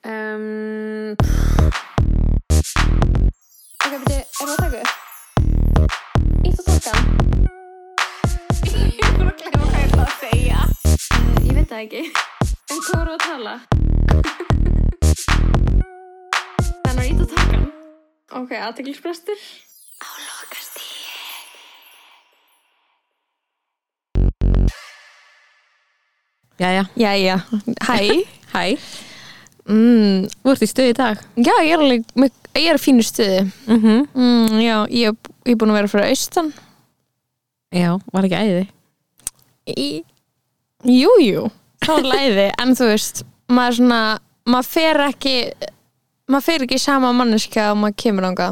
Um, ok, beti, er það að taka upp? Ítt og tólka. Ég voru að glemma hvað ég ætla að segja. Uh, ég veit það ekki. En hvað voru að tala? Þannig að ít að taka. Ok, aðteglisbrestur. Á lokast í. Jæja, Jæja, hæ. hæ, Mm, þú ert í stöð í dag já, ég er alveg, með- ég er í fínu stuði. mm Mm, já, ég, er- ég er búin að vera fyrir austan. Já, var ekki æði Í, jú, jú, þá er læði, en þú veist, maður svona, maður fer ekki, maður fer ekki í sama manneska og maður kemur ánga.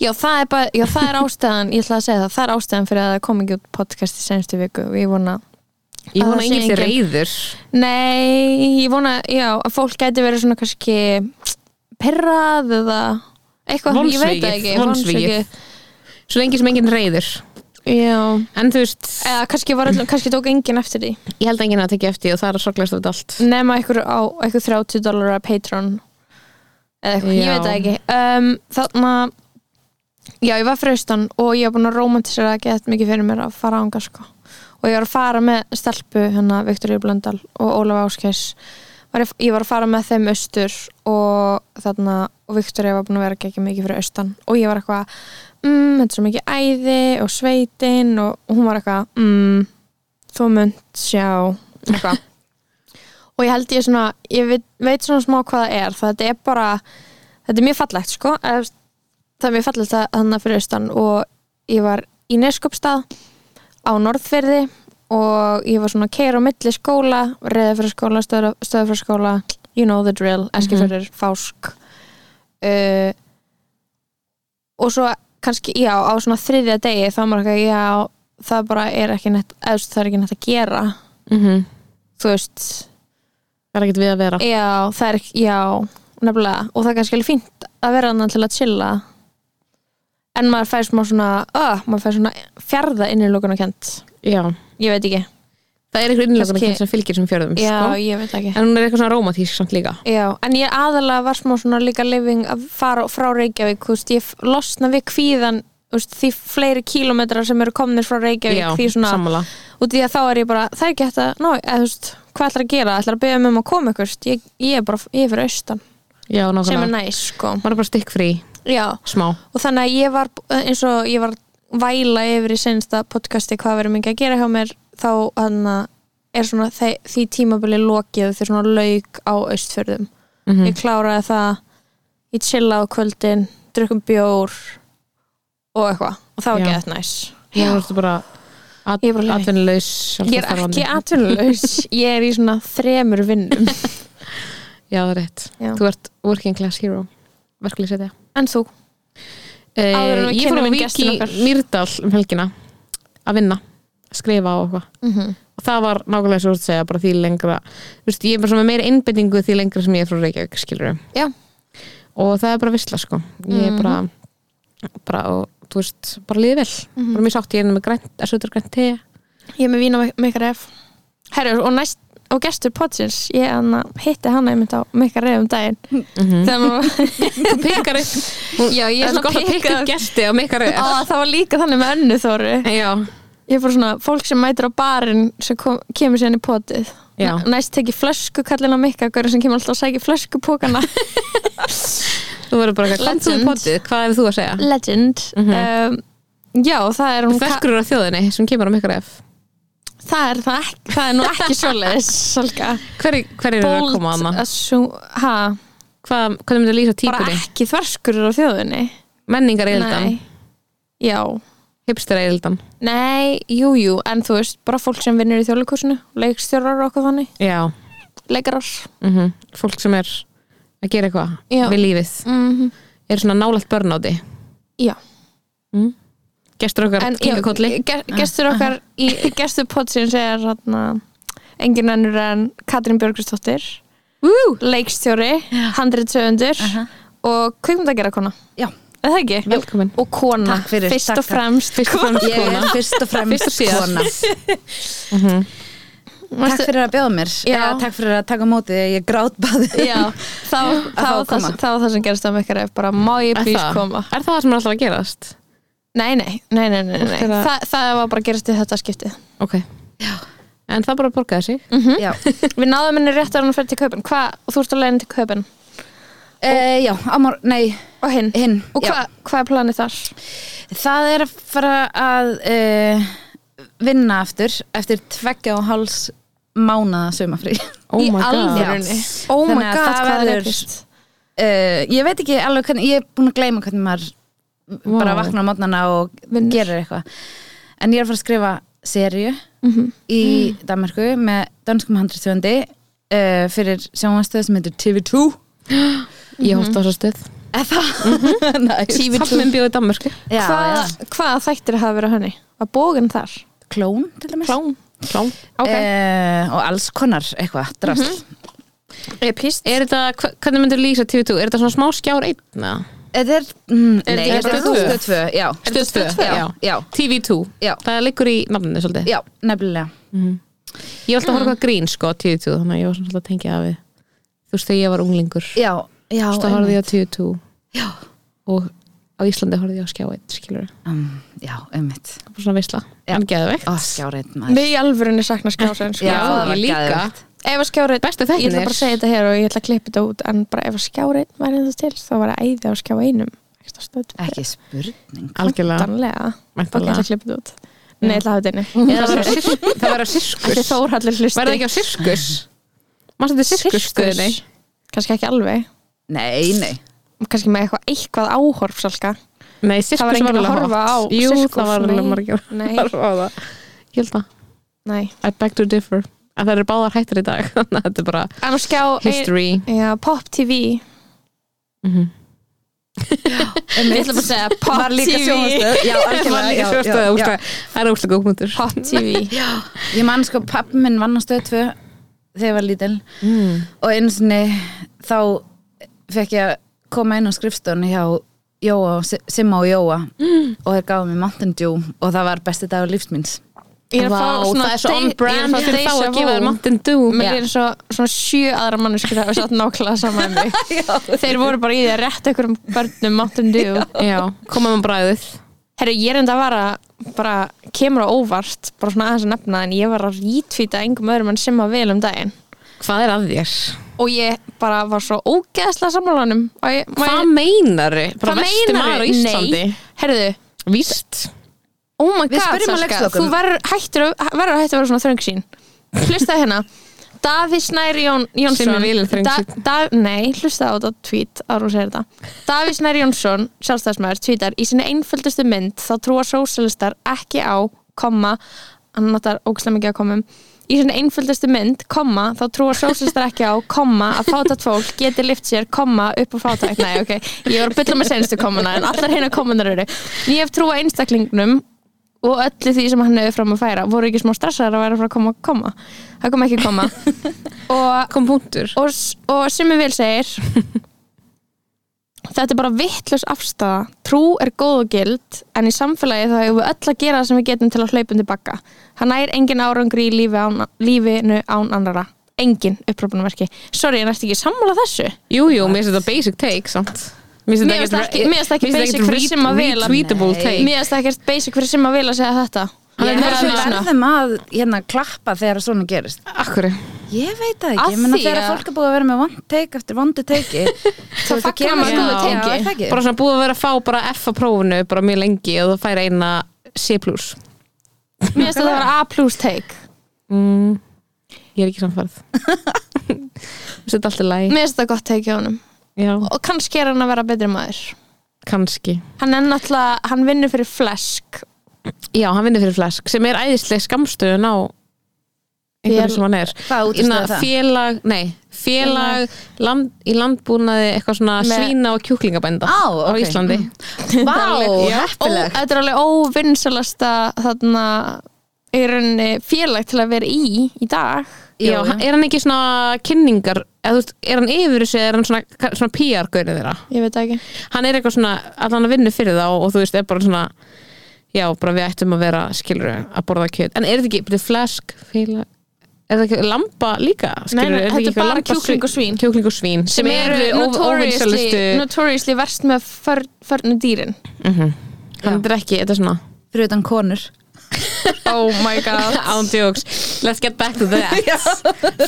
Já, það er bara, já, það er ástæðan, ég ætla að segja það, það er ástæðan fyrir að það kom ekki út podcast í senstu viku og ég vona Ég Að vona það sé enginn sé enginn. reyður Nei, ég vona, já, að fólk gæti verið svona kannski perrað eða eitthvað, ég veit það ekki, Vonsvikið, vonsvikið. Svo lengi sem enginn er reyður Já, En þú veist, eða kannski, var, öll- kannski tók enginn eftir því ég held að enginn að tekja eftir því og það er að sorglegast af þetta allt nema einhver á einhver 30 dólar Patreon eða eitthvað, ég Já. veit það ekki um, þannig að já, ég var fraustan og ég var búin að romantisera að geta mikið fyrir mér að fara ánga sko. og ég var að fara með stelpu hérna Viktoríu Blöndal og Ólaf Áskers var ég, ég var að fara með þeim austur og þarna og Viktoríu var búin að vera að gegja mikið fyrir austan og ég var eitthvað, mm, þetta er svo mikið æði og sveitin og, og hún var eitthvað, mm, þú munt sjá Mm, eitthvað og ég held ég svona, ég veit, veit svona smá hvað það er, það er bara þetta er mjög fallegt sko eða, þú veist, það er mjög fallegt að hann fyrir austan og ég var í Neskopstað á Norðfyrði og ég var svona keir á milli skóla reyða fyrir skóla, stöða fyrir skóla you know the drill, eskifjörður, fásk uh, og svo kannski, já, á svona þriðja degi þá er maður ekki, já, það bara er ekki nett, eða þú veist, það er ekki nett að gera -hmm. þú veist Það er ekkert við að vera Já, það er, já, nefnilega og það er kannski alveg fínt að vera annan til að chilla en maður fær smá svona, uh, maður fær svona fjarða innilokun og kent Já, ég veit ekki, það er eitthvað innlega Kannski- sem fylgir sem fjörðum já, sko. ég veit ekki En hún er eitthvað svona rómatísk samt líka já, en ég aðalega var smá svona líka living að fara frá Reykjavík, þú veist, ég f- losna við kvíðan, þú veist, því fleiri kílómetrar sem eru komnir frá Reykjavík, því svona sammála út í að þá er ég bara, það er ekki hægt að ná, eða þú veist, hvað ætlar að gera, ætlar að byggja mig um að koma ykkur, ég, ég er bara, ég er fyrir austan, Já, sem er nákvæmlega næs, sko Maður er bara stikkfrí, já, smá og þannig að ég var eh, eins og ég var væla yfir í sensta podcasti hvað verður mikið að gera hjá mér þá hann er svona þe því tímabili lokið þegar svona lauk á austfjörðum mm ég kláraði það ég chilla á kvöldin, drukkum bjór og eitthvað og það var Já. geðað næs Já, þú ertu bara at Ég er bara leiðin. atvinnulaus ég er sjálfstæðstarfandi. ekki atvinnulegs ég er í svona þremur vinnum Já, það er rétt Já. Þú ert working class hero Verklega setja en þú, Áður en Eh, við Ég fór á kynnum Viki gestin okkar. Mýrdal um helgina að vinna, skrifa á eitthvað og það var nákvæmlega svo að segja bara því lengra þú veist, ég er bara svona með meira innbyttingu því lengra sem ég er frá Reykjavík skilur já, og það er bara vissla sko ég Mhm. er bara, bara og, þú veist, bara líði vel bara mjög sátt ég er hérna með grænt, að sötur grænt te Mhm. ég er með vína meikar ef herru, og næst og gestur podsins, ég hann hitti hann einmitt á meikar ef um daginn þegar maður þú pekar upp Mhm. Hún- Já, ég það er er svona svo gott að pikka pekka upp. upp gesti á meikar upp Á, það var líka þannig með önnu þóru já, Ég fór svona, fólk sem mætir á barinn sem kom, kemur síðan í potið Já. N- Næst tekið flösku kallin á mikka gaur sem kemur alltaf að sækja flösku pókana þú verður bara eitthvað, kom þú í Legend. potið, hvað er þú að segja Legend Mhm. um, Já, það er hún Ferskur eru á þjóðinni sem kemur á meikar F það, er, það, ekki, það er nú ekki svoleiðis Salka Hverjir hver eru að koma að maður? assu- ha, Hvernig myndir lýsa bara típunni? ekki þverskurur á þjóðinni Menningar eildan, Nei. Já, hipster eildan nei, jú, jú En þú veist, bara fólk sem vinnur í þjóðleikursinu Leikstjórar og okkur þannig, Já, leikarar mm fólk sem er að gera eitthvað Já. við lífið mm -hmm. er svona nálægt börnáti Já gestur okkar En, já, kingakolli ge- gestur okkar í gestur potsins er hann engin ennur en Katrín Björgristóttir leikstjóri, handritsöfundur og kvikmyndagera kona Já. er það ekki? velkomin og kona, Takk fyrir, fyrst takk, og takk. fremst fyrst og fremst Ég er kona fyrst og fremst Fyrst og síðast. kona Takk fyrir að bjóða mér Já. Eða, Takk fyrir að taka á móti því að ég grátbaði Já, þá, þá, fá það, að koma. sem- þá það sem gerist það með ykkur er bara má ég er please það, koma er það það sem er alltaf að gerast? Nei, nei, nei, nei, nei, nei. Fólk er að- Þa, það var bara að gerast í þetta skiptið ok, en það bara borgaði sig Mhm. Já, Við náðum henni rétt að hann fyrir til kaupin Hvað, og þú ert að leiðin til kaupin e, já ámár, nei, og hinn, hinn og já. hva, hvað er planið þar? Það er að fara að uh, vinna aftur eftir tveggja og háls mánaða sumafrí oh í my god. alvörunni Oh my Þannig að god, það hvað verður- er leikist uh, Ég veit ekki alveg hvernig, ég er búin að gleyma hvernig maður Vá. bara vaknar á mótnana og Vinnur. gerir eitthvað En ég er að fara að skrifa seríu Mhm. í Mm. Danmarku með danskum handriðstöfundi uh, fyrir sjónvastöð sem heitir TV2 ég hótt á Mhm. þessu stöð Eða? Næs. pappi minn bjóði Danmarku Já, Hvað já. hva þættir hafa verið á henni? Var bógin þar? Klón til dæmis Klám klám Ok, Eh, Og alls konar eitthvað, drast Mhm. ég píst er þetta, hva- hvernig myndir lýsa TV2 er þetta svona smá skjár einn eða? Þetta er, mm, Er nei, þetta þetta er Stöð tvö? stöð 2 Já, Stöð tvö, já, já, TV2 Já. það liggur í nafninu svolítið já, nefnilega ég var alltaf að horfa á grín sko TV2 þannig að ég var svona svolítið að tengja af við þú veist þegar ég var unglingur Já, já, þú veist að horfa einmitt. ég á TV2 og á Íslandi horfa ég á skjá einn skilur Um, já, einmitt það var svona veisla Já. en geðveikt Ó, skjáreit maður Mér í alvörunni sakna skjárseðin sko. Já, það var ég líka. geðveikt. Ef að skjárið, Bestu ég ætla þættirnir. bara að segja þetta hér og ég ætla að klippa þetta út en bara ef að skjárið væri þetta til þá var að æði á skjá einum Ekki það stöð Ekki spurning algjörlega Danlega, ok, ég Væntanlega. ætla að klippa þetta út Nei, ég ætla að hafa þetta inni Eða það var á sirk- það var á Þetta er sirkus þórhallir hlusti Var það ekki á sirkus? Mást þetta sirkus guðinni? Kannski ekki alveg Nei, nei Kannski með eitthvað eitthvað áhorf salka Nei, Það var sirkus enginn alveg að horfa hot. á Jú, sirkus, það var alveg nei. margir að Nei, horfa á það Ég held að, nei I beg to differ En það eru báðar hættir í dag Þannig að þetta er bara En á skjá ein- history Já, Pop TV Mhm. Ég ætla bara að segja Pop Var líka TV sjónastöð Já, Það var algjörlega líka já, sjóðstöð, já, já. úrslag- það er úrslega góðmyndur Pop TV Ég man sko, pappi minn vann á stöð 2 þegar ég var lítil Mm. og einu sinni þá fekk ég að koma inn á skrifstofni hjá Jóa, og Si- Simma og Jóa og þeir gáðu mér Mountain Dew og það var besti dagur lífsmins Ég er að fá Vá, svona það er svo de- on brand ég er að fá fyrir þá deja að gefa vu. þér Mountain Dew Mér er eins og svona sjö aðra manneskir hafa satt nákvæmlega saman með mig Þeir voru bara í því að rétta ykkur um börnum Mountain Dew Já, komum um bræðið Herru, ég er enda að vara bara kemur á óvart, bara svona aðeins að nefna en ég var að rítvíta engum öðrum en sem að vel um daginn Hvað er að þér? og ég bara var svo ógeðslega sammálanum og ég, má Hvað ég, meinarðu? Bara vesti meinarðu? maður á Íslandi Nei, herðu, Víst oh my Við god spyrjum að Salka, leiklokum. þú verður hættur að verður hættur að vera svona þröngsýn hlustaði hérna Davíð Snær Jón, Jónsson Sem er vilin þröngsýnn. da, da, Nei, hlustaði á þetta tweet árum segir þetta Davíð Snær Jónsson, sjálfstæðismæður, tweetar Í sinni einföldustu mynd þá trúa sósalistar ekki á, komma hann notar ógislega mikið að komum Í sinni einföldustu mynd, komma þá trúa sósalistar ekki á, komma að fátat fólk geti lift sér, komma upp á fátæk Nei, ok, ég var að bylla með senstu komuna en allar hérna komunar eru Ég hef trúa einstaklingnum og öllu því sem hann hefur fram að færa voru ekki smá stressaðar að vera frá að koma að koma það kom ekki að koma og, Kom punktur og, og sem ég vil segir þetta er bara vittlust afstafa trú er góð og gild en í samfélagi þá hefur við öll að gera það sem við getum til að hlaupa undir bakka hann nægir engin árangri í lífi án, lífinu án annara engin uppröpunumverki sorry, ég næst ekki sammála þessu Jú, jú, mér finnst þetta basic take, samt Mér Mér finnst ekki- mér finnst ekki basic fyrir Simma Vel að- Retweetable Nei. take mér er þetta ekkert basic fyrir sem að vilja segja þetta Hann er Ég Ég held held við að- verðum að hérna, klappa þegar svona gerist Akkur Ég veit það ekki, Af ég menna því þegar að- fólk er búið að vera með one take eftir vondu teiki Þá fagnar maður góðu Já, teiki. er það ekki? sko Bara svona búið að vera að fá bara F að prófunu bara mjög lengi og það færa eina C+. mér finnst þetta að vera A plus take Mm, ég er ekki samfærð Mér finnst þetta allt í lagi mér finnst þetta gott take hjá honum Já, og kannski er hann að vera betri maður kannski hann er náttúrulega, hann vinnur fyrir flesk Já, hann vinnur fyrir flesk sem er æðislega skamstöðun á Fél- einhverju sem hann er Hvað Ég meina, útistöðu það? Félag, nei, félag land, í landbúnaði eitthvað svona Með- svína og kjúklingabænda Á, á ok. Mm. Íslandi Vá, Já. Ó, heppilegt þetta er alveg óvinnsalasta þarna í rauninni félag til að vera í í dag Jú, Já, jú. hann- er hann ekki svona kynningar eða, þú veist, er hann yfir þessu eða er hann svona, svona PR-gaurið þeirra ég veit það ekki hann er eitthvað svona, allan að vinna fyrir þá og þú veist, er bara svona já, bara við ættum að vera skilur að borða kjöt, en er þetta ekki, betur flesk félag er það ekki lamba líka? Skilur, er það nei, þetta ekki er eitthvað bara lambasvi- kjúkling og svín. kjúkling og svín sem, sem eru óv- notoriously, óvinsælustu notoriously verst með för, förnu dýrin þetta er ekki, þetta er svona fyrir utan konur oh my god án djóks, let's get back to that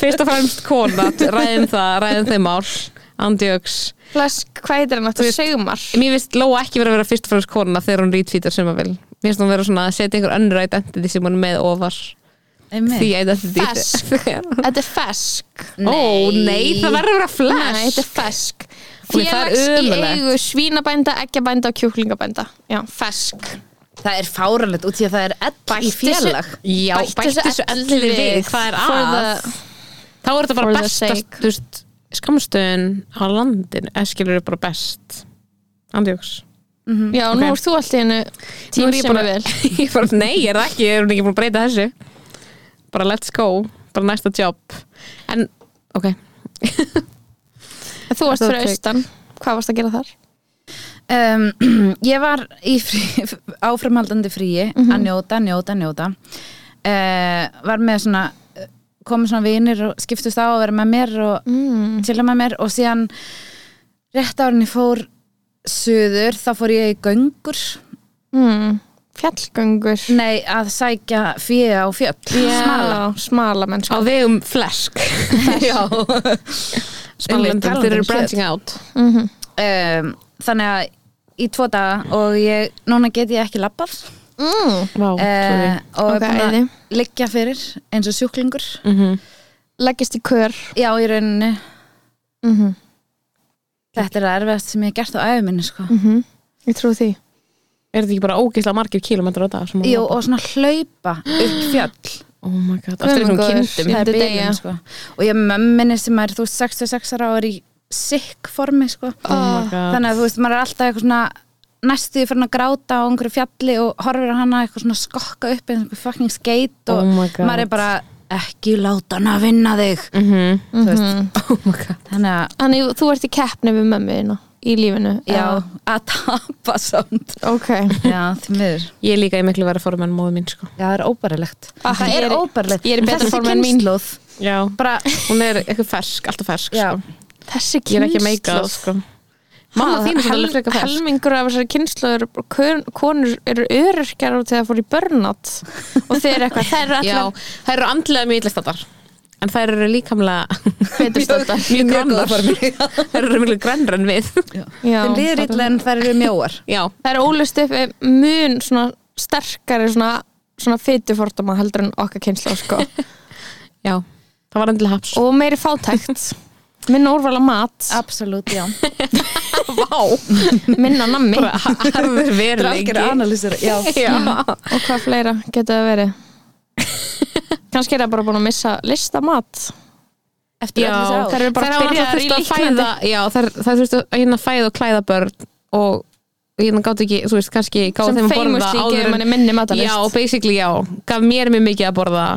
fyrst og fremst konat ræðum það, ræðum þau mál án djóks Plus, hvað heitir hann aftur? Segumar mér finnst Lóa ekki vera að vera fyrst og fremst kona þegar hún rítvítar sem að vil mér finnst hún vera svona að setja einhver önnur identity sem hún er með ofar Einmitt. því identity Fesk. þetta er fesk ó nei, það verður að vera Nei, þetta flash er fesk Ói, það er Félags í ömurlegt. eigu svínabænda, eggjabænda og kjúklingabænda Já, fesk það er fáralegt út í að það er ell í Bætti félag sig- já, Bættu bætti þessu þessu allir elli við við. hvað er For að þá er þetta for bara the sake. bestast þú veist, skamstöðun á landin eskilur er bara best andjóks Já, nú ert þú allt í hennu Nú tím er ég sem bara- ég vil ég bara, nei, er það ekki, er hún ekki búin að breyta þessu bara let's go bara næsta job en, ok, Þú varst Þú fyrir tek. austan, hvað varst að gera þar? um, ég var í frí, áframhaldandi fríi að njóta, njóta, njóta uh, var með svona komið svona vinir og skiptust á að vera með mér og Mm. til að með mér og síðan rétt árinni fór suður, þá fór ég í göngur Mm. Fjallgöngur nei, að sækja fjö á fjöll Mm. smala Smala Smala á mennska vegum flesk Já. Spannlöndin, Einmitt, þeir talandi um eru kjöt. branching out mhm. um, þannig að í tvo daga og ég, núna get ég ekki labbað mm. Vá, uh, sorry. og Ok, okay, er búin æði. að liggja fyrir eins og sjúklingur Mhm. Leggist í kör já, í rauninni, mm -hmm. þetta er að erfiðast sem ég hef gert á æfum minni, sko Ég trú því er þetta ekki bara ógeislega margir kílometrar á dag sem hún Jú, var bara- og svona hlaupa upp fjöll oh my god, Guð aftur einhverjum minn góður. kindum það er Myndi deyja. bílinn, sko og ég er með mömminni sem er, þú veist, 66 ára og er í sikk formi, sko oh my god þannig að þú veist, maður er alltaf eitthvað svona næstuði fyrir að gráta á einhverju fjalli og horfir á hana eitthvað svona skokka upp eins og einhver fucking skeit og Oh my God. maður er bara, ekki láta hana vinna þig mm þú veist, oh my god þannig að Þannig að þú ert í keppni við mömmuðina í lífinu Já, að tapa samt Ok Já, því miður ég er líka í miklu vera formann móðu mín sko Já, það er óbærilegt Ah, Það ég er er- óbærilegt ég er í betra Þessi sko. formi en mín. kynnslóð já, bara, hún er eitthvað fersk, alltaf fersk Já. sko. Þessi ég er ekki að meika kynnslóð. það, sko mamma Ha, þín er hel- alveg frekar fersk helmingur af þessari kynslu eru, kon- konur eru öryrkjar og þegar fór í börnat og þeir eru eitthvað, þeir eru Já, allar þær eru andlega mjög illastandar en þær eru líkamlega betur stöndar mjög grannar formi. þær eru mjög grannra en við Já. þeim líður illa en þær eru mjóar já, það er ólust upp eh, mun svona sterkari svona, svona fytufordama heldur en okkar kynslu sko. já, það var endilega haps og meiri fátækt minna úrvala mat Absolutt, já vá, minna nammi og harður veruleiki Dralgir analýsir Já, já, hvað fleira getur það verið kannski er það bara búin að missa listamat eftir Já, öll þessi þær ár eru þær hafa bara náttúrulega byrjaðar í þurft að líknandi fæða já, þær, þær þurftu að hérna fæða og klæða börn og hérna gátt ekki, þú veist, kannski gátt sem þeim að borða feimusli áður gefur en- manni minni matalist já, basically já, gaf mér mjög mikið að borða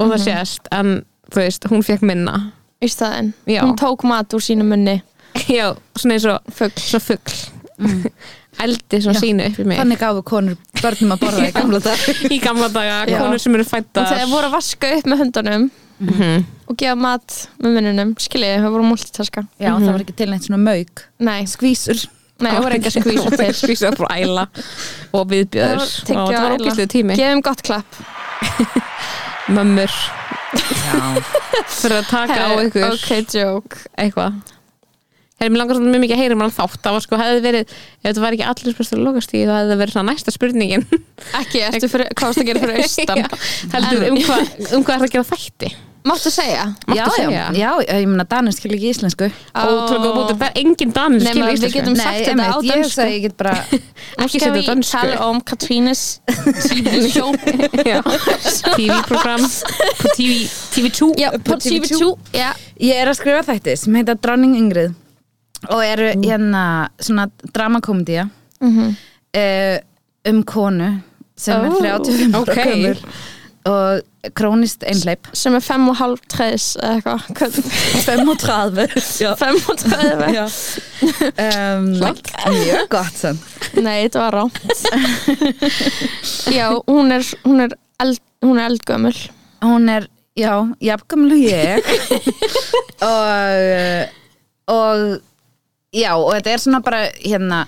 og það Mhm. sést, en þú veist, hún fekk minna í staðinn Já. hún tók mat úr sínu munni já, svona eins og fugg svona fugl Mm. eldi svona sínu upp í mig Þannig gáfu konur börnum að borða í gamla dag í gamla daga, Já. konur sem eru og fættar þegar voru að vaska upp með höndunum og gefa mat með mununum skiljiði, það voru multitaska Já, það var ekki til neitt svona mauk nei, Skvísur nei, það voru ekki að skvísa til skvísa frá æla og Það viðbjöður var og tyggja það var æla. ógæslega tími gefum gott klapp mömmur Já fyrir að taka á Herri, ykkur ok, joke eitthvað Herri, mér langar svolítið mjög mikið að heyra um hann þátt það var sko, hefði verið, ef þetta var ekki allir spyrstur lokastíð, það hefði það verið svona næsta spurningin ekki, ertu fyrir, hvað varst að gera fyrir austan Já, heldur En- um hvað um hvað er það að gera þætti máttu segja Já, Máttu já, segja? já, ég meina danir skil ekki íslensku ótrúlega góð bútur, það er engin danir Nei, skilur maður, við íslensku getum sagt þetta á ég dönsku. hugsa að ég get bara Nú skal ekki að þetta við dönsku. tala um Katrínus TV-program på TV, TV2 já, På på TV2 já, Ég er að skrifa þætti sem heita Dronning Ingrid og eru hérna svona dramakomedía Mhm. eh, um konu sem er Oh, 35 ára ok. gömul og krónist einhleip sem er 5 og halv treðis eða eitthvað 35 já. 5 og treðis um, Mjög gott sann Nei, þetta var rámt Já, hún er, hún er, eld, hún er eldgömmul Hún er, já, jafngamlu ég og, og já, og þetta er svona bara hérna,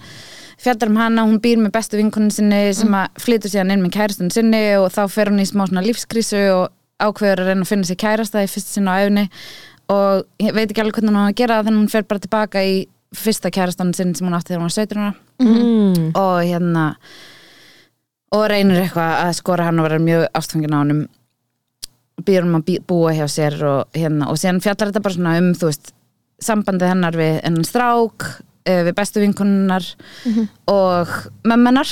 fjallar um hana hún býr með bestu vinkonin sinni sem að flytur síðan inn með kærastun sinni og þá fer hún í smá svona lífskrísu og ákveður að reyna að finna sér kærasta í fyrsta sinna á efni og ég veit ekki alveg hvernig hún á að gera það þannig hún fer bara tilbaka í fyrsta kærastan sinn sem hún átti þegar hún var 17 ára mm. og hérna og reynir eitthvað að skora hann og vera mjög ástfangin á honum býður hann að bí- búa hjá sér og hérna, og síðan fjallar þetta bara svona um þú veist, sambandið hennar við hennan strák, eh, við bestu vinkonunnar og mömmennar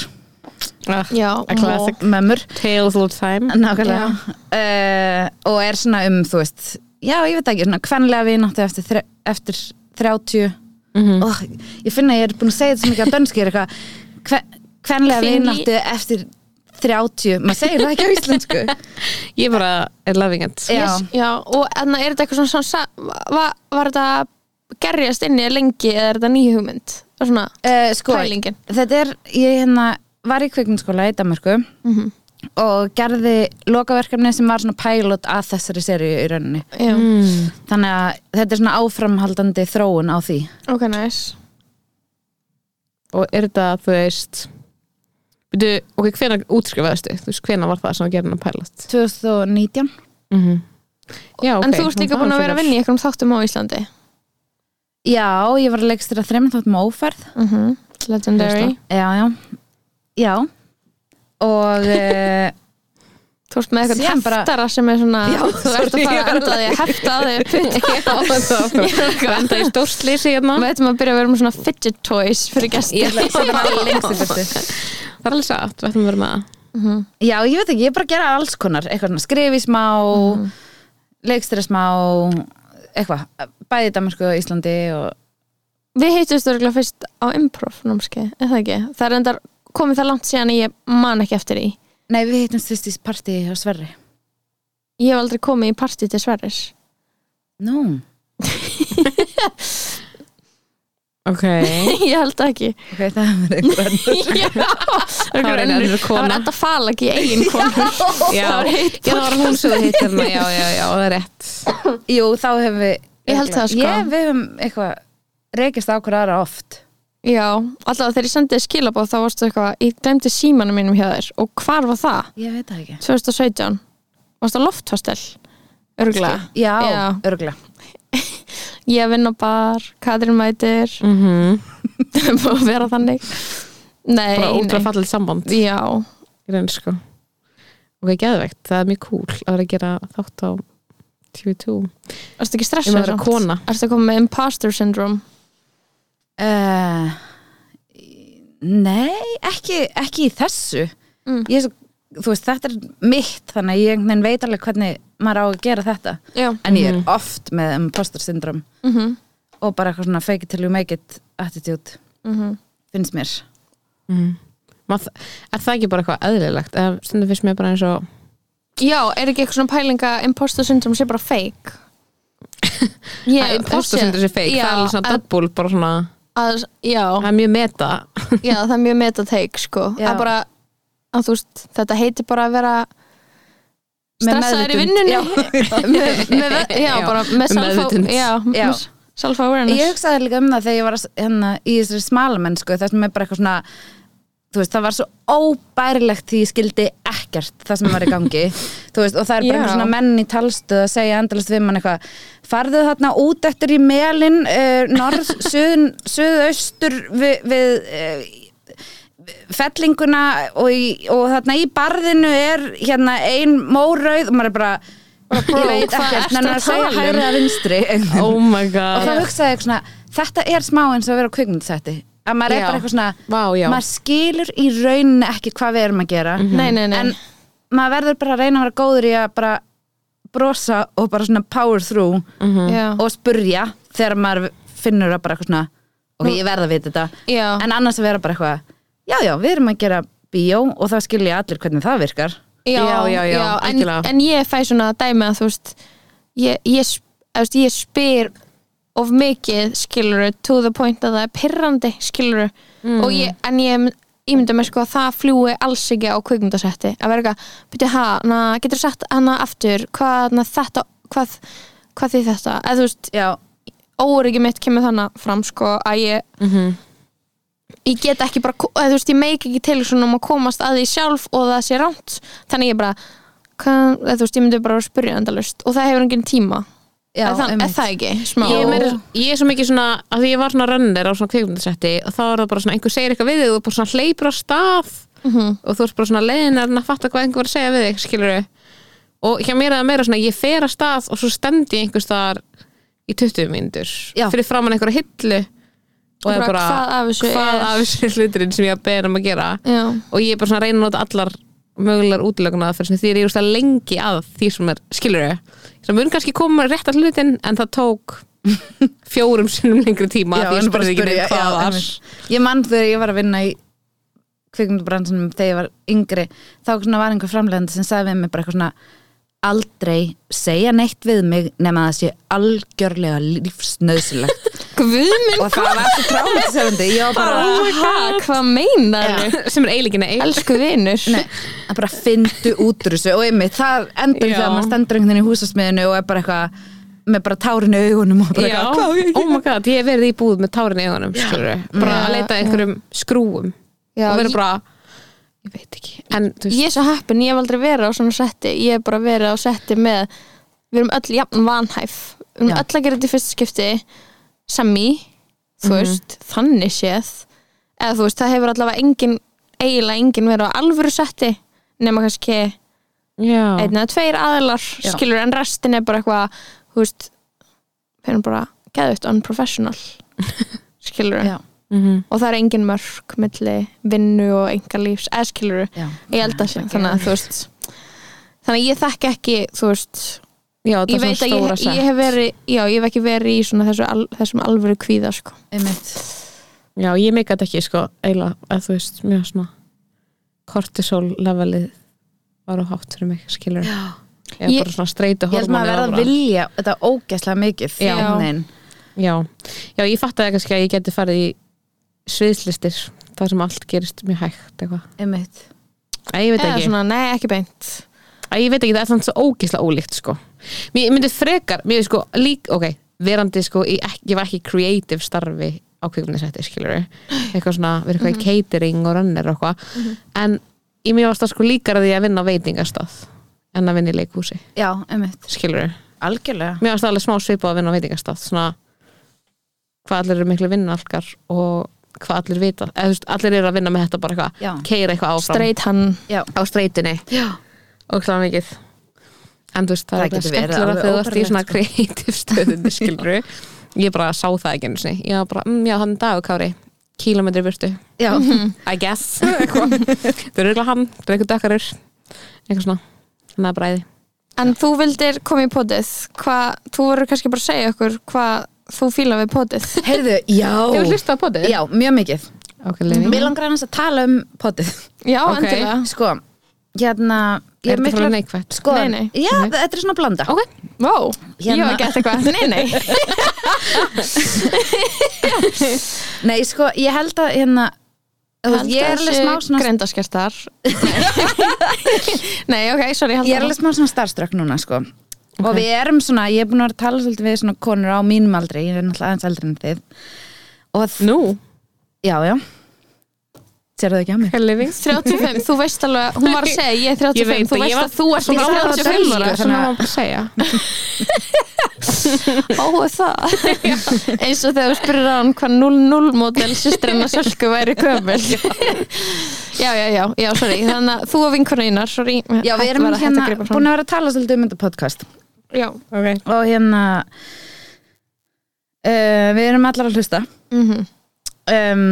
ah, Já, A classic mömmur, Tales of Time nákvæmlega uh, og er svona um, þú veist já, ég veit ekki, svona kvenlega vináttu eftir, þre- eftir 30 Mhm. oh, ég finna að ég er búin að segja þetta svo mikið á dönski er eitthvað hve- kvenlega Kynlí- vináttu eftir 30, maður segir það ekki á íslensku Ég bara er loving it Já. Yes, já, og enna er þetta eitthvað svona, svona var, var þetta gerjast inni lengi eða er þetta ný hugmynd? Það er Svona, uh, sko, Pælingin. þetta er, ég hérna var í kvikmyndskóla í Danmarku Mhm. og gerði lokaverkefni sem var svona pilot að þessari seríu í rauninni já, mm. þannig að þetta er svona áframhaldandi þróun á því ok, nice. Og er þetta, þú veist Byrju, ok, hvenær útskrifaðistu? Þú veist, hvenær var það sem að gera hennar pælast? 2019 Mm Já, ok En þú ert líka búin að vera að vinna í eitthvað þáttum á Íslandi. Já, ég var að leikstýra þreim þáttum á ófærð Mm Mhm, Legendary. Já, já Já Og uh, Þú ert með eitthvað Síðan bara- heftara sem er svona, Já, þú ert að sorry, fara ég að var enda því að hefta því að Það enda í stórslýsi hérna Við ættum að byrja að vera með svona fidget toys fyrir gæsti. Ég ætla að fara lengst í burtu. Það er alveg satt, við ætlum að vera með það Já, ég veit ekki, ég er bara að gera alls konar eitthvað svona skrifi smá leikstýra smá eitthvað, bæði í Danmarku og Íslandi og Við heitust örgulega fyrst á improv námskeið, er það ekki? Það er endar komið það langt síðan að ég man ekki eftir því. Nei, við hittumst fyrst í partí hjá Sverri Ég hef aldrei komið í partí til Sverris. Nú, Ok Ég held ekki. ok, það er verið eitthvað annað. Já, það var einn önnur Það var kona. enda fala ekki eigin kona. Já, Það var hitt Já, það var hún sem þú hitt hérna Já, já, já, það er rétt Jú, þá hefum við Ég held það, sko. Ég, við hefum eitthvað reykist á hverju aðra oft Já, alltaf þegar ég sendið skilabóð þá varstu eitthvað, ég glemdi símanum mínum hjá þér og hvar var það? Ég veit það ekki 2017? Varstu á lofthostel? Örgulega. Já, Já. Já. örgulega Ég vinn á bar, Katrin mætir, mm -hmm. búið að vera þannig. Nei, Bara nei. ótrúlega fallið samband Já, í raun sko ok, geðveikt, það er mjög cool að vera að gera þátt á TV2 erstu ekki stressað? Ég maður að vera samt? kona. Ertu að koma með imposter syndrome? Uh, nei, ekki, ekki í þessu Mm. ég, er svo- þú veist, þetta er mitt þannig að ég einhvern veginn veit alveg hvernig maður á að gera þetta Já. en ég er Mhm. oft með um imposter syndrom Mm og bara eitthvað svona fake it till you make it attitude, mhm. finnst mér mm. Maður, er það ekki bara eitthvað eðlilegt eða stundum fyrst mér bara eins og Já, er ekki eitthvað svona pælinga imposter syndrome sé bara fake? Ég, að imposter sem þessi feik, já, það er alveg svona að, double, bara svona, að, já, það er mjög meta já, það er mjög metateik sko, Já. að bara að þú veist, þetta heitir bara að vera Með stressaður í meðvitund, vinnunni já. með, með, já, Já, bara með með self- meðvitund. já, Já. með self-awareness ég hugsaði líka um það þegar ég var að- hérna, í þessari smalamennsku það sem er bara eitthvað svona þú veist, það var svo óbærilegt því ég skildi ekkert það sem var í gangi þú veist, og það er Já. bara einhver svona menn í talstöð að segja endalast við mann eitthvað farðu þarna út eftir í melin uh, norð, suðun, suðaustur við, við uh, fellinguna og, í, og þarna í barðinu er hérna ein mórauð og maður er bara, ég veit hvað ertu að ekkert en að tala segja um? hægri að vinstri oh my og þá god hugsaði ég eitthvað svona, þetta er smá eins og að vera á kvikmyndsætti að maður Já. er bara eitthvað svona Vá, já. maður skilur í rauninni ekki hvað við erum að gera nei, nei, nei, en maður verður bara að reyna að vera góður í að bara brosa og bara svona power through já, og spurja þegar maður finnur að bara eitthvað svona ok, ég verð að vita þetta já, en annars að vera bara eitthvað já, já, við erum að gera bíó og það skilja allir hvernig það virkar Já, já, já, en, algjörlega. en ég fæ svona dæmi að þú veist ég, ég, sp- þú veist, ég spyr of mikið skiluru to the point að það er pirrandi skiluru mm. ég, en ég ímyndum mér sko að það fljúi alls ekki á kvikmyndasetti að vera eitthvað, byrju ha, na, getur sett hana aftur, hvað na, þetta hvað, hvað því þetta eða þú veist, já, óryggi mitt kemur þannig fram sko að ég ég get ekki bara, ko- eða þú veist, ég meik ekki til svona um að komast að því sjálf og það sé rámt, þannig ég bara hvað, eða þú veist, ég myndi bara að spyrja endalust og það hefur engin tíma, já, eða það, er einmitt. það ekki smá, ég, er meira, ég er svo mikið svona að því ég var svona rönnir á svona kvikmyndasetti og þá er það bara svona einhver segir eitthvað við þig og þú bara svona hleypur á stað Mhm. og þú ert bara svona leiðin að reyna að fatta hvað einhver var að segja við þig skilur og hjá mér er það meira svona ég fer að stað og svo stend ég einhvers staðar í 20 mínútur Já. fyrir framann einhverja hillu og er Bara bara hvað af þessu hvað er? af þessu hluturinn sem ég að beða um að gera já, og ég er bara svona að reyna að nota allar mögulegar útlöguna fyrir sem því er ég úrst að lengi að því sem er skilur sem mun kannski koma rétt að hlutin en það tók fjórum sinnum lengri tíma Já, því en ég spurði ekki neitt spyrja, hvað já, var einmitt. ég mann þegar ég var að vinna í kvikmyndabransunum þegar ég var yngri þá svona var einhver framlegandi sem sagði við mig bara eitthvað svona aldrei segja neitt við mig nema að það sé algjörlega lífsnauðsilegt guðminn og það var svo trámatisörandi ég var bara, bara, ha, hvað meinar sem er eiginlega eig elsku vinur nei, að bara fyndu út úr þessu og einmitt, það endur Já. þegar maður stendur einhvern veginn í húsasmiðinu og er bara eitthvað með bara tárinu í augunum og bara Já, eitthvað, hvað á ég að gera? oh my god, ég hef verið í búð með tárin í augunum skilur, bara Já, að leita að einhverjum skrúum og Já, ég- verið bara ég veit ekki, en þú veist ég er svo heppin, ég hef aldrei verið á svona setti ég hef bara verið á setti með við erum öll jafn vanhæf við erum Já. öll að gera þetta í fyrsta skipti sami, þú veist þannig séð eða þú veist, það hefur allavega engin eiginlega engin verið á alvöru setti nema kannski já, einn eða tveir aðilar skilur en restin er bara eitthvað þú veist, við erum bara geðvægt unprofessional skilur Já, og það er engin mörk milli vinnu og enga lífs eða skilur já, ég held að sé, þannig að þú veist þannig að ég þekk ekki, þú veist já það ég er veit svona að stóra ég, ég hef verið já, ég hef ekki verið í svona þessu, al, þessum alvöru kvíða, sko einmitt Já, ég meika þetta ekki sko eiginlega að þú veist, mjög svona kortisol levelið var á hátt fyrir mig, skilur Já. ég er Ég- bara svona streytu Ég held maður hormóni að verða að vilja þetta ógæslega mikið Já. einhvern veginn. Já. Já, ég fattaði kannski að ég geti farið í sviðslistir, þar sem allt gerist mjög hægt eitthvað, einmitt Æ, ég veit eða ekki svona, nei, ekki beint Æ, ég veit ekki, það er þannig svo ógislega ólíkt sko. mér ég myndi frekar, mér sko lík, ok, verandi sko ég, ekki, ég var ekki í creative starfi á kvikmyndasætti, skilur eitthvað svona, við eitthvað í catering og runner og eitthvað en ég mér varst það sko líkara því að vinna á veitingastað en að vinna í leikhúsi, Já, einmitt skilur Algjörlega mér varst það alveg smá svipa að vinna á veitingastað svona, hvað allir eru miklu vinnalkar og hvað allir vita eða, þú veist, allir eru að vinna með þetta bara Já. eitthvað keira eitthvað áfram streit hann, Já, á streitunni já, og kláða mikið en þú veist, það, Það er bara getur verið skemmtilega alveg þegar þú ert í óbærilegt, svona sko. kreatív stöðunni skilur ég bara sá það ekki einu sinni ég var bara, mm, já, hann dagur Kári kílometri burtu, já I guess eitthvað. það er auðvitað hann, það er eitthvað dökkarur eitthvað svona, hann er bræði en þú vildir koma í potið hvað, þú voru kannski bara að segja okkur hvað þú fíla við potið Heyrðu, Hefur já hlustað á potið? Já, mjög mikið Ok, Levi Mér langar annars að tala um potið já, Ok. endilega Sko, hérna Er Ég er þetta mikla frá neikvætt? Sko, Nei, nei. já, Nei. þetta er svona blanda Ok, Vó, ég Hérna- hef gett eitthvað Nei, nei, Nei, sko, ég held að hérna þú veist, Ég er alveg smá svona Grendaskertar Nei, ok, sorry, held Ég er alveg smá svona starströkk núna sko Og við erum svona, ég er búin að vera að tala svolítið við svona konur á mínum aldri, ég er náttúrulega aðeins aldri en þið Og þ- nú, Já, já Sérðu það ekki á mér? ok, Levi 35, þú veist alveg, hún var að segja ég er 35, þú veist að þú ert svona ekki ára 35 dælu, ára sko, Svona var bara að segja Ó, er það eins og þegar þú spyrir á hann hvað 00 mótel sýstrina Sölku væri gömul Já, já, já, já, sorry þannig að þú og vinkurinn einar, sorry Já, við erum hérna búin að vera að tala svolítið um þetta podcast Já, okay. og hérna uh, við erum allar að hlusta mhm um,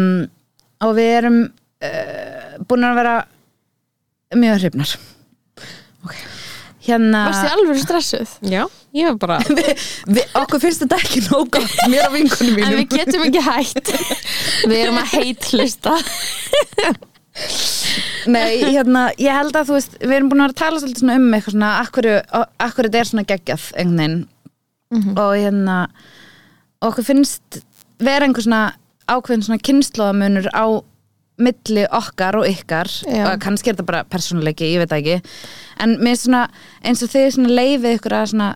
og við erum uh, búin að vera mjög hrifnar Ok. Hérna Varst þið alveg stressuð? Já, ég var bara við, okkur finnst þetta ekki nóg gott mér og En vinkunum mínum við getum ekki hætt Við erum að heitlusta Nei, hérna, ég held að þú veist við erum búin að vera að tala svolítið svona um eitthvað svona akkur, akkur þetta er svona geggjað einhvern veginn Mhm. og hérna okkur finnst vera einhver svona ákveðin svona kynnslóðamunur á milli okkar og ykkar Já. og kannski er þetta bara persónuleiki, ég veit það ekki en mér er svona, eins og þið svona leifið ykkur að svona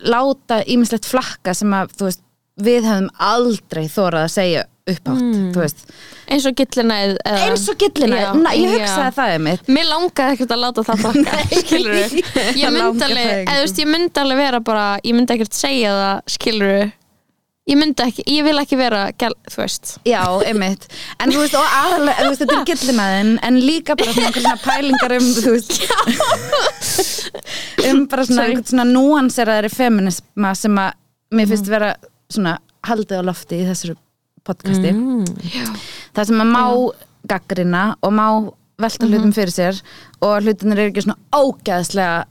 láta ímislegt flakka sem að þú veist, við hefðum aldrei þórað að segja upphátt, þú veist eins og gillina eða eins og gillina, Mm. Já, Na, ég já. hugsaði það um mitt Mér langaði ekkert að láta það flakka skilur ég Það myndi langar alveg, það ekki. eða þú veist, ég myndi alveg vera bara, ég myndi ekkert segja það skilur ég myndi ekki, ég vil ekki vera gæl, þú veist Já, einmitt En þú veist, og aðalega, þú veist, þetta er gillinaðin En líka bara svona einhver svona pælingar um Þú veist Um bara svona Sorry. einhvern svona núanseraðari feminisma sem að mér Mm. finnst vera svona haldið á lofti í þessari podcasti Mhm. Mm. Það sem að má gaggrina og má velta Mhm. hlutum fyrir sér og hlutinir eru ekki svona ógæðslega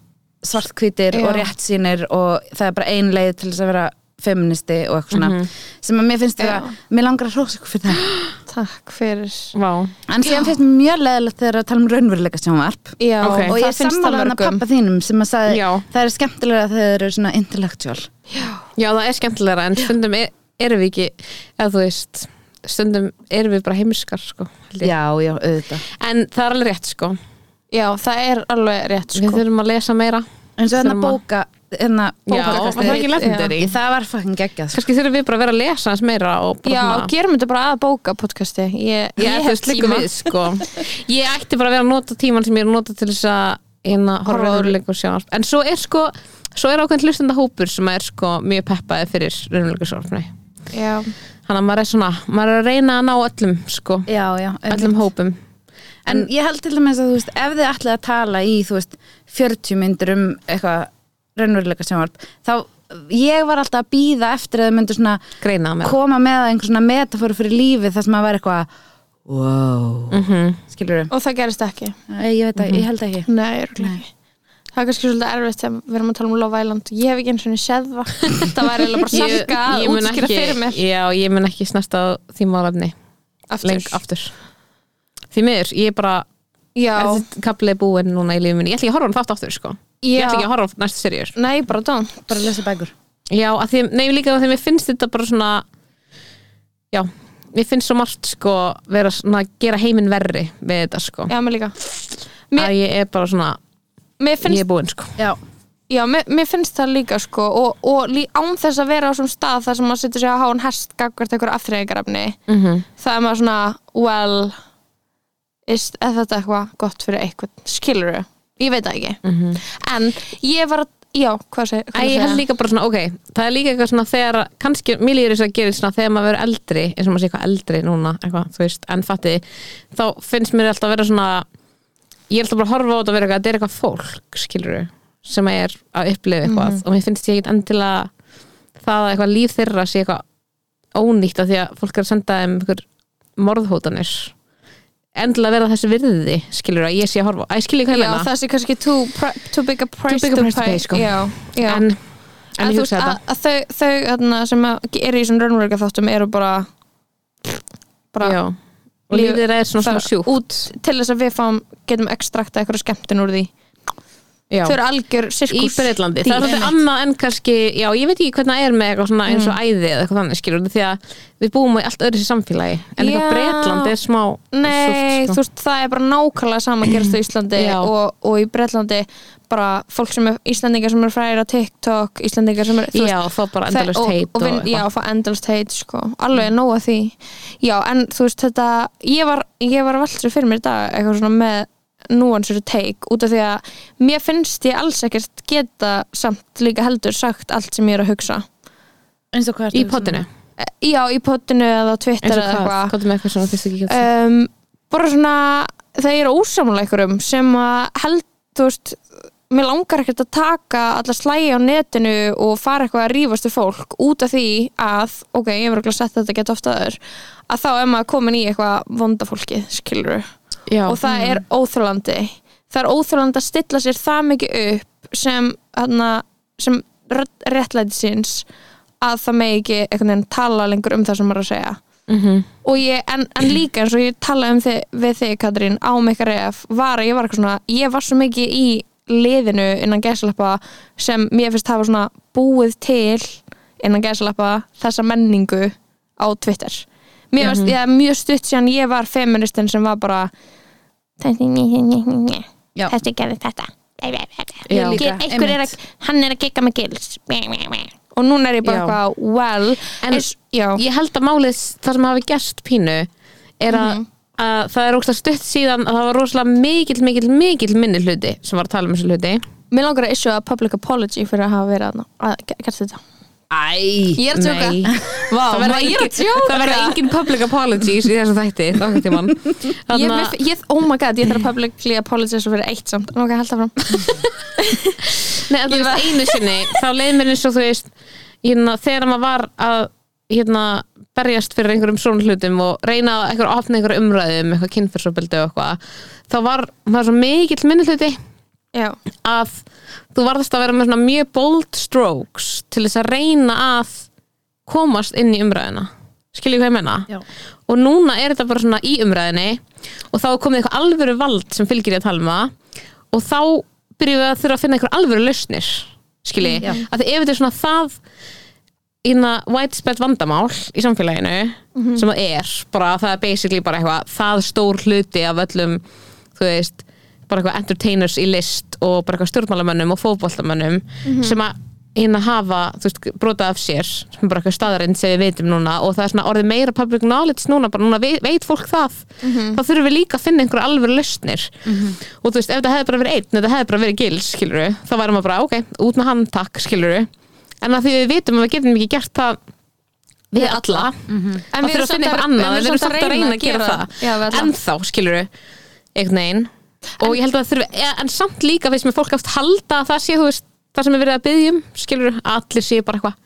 svartkvítir Já. og réttsýnir og það er bara ein leið til þess að vera feministi og eitthvað svona Mhm. sem að mér finnst Já. vera, mér langar að hrósa ykkur fyrir það Takk fyrir Vá, En síðan finnst mér mjög leðilegt þegar að tala um raunveruleika sjónvarp Já, Ok. og ég sammála hann að pappa þínum sem að sagði Já. það er skemmtilega þegar þeir eru svona intellectual já það er skemmtilegra en stundum er, erum við ekki eða þú veist, stundum erum við bara heimskar sko, held ég. Já, já, auðvitað en það er alveg rétt sko. Já, það er alveg rétt við sko þurfum að lesa meira En svo hérna Þurfum að- bóka hérna Já, bókakastið- var það ekki legendary? Já, Það var fucking geggjað sko. kannski þurfum við bara að vera að lesa hans meira og bara Já, svona- gerum þetta bara að bóka podcasti Ég, Já, ég þú veist, liggur við, sko. Ég ætti bara að vera að nota tíman sem ég er að nota til þess að hérna, horfa Horfa á á- raunleikur sjónvarp. En svo er sko, svo er ákveðin hlustenda hópur sem er sko mjög peppaði fyrir raunleikur sjónvarpni. Já, Þannig að maður er svona, maður er að reyna að ná öllum sko, Já, já, öllum hópum. En ég held til dæmis að þú veist, ef þið ætlaði að tala í, þú veist, 40 myndir um eitthvað raunveruleika sjónvarp, þá ég var alltaf að býða eftir að þau myndu svona Greina með. koma með einhver svona metaforu fyrir lífið þar sem að vera eitthvað wow, mm Mhm. -hmm. skilur og það gerist ekki ég veit að, ég held ekki Nei, örugglega ekki Það er kannski svolítið erfitt þegar við erum að tala um Love Island Ég hef ekki eins og séð það Það væri eiginlega bara salka að mun útskýra fyrir mér Já, ég mun ekki snesta á því málefni leng aftur. aftur. Því miður, ég er bara, Já, þessi kaplið búin núna í lífið minni. Ég ætla ekki að horfa á hann þátt aftur sko. Ég Já. ætla ekki að horfa á næstu seríur. nei, bara dán bara að lesa bækur Já, að því, nei, líka að því mér finnst þetta bara svona Já, mér finnst svo margt sko vera svona að gera heiminn verri við þetta sko Já, mér líka mér- að ég er bara svona, Mér ég finnst, er búinn sko já, já, mér, mér finnst það líka sko og, og lí, án þess að vera á svona stað þar sem maður setur sig að háan hest gagvart einhver aftreyðingarefni -hmm. það er maður svona, well is, er þetta eitthvað gott fyrir eitthvað skilur Ég veit það ekki En ég var að, já, hvað seg- hvað Mhm. Æ, ég held líka bara svona, ok, það er líka eitthvað svona þegar, kannski, mér líður þess að gera svona þegar maður verður eldri, eins og maður sé eitthvað eldri núna eitthvað, þú veist, en fatti þá finnst mér alltaf að vera svona ég er alltaf bara að horfa á þetta að vera eitthvað þetta er eitthvað fólk, skilur sem er að upplifa eitthvað Mhm. og mér finnst ég ekkit endilega það að eitthvað líf þeirra sé eitthvað ónýtt af því að fólk er að senda þeim einhver morðhótanir endilega verða þessu virði, skilur ég sé að horfa, á- æ, skilur hvað ég Já, meina það sé kannski too, pri- too big a price big a price to pay, sko. Já, já en, en að, ég þú veist, hugsa þetta að, að þau, þau þarna, sem að eru í svona raunveruleika þáttum eru bara bara Já. og Líf- lífið þeirra er svona, það- svona sjúkt út til þess að við fáum getum ekstrakta eitthvað skemmtin úr því Já. þau eru algjör í sirkus Breitlandi, það er svolítið annað en kannski já, ég veit ekki hvernig það er með eitthvað svona eins Mm. og æði eða eitthvað þannig skilur, því að við búum í allt öðru sér samfélagi, en Já. eitthvað Breitland er smá Nei, súrt, sko. þú veist, það er bara nákvæmlega sama að gerast á Íslandi Já. og, og í Bretlandi bara fólk sem er Íslandingar sem er fræðir á TikTok Íslandingar sem er, þú sko. veist, já, fá bara endalust Það- heit og, vin- eitthvað. Mm. já, fá endalust heit sko. alveg nóg að því já, en þú veist þetta ég var, ég var að velta þessu fyrir mér í dag eitthvað svona með núansur teik út af því að mér finnst ég alls ekkert geta samt líka heldur sagt allt sem ég er að hugsa eins og hvað ertu í að hugsa um? potinu, Eh, já, í potinu eða á Twitter eins eða og hvað eitthvað hvað er með eitthvað svona, þess ekki ekki um, bara svona það er ósamlega einhverjum sem að held, þú veist mér langar ekkert að taka alla slægi á netinu og fara eitthvað að rífast við fólk út af því að, ok, ég verður að setja þetta gett oftaður, að þá er maður komin í eitthvað vonda fólkið, skilur já, Mm. og það er óþrólandi það er óþrólandi að stilla sér það mikið upp sem, hana, sem rödd- réttlætisins að það megi ekki einhvern veginn tala lengur um það sem maður er að segja Mhm. og ég, en, en líka eins og ég talaði um þið, við þig Katrín á Mekka Ref var að ég var eitthvað svona, ég var svo mikið í liðinu innan gæslappa sem mér finnst hafa svona búið til innan gæslappa þessa menningu á Twitter mér varst, Mhm. ég, mjög stutt síðan ég var feministin sem var bara Já. þessi gerði þetta Ég líka, Gil- einhver er að, hann er að gigga með gils og núna er ég bara Já. eitthvað well En- eins- já, ég held að málið s- það sem hafi gerst pínu er að, Mhm. að það er ógst stutt síðan að það var rosalega mikill, mikill, mikill minni hluti sem var að tala um þessu hluti mér langar að issue a public apology fyrir að hafa verið þarna, að ge- gert þetta Æ, Ég er að tjóka. nei. Vá, það má- ég er að tjóka. verður engin public apologies í þessu þætti nokkuð tíman ég, mér, ég, oh my god, ég þarf að publicly apologize fyrir eitt samt, en ok, held það fram Nei, en þú Ég veist, einu sinni, þá leið mér eins og þú veist hérna, þegar maður var að hérna, berjast fyrir einhverjum svona hlutum og reyna að einhver, opna einhverja umræðum, eitthvað kynfyrsopildi og eitthvað þá var maður svo mikill minni hluti já, að þú varðast að vera með svona mjög bold strokes til þess að reyna að komast inn í umræðina skilju hvað ég menna Já. og núna er þetta bara svona í umræðinni og þá er komið eitthvað alvöru vald sem fylgir í að tala um það og þá byrjum við að þurfa að finna eitthvað alvöru lausnir skilji, Mm, Já. að því ef þetta er svona það ína widespread hérna vandamál í samfélaginu sem það er, bara það er basically bara eitthvað það stór hluti af öllum þú veist, bara eitthvað entertainers í list og bara eitthvað stjórnmálamönnum og fótboltamönnum sem að hérna hafa, þú veist, brota af sér sem er bara eitthvað staðarind sem við veitum núna og það er svona orðið meira public knowledge núna bara núna veit, veit fólk það þá þurfum við líka að finna einhverja alvöru lausnir og þú veist, ef það hefði bara verið einn ef það hefði bara verið gils, skilur við þá væri maður bara, ok, út með hann, takk, skilur við en að því við vitum að við getum ekki gert það við alla En en við við erum samt erum samt eitthvað að- annað, en við erum samt að reyna að gera það, Já, við ætlum. en þá skilur við einhvern veginn og ég held að það þurfi, ja, en samt líka veist með fólk aftur halda að það sé, þú veist það sem er verið að byggjum, skilur við, að allir sé bara eitthvað,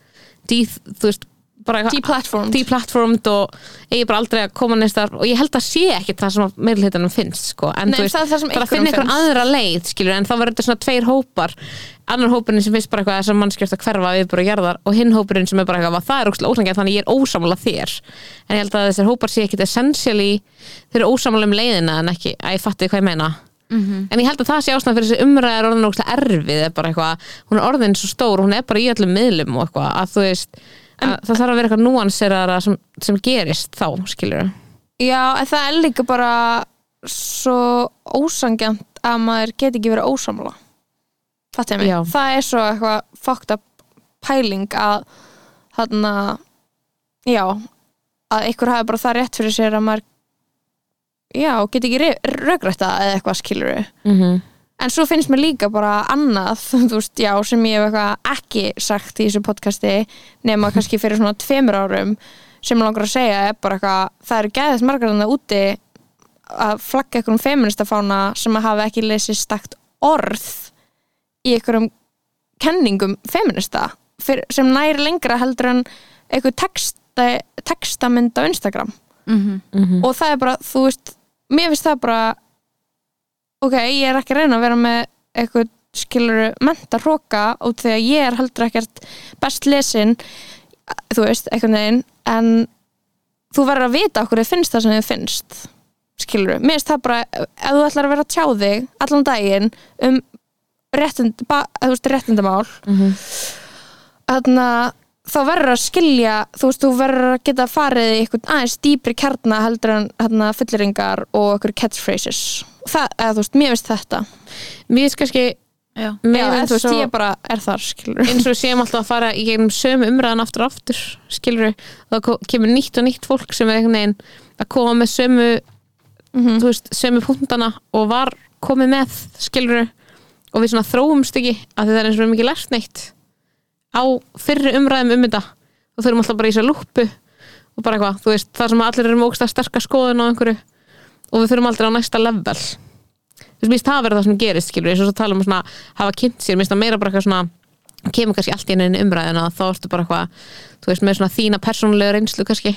dýð, þú veist bara eitthvað deplatformed deplatformed og eigi bara aldrei að koma neins þar og ég held að sé ekki það sem meirlheitanum finnst sko. en Nei, þú það er það sem bara einhverjum finna einhver finnst. aðra leið skilur, en þá verður þetta svona tveir hópar annar hópurinn sem finnst bara eitthvað þessar mannskjöft að hverfa við bara gerðar og hinn hópurinn sem er bara eitthvað það er ókslega ósangið þannig ég er ósamlega þér en ég held að þessar hópar sé ekkit essentially þeir eru ósamlega um leiðina en ekki að ég fatti hvað ég meina Mhm. en ég held að það sé ástæðan fyrir þessi umræða er orðin ókslega erfið er bara eitthvað, hún er orðin svo stór hún er bara í öllum miðlum og eitthvað að þú veist að það þarf að vera eitthvað núanseraðara sem, sem gerist þá skilur Já, en það er líka bara svo ósangjant að maður geti ekki verið ósamla Fattu ég mig? Já. Það er svo eitthvað fucked up pæling að þarna já, að einhver hafi bara það rétt fyrir sér að maður já, geti ekki röggrætta eða eitthvað skilur mm Mhm. -hmm. en svo finnst mér líka bara annað þú veist, já, sem ég hef eitthvað ekki sagt í þessu podcasti nema kannski fyrir svona tveimur árum sem mig langar að segja er bara eitthvað það eru gæðið margar þarna úti að flagga einhverjum feministafána sem að hafa ekki lesið stakt orð í einhverjum kenningum feminista fyr, sem næri lengra heldur en einhver texta, textamynd á Instagram Mhm. og það er bara, þú veist mér finnst það bara ok, ég er ekki að reyna að vera með eitthvað skiluru menta hróka út því að ég er heldur ekkert best lesin þú veist, einhvern veginn en þú verður að vita okkur þið finnst það sem þið finnst skiluru, mér finnst það bara ef þú ætlar að vera að tjá þig allan daginn um réttund, ba, þú veist, réttundamál þannig að þá verður að skilja þú veist, þú verður að geta farið í eitthvað aðeins dýpri kjarna heldur en hérna, fulliringar og eitthvað catchphrases það, eða þú veist, mér veist þetta mér finnst kannski Já. Já, meira eða, eins þú og veist, svo ég bara er þar skilur eins og séum alltaf að fara í gegnum sömu umræðan aftur og aftur skilur við, þá ko- kemur nýtt og nýtt fólk sem er einhvern veginn að koma með sömu þú veist, sömu punktana og var komið með skilur við, og við svona þróumst ekki að það er eins og við mikið lært neitt á fyrri umræðum um þetta og þurfum alltaf bara í þessa lúpu og bara eitthvað, þú veist, þar sem allir eru mókst að sterka skoðun á einhverju og við þurfum aldrei á næsta level þú veist, mér finnst það að vera það sem gerist, skilur eins og svo tala um að svona, hafa kynnt sér, mér finnst það meira bara eitthvað svona kemur kannski allt í henni umræðina þá ertu bara eitthvað, þú veist, með svona þína persónulega reynslu kannski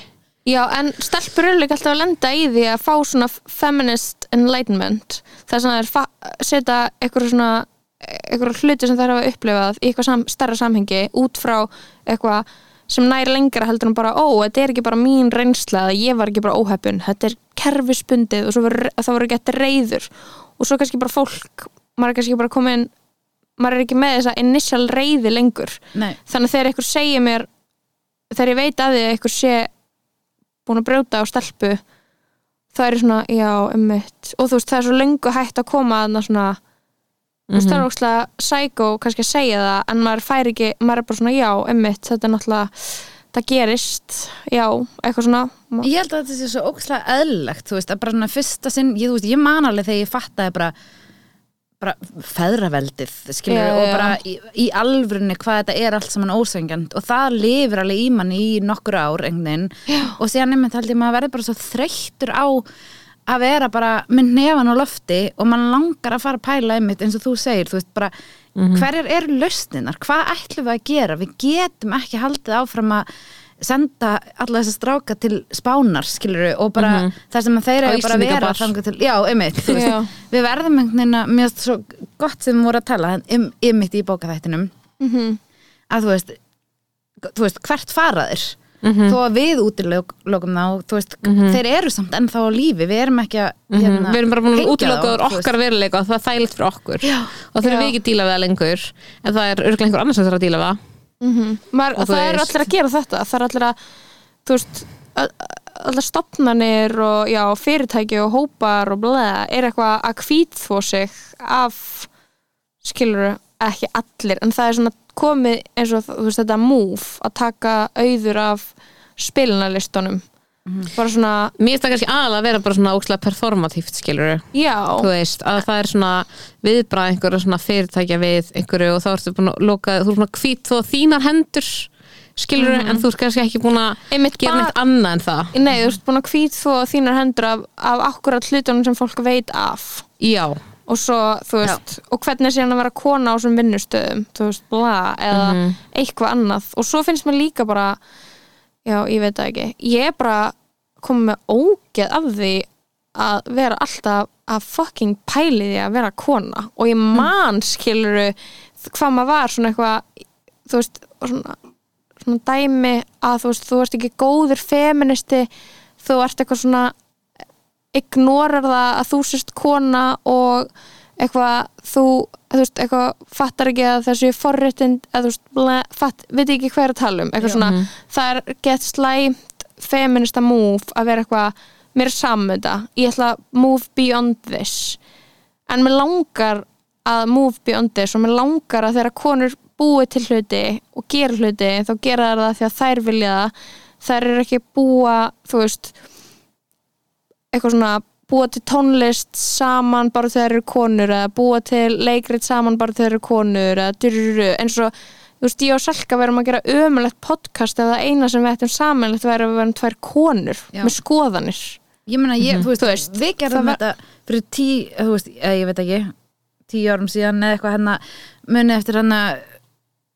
Já, en stelpur eru líka alltaf að lenda í því að fá svona feminist enlightenment þess að það er setja eitthvað svona eitthvað hluti sem þær hafa upplifað í eitthvað sam, starra samhengi út frá eitthvað sem nær lengra heldur en bara ó, þetta er ekki bara mín reynsla eða ég var ekki bara óheppun, þetta er kerfispundið og svo verður, þá verður gett reyður og svo kannski bara fólk maður er kannski bara komin maður er ekki með þessa initial reyði lengur Nei, þannig að þegar einhver segir mér þegar ég veit að því að einhver sé búin búin að brjóta á stelpu það er svona, já, ummitt og þú veist, það er svo lengu hægt að koma að svona, þú veist, það er ókslega sækó kannski að segja það, en maður fær ekki maður er bara svona, já, ummitt, þetta er náttúrulega það gerist, já eitthvað svona, ma- Ég held að þetta sé svo ókslega eðlilegt, þú veist, að bara svona fyrsta sinn, ég, þú veist, ég man alveg þegar ég fattaði bara, bara feðraveldið, skilur, Já, og já. bara í, í alvörunni hvað þetta er allt saman ósengjant og það lifir alveg í manni í nokkur ár, einhvern veginn, og síðan nefnt held ég maður verði bara svo þreyttur á að vera bara með nefan á lofti og mann langar að fara að pæla einmitt eins og þú segir, þú veist, bara Mhm. hverjar eru lausninar, hvað ætlum við að gera við getum ekki haldið áfram að senda alla þessa stráka til spánar, skilur og bara Mhm. þar sem að þeir Á eru bara að vera Íslendingabar. þangað til, já, einmitt, þú veist, Já. við verðum einhvern veginn að, mér finnst svo gott sem við vorum að tala, um, einmitt í bókaþættinum mhm, að þú veist, þú veist hvert fara þeir Mhm. þó að við útilokum þá þú veist, þeir eru samt ennþá á lífi við erum ekki að Mhm. hérna, Hérna, við erum bara búin að hengja útloka Mhm. þá, úr þú veist. okkar veruleika og það er þægilegt fyrir okkur já, og þurfum já. við ekki að díla við það lengur en það er örglega einhver annars sem þarf að díla við það mhm maður, Og þú það eru veist- allir að gera þetta það eru allir að, þú veist a- allar stopnanir og já, fyrirtæki og hópar og bleða er eitthvað að hvít þvó sig af skilur ekki allir en það er svona komið eins og þú veist þetta move að taka auður af spilunarlistunum Mhm. bara svona, mér finnst það kannski aðalega að vera bara svona ókslega performatíft skilur já þú veist, að það er svona viðbrað einhverju svona fyrirtækja við einhverju og þá ertu búin að loka, þú er svona hvít þó þínar hendur skilur en þú er kannski ekki búin að Einmitt gera bara- neitt annað en það nei, þú ert búin að hvít þvó þínar hendur af, af akkurat hlutunum sem fólk veit af já, og svo, þú veist, og hvernig er síðan að vera kona á þessum vinnustöðum, þú veist, bla eða eitthvað annað og svo finnst mér líka bara já, ég veit það ekki, ég er bara komið með ógeð af því að vera alltaf að fucking pæli því að vera kona og ég man skiluru hvað maður var svona eitthvað þú veist, svona, svona dæmi að þú veist, þú ert ekki góður feministi, þú ert eitthvað svona ignorar það að þú sérst kona og eitthvað þú, þú veist, eitthvað fattar ekki að þessu forréttind eða þú veist, ble, fatt, veit ekki hver að tala um eitthvað svona, það er gett slæmt feminista move að vera eitthvað mér er saman þetta, ég ætla að move beyond this en mér langar að move beyond this og mér langar að þegar konur búi til hluti og gera hluti þá gera þær það því að þær vilja það þær eru ekki að búa, þú veist eitthvað svona búa til tónlist saman bara þegar þeir eru konur eða búa til leikrit saman bara þegar þeir eru konur eða dyrru, eins og þú veist, ég og Salka verðum að gera ömulegt podcast ef það eina sem við ættum samanlegt væri að við verðum tvær konur Já. með skoðanir ég meina, ég, þú, Mhm. veist, Þú veist, við gerðum það var- þetta fyrir tí, þú veist, eh, ég veit ekki tíu árum síðan eða eitthvað hérna munið eftir hérna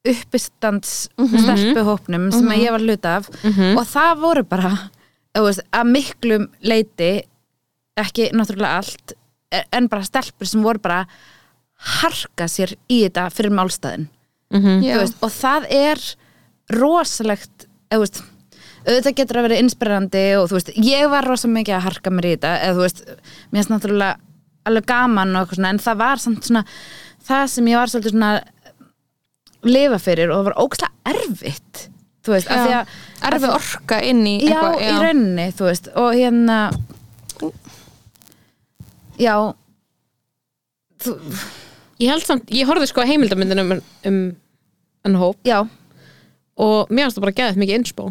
uppistands Mhm. stelpuhópnum sem að ég var hluti af og það voru bara eh, þú veist, að miklum leiti ekki náttúrulega allt eh, en bara stelpur sem voru bara að harka sér í þetta fyrir málstæðin Mhm. Mm. Þú veist, og það er rosalegt eða, þú veist, auðvitað getur að vera inspirandi og þú veist, ég var rosa mikið að harka mér í þetta eða þú veist, mér finnst náttúrulega alveg gaman og eitthvað svona en það var samt svona, það sem ég var svolítið svona lifa fyrir og það var ókslega erfitt þú veist, af því Já. að erfi orka inn í já, eitthvað í rauninni, þú veist og hérna já þú, ég held samt, ég horfði sko að heimildamindin um, um en hóp já og mér finnst það bara geðið mikið innspó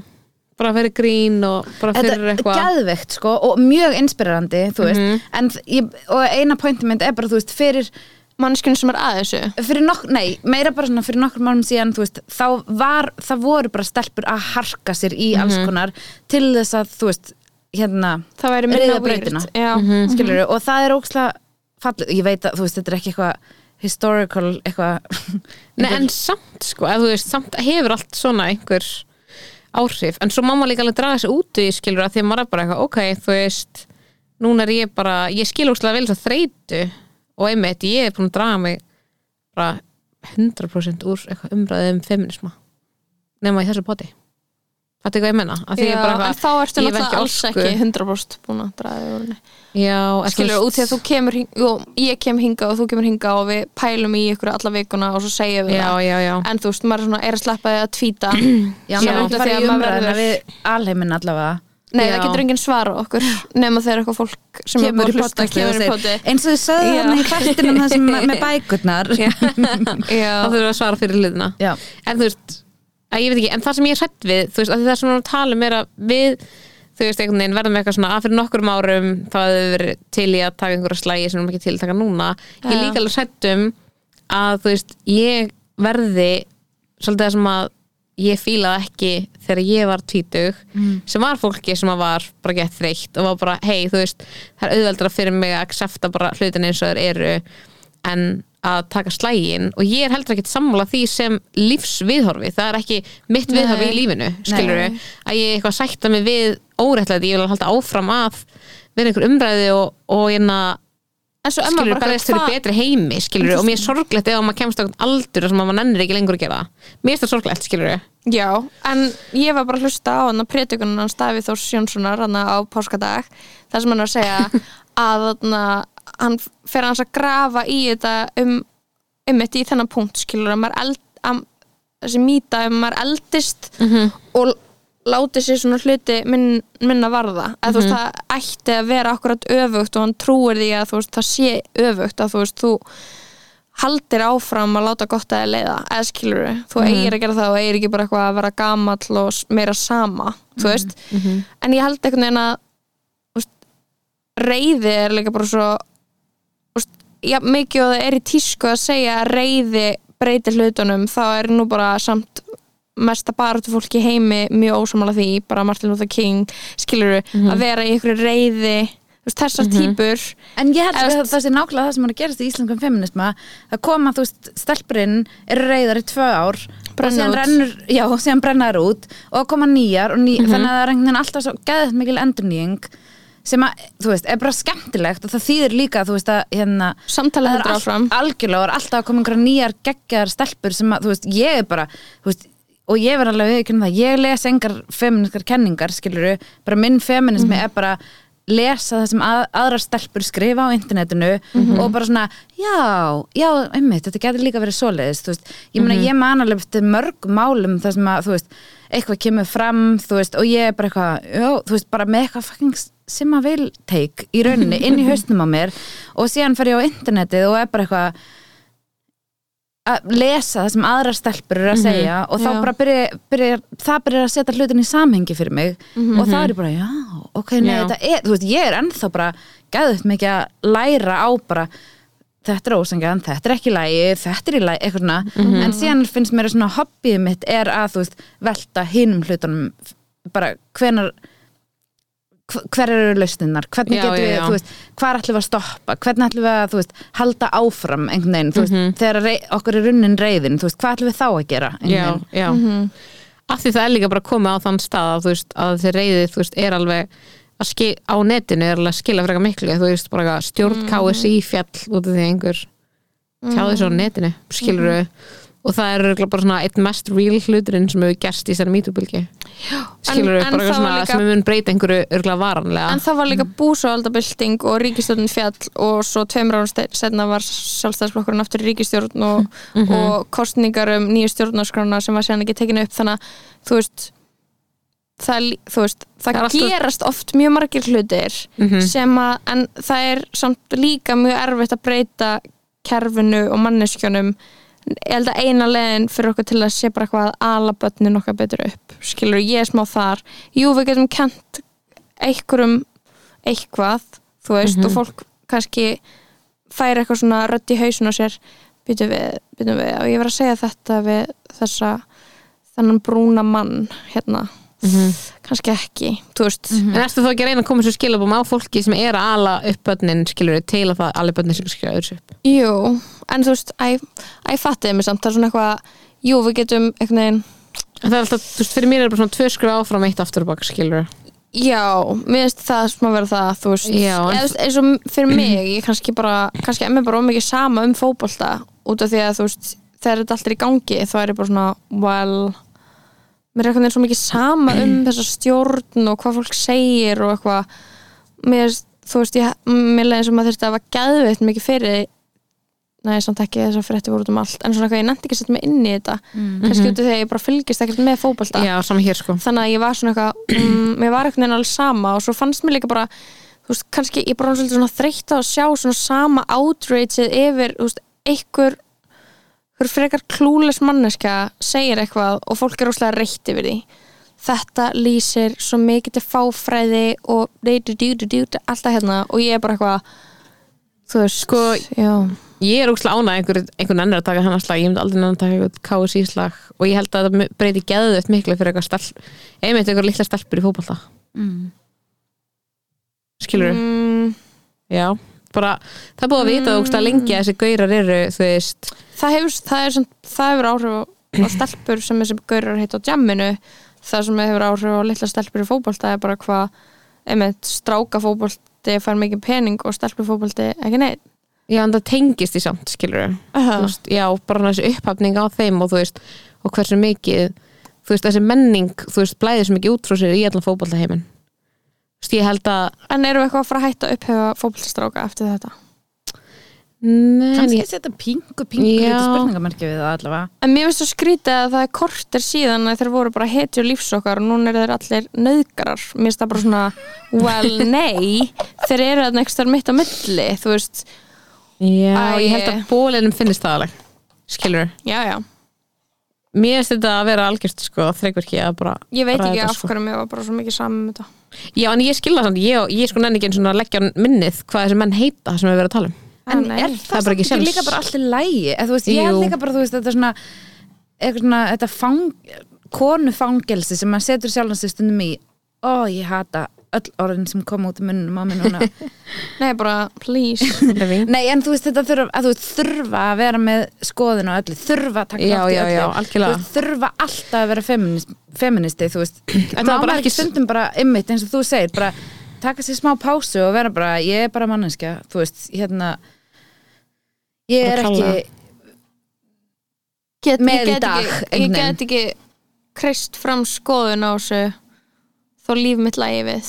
bara fyrir grín og bara fyrir Þetta er eitthvað geðveikt sko og mjög inspirerandi þú veist, en þ- ég, og eina pointi mynd er bara, þú veist, fyrir mannskjörn sem er að þessu fyrir nokk, nei, meira bara svona fyrir nokkur málum síðan, þú veist, þá var það voru bara stelpur að harka sér í alls konar til þess að, þú veist hérna, það væri minna reyða breytina weird. já, Mhm. skilur og það er ókslega fallið, ég veit að, þú veist, þetta er ekki eitthvað historical, eitthvað Nei, en samt sko, eða þú veist, samt hefur allt svona einhver áhrif en svo má maður líka alveg draga þessi út í skilur að því að maður er bara eitthvað, ok, þú veist núna er ég bara, ég skil úrslega vel þess að þreytu og einmitt ég er búin að draga mig bara 100% úr eitthvað umræðið um feminisma nema í þessu poti Þetta er hvað ég menna að því já ég er bara en þá ertu ég hef náttúrulega alls orku. ekki 100% búin að draga því úr henni Já, en þú skilur veist- út því að þú kemur hing, jú, ég kem hinga og þú kemur hinga og við pælum í ykkur alla vikuna og svo segjum við Já, það já, já en þú veist, maður er, svona, er að sleppa því að tvíta já, Já, maður er ekki af því farið að í maður umræðina verður- við alheimin allavega Nei, Já. það getur enginn svara okkur nema þegar eitthvað fólk sem kemur er búið að í hlusta podcastið og kemur í segir poti eins og þið sögðu Já. hann í þættinum það sem með bækurnar þá þurfum við að svara fyrir hlutina Já. en þú veist, að ég veit ekki, en það sem ég er hrætt við þú veist, að það sem við erum að tala um er að við þú veist, einhvern veginn verðum eitthvað svona að fyrir nokkrum árum þá hefðu við verið til í að taka einhverja slægi sem við erum ekki til að taka núna ég er Já. líka alveg hrætt um að þú veist, ég verði svolítið það sem að ég fílaði ekki þegar ég var tvítug sem var fólki sem að var bara gett þreytt og var bara, hei, þú veist það er auðveldra fyrir mig að accepta bara hlutin eins og þeir eru en að taka slægin og ég er heldur ekkert sammála því sem lífsviðhorfi það er ekki mitt viðhorfi í lífinu skilur við, að ég eitthvað sætta mig við óréttlæti, ég vil halda áfram að vera einhver umræði og, og hérna En svo emma skilur bara berjast fyrir betri heimi skilur og mér er sorglegt ef maður kemst á einhvern aldur sem maður nennir ekki lengur að gera það. mér er það sorglegt skilur Já, en ég var bara að hlusta á hann á predikunum hans Davíð Þórs Jónssonar hann á páskadag, þar sem hann var að segja að hann, hann fer hans að grafa í þetta um, um þetta í þennan punkt skilur að maður eld, að, þessi mýta um maður eldist og láti sér svona hluti minn, minna varða að þú veist það ætti að vera akkurat öfugt og hann trúir því að þú veist það sé öfugt að þú veist þú haldir áfram að láta gott að þér leiða eða skilur við, þú Mhm. eigir að gera það og eigir ekki bara eitthvað að vera gamall og s- meira sama, Mhm, þú veist en ég held einhvern veginn að þú veist, reyði er líka bara svo þú veist, já, mikið og það er í tísku að segja að reyði breytir hlutunum þá er nú bara samt mesta baráttu fólki í heimi mjög ósamála því, bara Martin Luther King skilur Mhm. að vera í einhverju reyði þú veist, þessar típur en ég held Eða, að það sé nákvæmlega það sem er að gerast í íslenskum feminisma það koma þú veist stelpurinn eru reyðar í tvö ár Brenna út. og síðan, rennur, já, og síðan brenna þær út og koma nýjar og ný, Mhm. þannig að það er einhvern veginn alltaf svo geðið mikil endurnýjing sem að, þú veist, er bara skemmtilegt og það þýðir líka, þú veist, að hérna samtalið Það er heldur allt- áfram algjörlega og er alltaf að koma einhverja nýjar geggjar stelpur sem að, þú veist, ég er bara þú veist, og ég verð alveg viðkjörn það ég les engar feminiskar kenningar skiluru, bara minn feminismi Mhm. er bara lesa það sem að, aðrar stelpur skrifa á internetinu Mhm. og bara svona já, já, einmitt, þetta getur líka verið svoleiðis, þú veist, ég meina Mhm. ég man alveg eftir mörg málum þar sem að þú veist, eitthvað kemur fram, þú veist og ég er bara eitthvað, já, þú veist, bara með eitthvað fucking sem að vil teik í rauninni inn í hausnum á mér og síðan fer ég á internetið og er bara eitthvað að lesa það sem aðrar stelpur eru að segja og þá Já. bara byrja, byrja, það byrjar að setja hlutin í samhengi fyrir mig og þá er ég bara, já, ok, nei, Já. þetta er þú veist, ég er ennþá bara gæðut mikið að læra á bara þetta er ósangjan, þetta er ekki í lagi, þetta er í lagi, eitthvað svona, Mhm. en síðan finnst mér að svona hobbyið mitt er að, þú veist, velta hinum hlutunum, bara hvenar hv- hver eru lausninnar, hvernig Já, getum já, við já. þú veist, hvað ætlum við að stoppa, hvernig ætlum við að þú veist, halda áfram einhvern veginn, þú veist, Mhm. þegar rey, okkur er runnin reyðin, þú veist, hvað ætlum við þá að gera einhvern já, veginn? já. Mhm. af því það er líka bara komið á þann stað að, þú veist, að þessi reyði þú veist, er alveg að skil, á netinu er alveg að skila frekar miklu þú veist bara eitthvað stjórn Mhm. KSI fjall út af því einhver tjáði Mhm. svo á netinu skilur og það er örugglega bara svona eitt mest real hluturinn sem hefur gerst í þessari mítubylgi skilur en bara eitthvað það var svona líka- sem mun breyta einhverju örgulega varanlega En það var líka Mm. búsáaldabilding og ríkistjórnin fjall og svo tveimur árum ste- setna var sjálfstæðsflokkurinn aftur í ríkistjórn og, Mm, mhm. og kostningar um nýju stjórnarskrána sem var séðan ekki tekinu upp þannig að þú veist það, er lí- þú veist, það, Það er alltaf- Mhm. gerast oft mjög margir hlutir sem að, en það er samt líka mjög erfitt að breyta kerfinu og manneskjunum ég held að eina leiðin fyrir okkur til að sé bara eitthvað að ala börnin okkar betur upp skilur, ég er smá þar jú, við getum kent einhverjum eitthvað, þú veist, og fólk kannski fær eitthvað svona rödd í hausun á sér býtum við, býtum við, og ég var að segja þetta við þessa þennan brúna mann hérna kannski ekki, þú veist En erstu þá ekki að reyna að koma svo skilabum á fólki sem er að ala upp börnin, skilur við, til að það ala börnin sem skilur öðru upp. Jú, en þú veist, æ, æ fattiði mig samt, það er svona eitthvað jú, við getum einhvern veginn En það er alltaf, þú veist, fyrir mér er bara svona tvö skrifa áfram eitt aftur og bak, skilur við. Já, mér finnst það sem að vera það þú veist, Já, en- Eða, þú veist, eins og fyrir mig ég kannski bara, kannski er mér bara ómikið sama um fótbolta út af því að þú veist þegar þetta allt er í gangi þá er ég bara svona well, mér er einhvern veginn svo mikið sama um þessa stjórn og hvað fólk segir og eitthvað mér, þú veist, ég, mér leiðin sem að þetta var geðveitt mikið fyrir nei, samt ekki þessar frétti voru út um allt en svona hvað ég nefndi ekki að setja mig inn í þetta Mm. Mhm. kannski út af því að ég bara fylgist ekkert með fótbolta Já, saman hér sko þannig að ég var svona eitthvað mm, mér var eitthvað alveg sama og svo fannst mér líka bara þú veist, kannski ég bara var svolítið svona þreytt á að sjá svona sama outrageið yfir, þú veist, einhver einhver frekar klúles manneska segir eitthvað og fólk er óslega reytt yfir því þetta lýsir svo mikið til fáfræði og deydu-dú-dú-dú alltaf hérna og ég er bara eitthvað þú veist, sko, já Ég er úkslega ánað einhver, einhvern annar að taka hennar slag ég myndi aldrei nefn að taka einhvern KSI slag og ég held að það breyti geðveitt miklu fyrir eitthvað stelp, einmitt einhver litla stelpur í fótbolta Mm. skilur mm, já, bara það er búið að vita mm. úkslega lengi að þessi gaurar eru, þú veist það hefur, það er sem, það hefur áhrif á- á stelpur sem þessi gaurar heita á jamminu það sem hefur áhrif á litla stelpur í fótbolta er bara hvað einmitt stráka fótbolti fær mikið pening og stelpur fótbolti ekki neitt já, en það tengist í samt, skilur Aha. þú veist, já, bara þessi upphafning á þeim og þú veist, og hversu mikið þú veist, þessi menning, þú veist, blæðir sem ekki út frá sér í allan fótboltaheimin þú veist, ég held að, en eru við eitthvað að fara að hætta að upphefa fótboltistráka eftir þetta nein, kannski ég, setja pingu, pingu lítið Já. spurningamarki við það allavega en mér finnst það skrítið að það er kortir síðan að þeir voru bara heti og lífsokkar og núna eru þeir allir nöðgarar mér finnst það bara svona, well, nei þeir eru að nextar mitt á milli þú veist, já, Æ, ég held að ég- bólinum finnist það alveg, skilur já, já mér finnst þetta að vera algjörst sko, þreikverki að bara ég veit ekki ræða af hverju mér var bara svo mikið saman með þetta sko. já, en ég skilða samt, ég, ég sko nenni ekki einu sinni að leggja á minnið hvað þessi menn heita sem við verðum að tala um Ah, en nei. er Það er bara það samt ekki ekki séns. líka bara allir lægi eða, þú veist, ég held Jú. líka bara, þú veist, þetta er svona eitthvað svona, þetta fang, konufangelsi sem maður setur sjálfan sér stundum í ó, ég hata öll orðin sem kom út í munnum á mig núna Nei, bara please nei, en þú veist, þetta þurfa að þú veist, þurfa að vera með skoðin og öllu þurfa að taka Já, þátt í já, öllu. já, algjörlega. Þú veist, þurfa alltaf að vera feminist, feministi, þú veist var má bara maður ekki- ekki stundum bara ymmit eins og þú segir, bara taka sér smá pásu og vera bara, ég er bara manneskja þú veist, hérna ég Bara er klára. ekki get, Með ég í get dag, ekki, einhvern Ég veginn. get ekki kreist fram skoðun á þessu þó líf mitt lægi við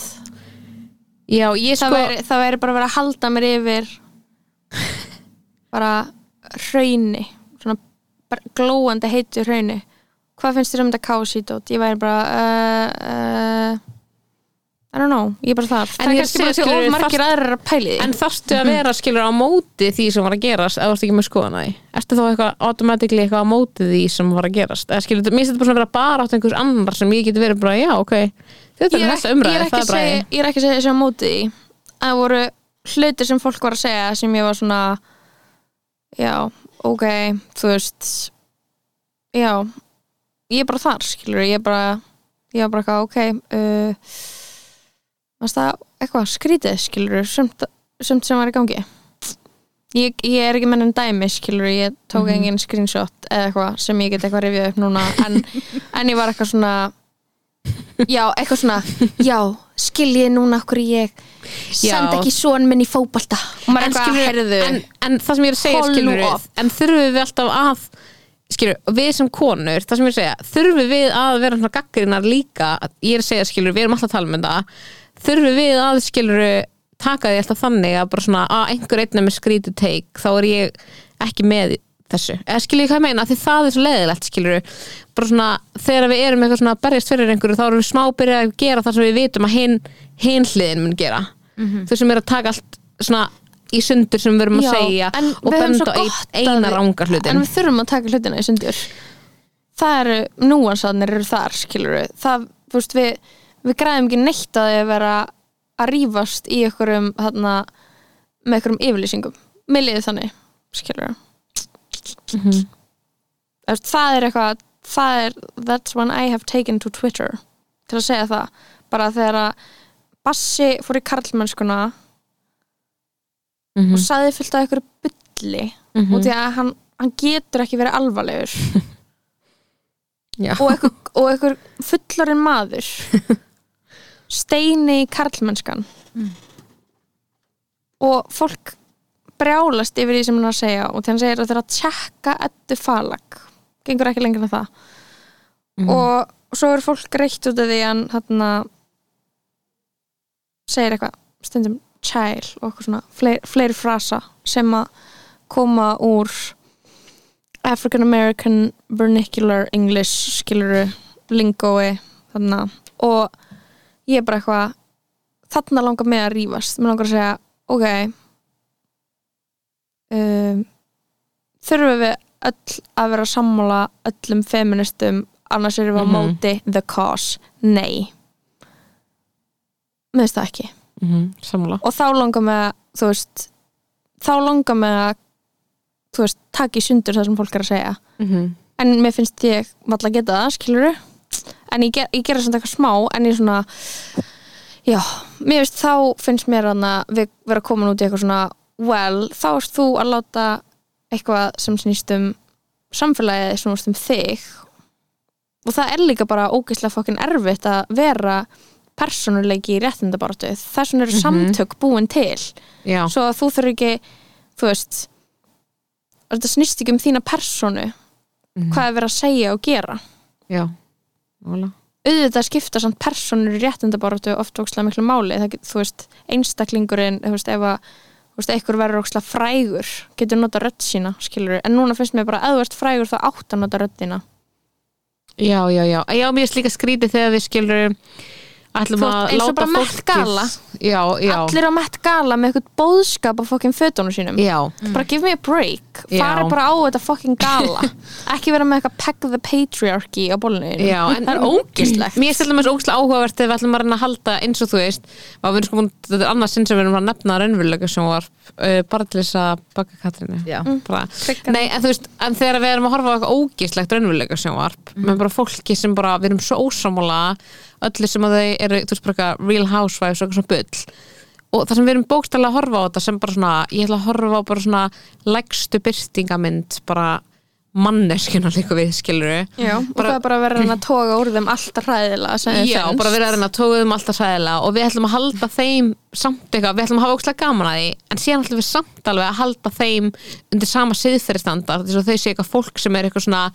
já, ég það, sko væri, það væri bara að vera að halda mér yfir bara hrauni svona bara glóandi heitu hrauni hvað finnst þér um þetta kásítót? ég væri bara uh, uh, I don't know, ég er bara þar það ég er er kannski bara að segja, því of skilurðu, margir aðrar að pæli því en þarftu að vera skilur á móti því sem var að gerast eða þú varst ekki með skoðan að því ertu þá eitthvað automatically eitthvað á móti því sem var að gerast eða skilur, mér finnst þetta bara svona að vera bara átt einhvers annar sem ég geti verið bara, já, ok þetta ég er er, um þessa ekki- umræði, ég, er ekki það er að bara segja, ég er ekki að segja þessi á móti því að það voru hlutir sem fólk var að segja sem ég var svona já, ok, þú veist já ég er bara þar, skilur ég er bara, ég er bara eitthvað, ok uh, varst það eitthvað skrítið, skilur sumt, sumt sem var í gangi ég, ég er ekki menn en dæmi, skilur ég tók engin screenshot eða eitthvað sem ég get eitthvað rifjað upp núna en, en ég var eitthvað svona Já, eitthvað svona Já, skiljið núna okkur ég Já. Send ekki son minn í fótbalta Og maður en, er eitthvað að skilur, herðu en, en það sem ég er að segja Call skilur, you off. en þurfum við alltaf að skilur, við sem konur, það sem ég er að segja þurfum við að vera svona gaggrinnar líka ég er að segja skilur, við erum alltaf að tala um þetta þurfum við að skilur taka því alltaf þannig að bara svona að einhver einn er með skrítu teik þá er ég ekki með þessu eða skilur ég hvað ég meina, því það er svo leðilegt skilur bara svona þegar við erum eitthvað svona að berjast fyrir einhverju þá erum við smá byrjað að gera það sem við vitum að hin, hin hliðin mun gera þau sem eru að taka allt svona í sundur sem við erum að Já, segja en og við höfum benda svo á ein- gott að eina við- ranga hlutin En við þurfum að taka hlutina í sundur Það eru, núansarnir eru þar skilur við Það, þú veist, við, við græðum ekki neitt að því að vera að rífast í einhverjum þarna, með einhverjum yfirlýsingum Mér liði þannig, skilur við Mhm. Það er eitthvað það er, That's when I have taken to Twitter til að segja það bara þegar að Bassi fór í karlmennskuna Mhm. og saði fullt af einhverju bulli Mhm. og því að hann, hann getur ekki verið alvarlegur Já. og einhver, og einhver fullarinn maður steini í karlmennskan Mm. og fólk brjálast yfir því sem hann er að segja og því hann segir að það er að tjekka ettu falag gengur ekki lengur en það Mhm. og svo er fólk reitt út af því að hann þarna, segir eitthvað stundum child og eitthvað svona fleiri, fleiri frasa sem að koma úr African American Vernacular English skiluru lingói þarna og ég er bara eitthvað þarna langar mig að rífast mér langar að segja, ok um, þurfum við öll að vera sammála öllum feministum annars erum við á Mhm. móti the cause, nei mér finnst það ekki mm -hmm. samla og þá langar mig að þú veist, þá langar mig að þú veist, taka í sundur það sem fólk er að segja mm -hmm. en mér finnst ég valla að geta það, skilur en ég, ger, ég gera svona eitthvað smá en ég svona já, mér finnst þá finnst mér hann að við vera komin út í eitthvað svona well, þá erst þú að láta eitthvað sem snýst um samfélagið sem snýst um þig og það er líka bara ógeðslega fokkin erfitt að vera persónuleiki í réttindabartu þess vegna eru Mhm. samtök búin til já, svo að þú þurfi ekki þú veist þetta snýst ekki um þína personu Mhm. hvað er verið að segja og gera já Óla. auðvitað skipta samt personur í réttindabaratu oft ókslega miklu máli það, get- þú veist, einstaklingurinn þú veist, ef að þú veist, einhver verður ókslega frægur getur nota rödd sína, skilur en núna finnst mér bara að ef þú ert frægur þá átt að nota röddina já, já, já, já, mér er líka skrítið þegar við skilur ætlum Þú að ert eins og láta bara Met Gala. fólkið já, já, allir á mett gala með eitthvað bóðskap á fokkin fötunum sínum já Mm. bara give me a break, Já. farið bara á þetta fucking gala, ekki vera með eitthvað peg the patriarchy á bólunni Já, en- það er Mm. ógislegt Mér stelum þess ógæslega áhugavert þegar við ætlum að reyna að halda eins og þú veist að við erum sko búin, þetta er annars sinn sem við erum að nefna raunverulega sem var uh, bara til þess að baka Katrínu Já. Bara- Nei, en þú veist, en þegar við erum að horfa á eitthvað ógislegt raunverulega sjónvarp með bara fólki sem bara, við erum svo ósámála öllu sem að þau eru, þú veist bara eitthvað real housewives og eitthvað svona bull og það sem við erum bókstælega að horfa á þetta sem bara svona, ég ætla að horfa á bara svona lægstu byrtingamynd bara manneskina líka við skilur Já, og það er bara að vera hann að toga úr þeim alltaf hræðilega sem þeim Já, finnst. bara við erum að tóðum alltaf sæðilega og við ætlum að halda þeim samt eitthvað, við ætlum að hafa ókslega gaman að því en síðan ætlum við samt alveg að halda þeim undir sama siðferðistandard þess að þau séu eitthvað fólk sem er eitthvað svona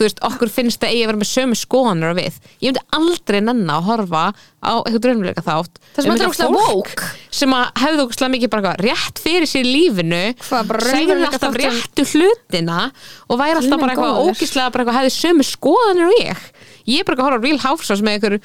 þú veist, okkur finnst það eigi að vera með sömu skoðanur og við. Ég myndi aldrei nenna að horfa á eitthvað draunleika þátt um Það sem þetta er eitthvað ókslega fólk sem að hefðu ókslega mikið bara eitthvað rétt fyrir sér í lífinu Hvað, bara segir raunveruleika alltaf þáttum- réttu hlutina og væri alltaf Guð bara minn eitthvað góður. ógislega bara eitthvað hefði sömu skoðanir og ég ég er bara eitthvað að horfa á Real Housewives með einhver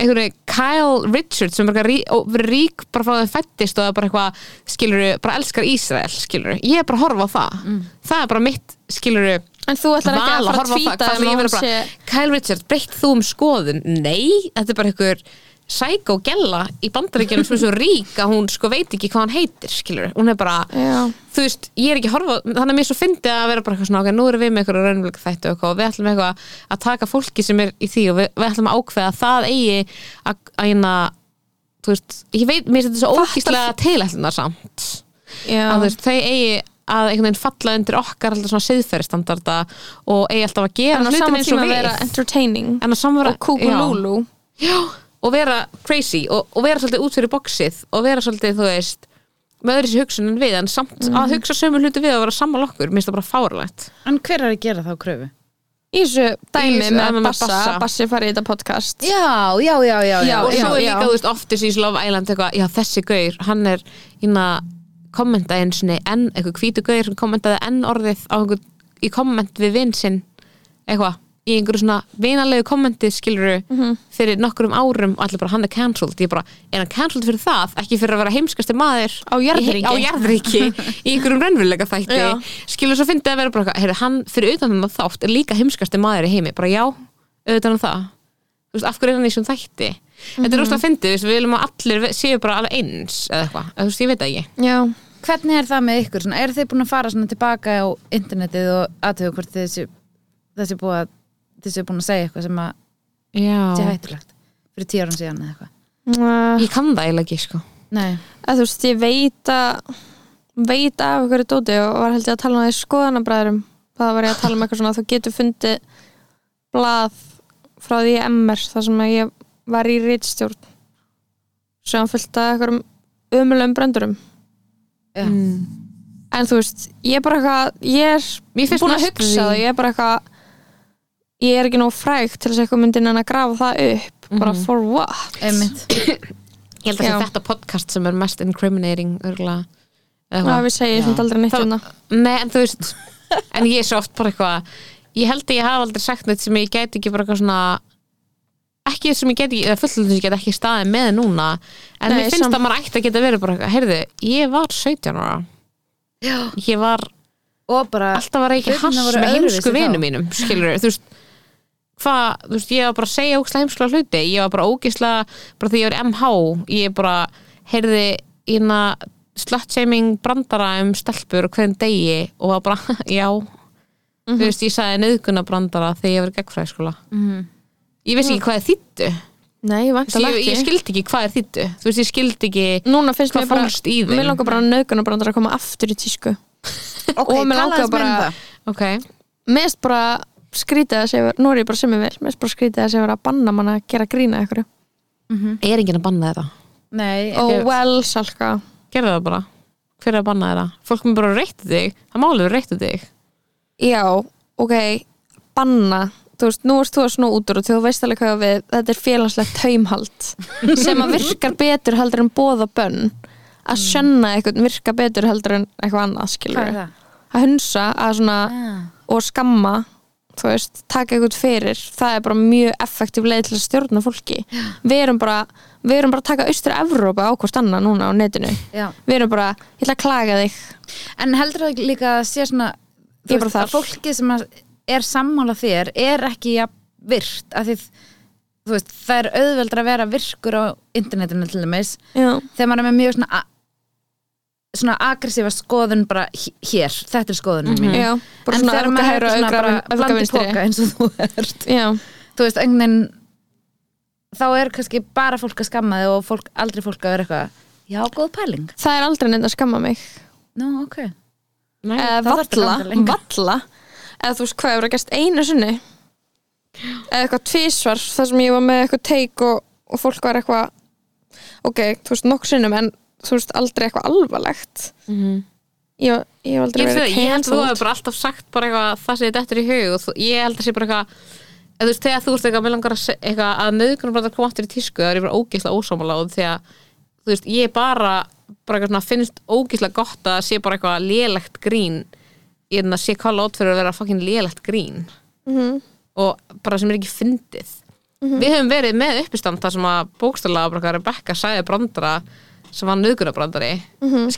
einhverju Kyle Richards sem er bara rí, og verið rík bara frá þeim fættist og er bara eitthvað skiluru, bara elskar Ísrael skiluru, ég er bara að horfa á það það er bara mitt skiluru En þú ætlar ekki að val að fara að horfa á það tvíta hvað sem ég verið bara, Kyle Richards, breytt þú um skoðun nei, þetta er bara einhver sækó gella í bandaríkjunum sem er svo rík að hún sko veit ekki hvað hann heitir skilur, hún er bara Já. þú veist, ég er ekki að horfa, á- þannig að mér svo fyndi að vera bara eitthvað svona, ok, nú erum við með eitthvað raunvöld þættu og, eitthvað og við ætlum eitthvað að taka fólki sem er í því og við, við ætlum að ákveða að það eigi að, að hérna þú veist, ég veit, mér finnst þetta svo ógíslega tilætlunar samt Já, að þú veist, þau eigi að einhvern veginn falla undir okkar alltaf svona siðferðistandarda og eigi alltaf að gera en á hlutin sama eins tíma og að við vera entertaining en að samvera og kúkulúlu já, og vera crazy og, og vera svolítið út fyrir boxið og vera svolítið, þú veist með öðru sér hugsun en við en samt Mm. að hugsa sömu hluti við og vera sammála okkur, minnst það bara fárlegt En hver er að gera þá kröfu? Í þessu Í dæmi þessu með dæmi með Bassa, Bassa. Bassi farið í þetta podcast Já, já, já, já, já. og svo er já. líka, þú veist, oft þessi í Love Island eitthvað, já, þessi gaur, hann er hérna, kommentaði einu sinni enn, eitthvað hvítu gaur sem kommentaði enn orðið á einhver, í komment við vin sinn eitthvað, í einhverju svona vinalegu kommentið skiluru Mhm. fyrir nokkrum árum og allir bara, hann er cancelled, ég bara er hann cancelled fyrir það, ekki fyrir að vera heimskasti maður Á í, jarðríki. á jarðríki í einhverjum raunveruleika þætti Já. skilur svo fyndið að vera bara, eitthvað, heyrðu, hann fyrir utan þannig þátt er líka heimskasti maður í heimi bara já, auðvitað hann það þú veist, af hverju er hann í svona þætti Mhm. þetta er rosalega fyndið, þú veist, við viljum að allir séu bara alveg eins eða eitthvað, eða þú veist, ég veit það ekki Já, Hvernig er það með ykkur? Svona, er þið búin að fara svona tilbaka á internetið og aðtöðu hvort þessi, þessi, búið, að- þessi búin að segja eitthvað sem að sé já, hættulegt fyrir tíu árum síðan eða eitthvað? Uh, ég kann það eiginlega ekki, sko Nei, að þú veist, ég veit að veit af einhverju dóti og var held ég að tala um það í skoðanabræðurum það var ég að tala um eitthvað svona að þú getur fundið blað frá því í MR þar sem að ég var í rítstjórn sem fyllt að einhverjum umlum bröndurum já. en þú veist, ég er bara eitthvað ég Mér er finnst búin að næstum því- hugsa það, ég er bara eitthvað ég er ekki nóg fræg til þess að eitthvað myndin en að grafa það upp Mhm. bara for what einmitt. ég held að Já. þetta podcast sem er mest incriminating örgulega Eða Já, hvað? við segjum Já. þetta aldrei neitt Þá- hérna Nei, en þú veist En ég er svo oft bara eitthvað Ég held að ég hafa aldrei sagt neitt sem ég gæti ekki bara eitthvað svona ekki sem ég gæti, eða fullum sem ég gæti ekki staðið með núna en Nei, mér finnst sam- að maður ætti að geta verið bara eitthvað heyrðu, ég var 17 ára Já. ég var, og bara alltaf var ég ekki Hlutirnir hass voru með öðruvísi heimsku þá. vinum mínum skilur, þú veist hvað, þú veist, ég var bara að segja ógislega heimskulega hluti ég var bara ógislega, bara því ég var í MH ég bara, heyrði ína slutshaming brandara um stelpur og hverjum degi og var bara, já þú veist, ég sagði nöðguna brandara þegar ég var í gegnfræðskóla Mhm. ég vissi ekki hvað er þýttu Nei, ég, vantalega ég ekki skildi ekki hvað er þýttu þú veist, ég skildi ekki Núna finnst hvað mér bara fólst í þeim Mér langar bara nöðgunabrandar að koma aftur í tísku ok, og mér talaðu langar aðeins meira um bara- það. okay. Mér erst bara skrítið að segja Nú er ég bara sem ég vil Mér erst bara skrítið að segja að banna mann að gera grína ykkur Mhm. er enginn að banna þetta nei, Oh ég- well, Salka gerðu það bara hver er að banna þeirra, fólk mér bara að reytta þig það málið er að reytta þig Já, ok, banna Þú veist, nú erst þú að snú út úr og þú veist alveg hvað ég á við, þetta er félagslegt taumhald sem að virkar betur heldur en bóða bönn að sönna eitthvað virka betur heldur en eitthvað annað hvað skilur er það? að hunsa að svona og skamma þú veist, taka eitthvað fyrir það er bara mjög effektív leið til að stjórna fólki við erum bara, við erum bara að taka austur Evrópa á hvort annað núna á netinu Já. við erum bara, ég ætla að klaga þig en heldur það líka að sé svona Ég er þú bara þar. að fólki sem að er sammála þér er ekki jafn virt af því þú veist, það er auðveldra að vera virkur á internetinu til dæmis Já. þegar maður er með mjög svona a- svona agressífa skoðun bara hé- hér, þetta er skoðunum mín Já, Mhm. bara en svona þegar öfga maður hægra hefur og svona öfga bara öfga blandi vinstri póka eins og þú ert Já, þú veist, enginn þá er kannski bara fólk að skamma þig og fólk, aldrei fólk að vera eitthvað já, góð pæling, það er aldrei neitt að skamma mig nú ok Nei, eða það þarf ekki að Eh, valla, ganga lengra. valla eða þú veist hvað hefur að gæst einu sinni eða eitthvað tvísvar þar sem ég var með eitthvað teik og, og fólk var eitthvað ok, þú veist nokk sinnum en þú veist aldrei eitthvað alvarlegt ég, ég hef aldrei Mhm. ég, verið ég, ég held að þú cancelled. hefur bara alltaf sagt bara eitthvað það sem þetta er í hug og þú, ég held að sé bara eitthvað eða þú veist, þegar þú veist eitthvað, mér langar að, se- eitthvað að nöðgunum bara að koma aftur í tísku það er ég bara ógeðslega ósámála og því að þú veist, ég bara, bara eitthvað svona finnst ógeðslega gott að sé bara eitthvað lélegt grín ég er að sé kalla át fyrir að vera fucking lélegt grín Mhm. og bara sem er ekki fyndið við höfum verið með uppistand þar sem að bókstælega bara hvað Rebecca sæði brandara sem var nöðgunabrandari mm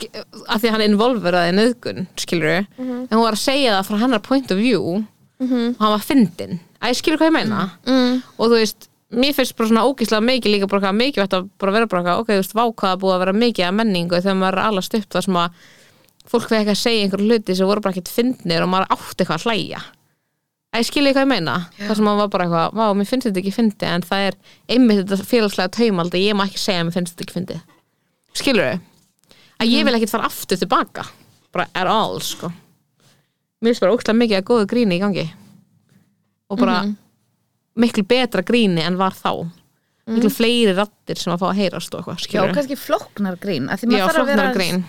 af því að hann involveraði nöðgun skilur við, en hún var að segja það frá hennar point of view og hann var fyndin, að ég skilur hvað ég meina mm, og þú veist, mér finnst bara svona ógislega mikið líka bara hvað mikið að bara vera bara hvað, ok, þú veist, vákaða búið að vera mikið að menningu þegar maður er allast upp þar sem að fólk vegið að segja einhver hluti sem voru bara ekkert fyndnir og maður átti eitthvað að hlæja að ég skilja hvað ég meina þar sem maður var bara eitthvað, vá, mér finnst þetta ekki fyndi en það er einmitt þetta félagslega taumaldi ég má ekki segja að mér finnst þetta ekki fyndi skilur þau? að Mhm. ég vil ekkert fara aftur tilbaka bara at all, sko mér finnst bara ógislega mikið að góðu gríni í gangi og bara Mhm. miklu betra gríni en var þá miklu fleiri rattir sem að fá að heyrast og eitthvað, Mhm. já, skilur kannski flóknar grín af Já, því maður þarf að vera flóknar grín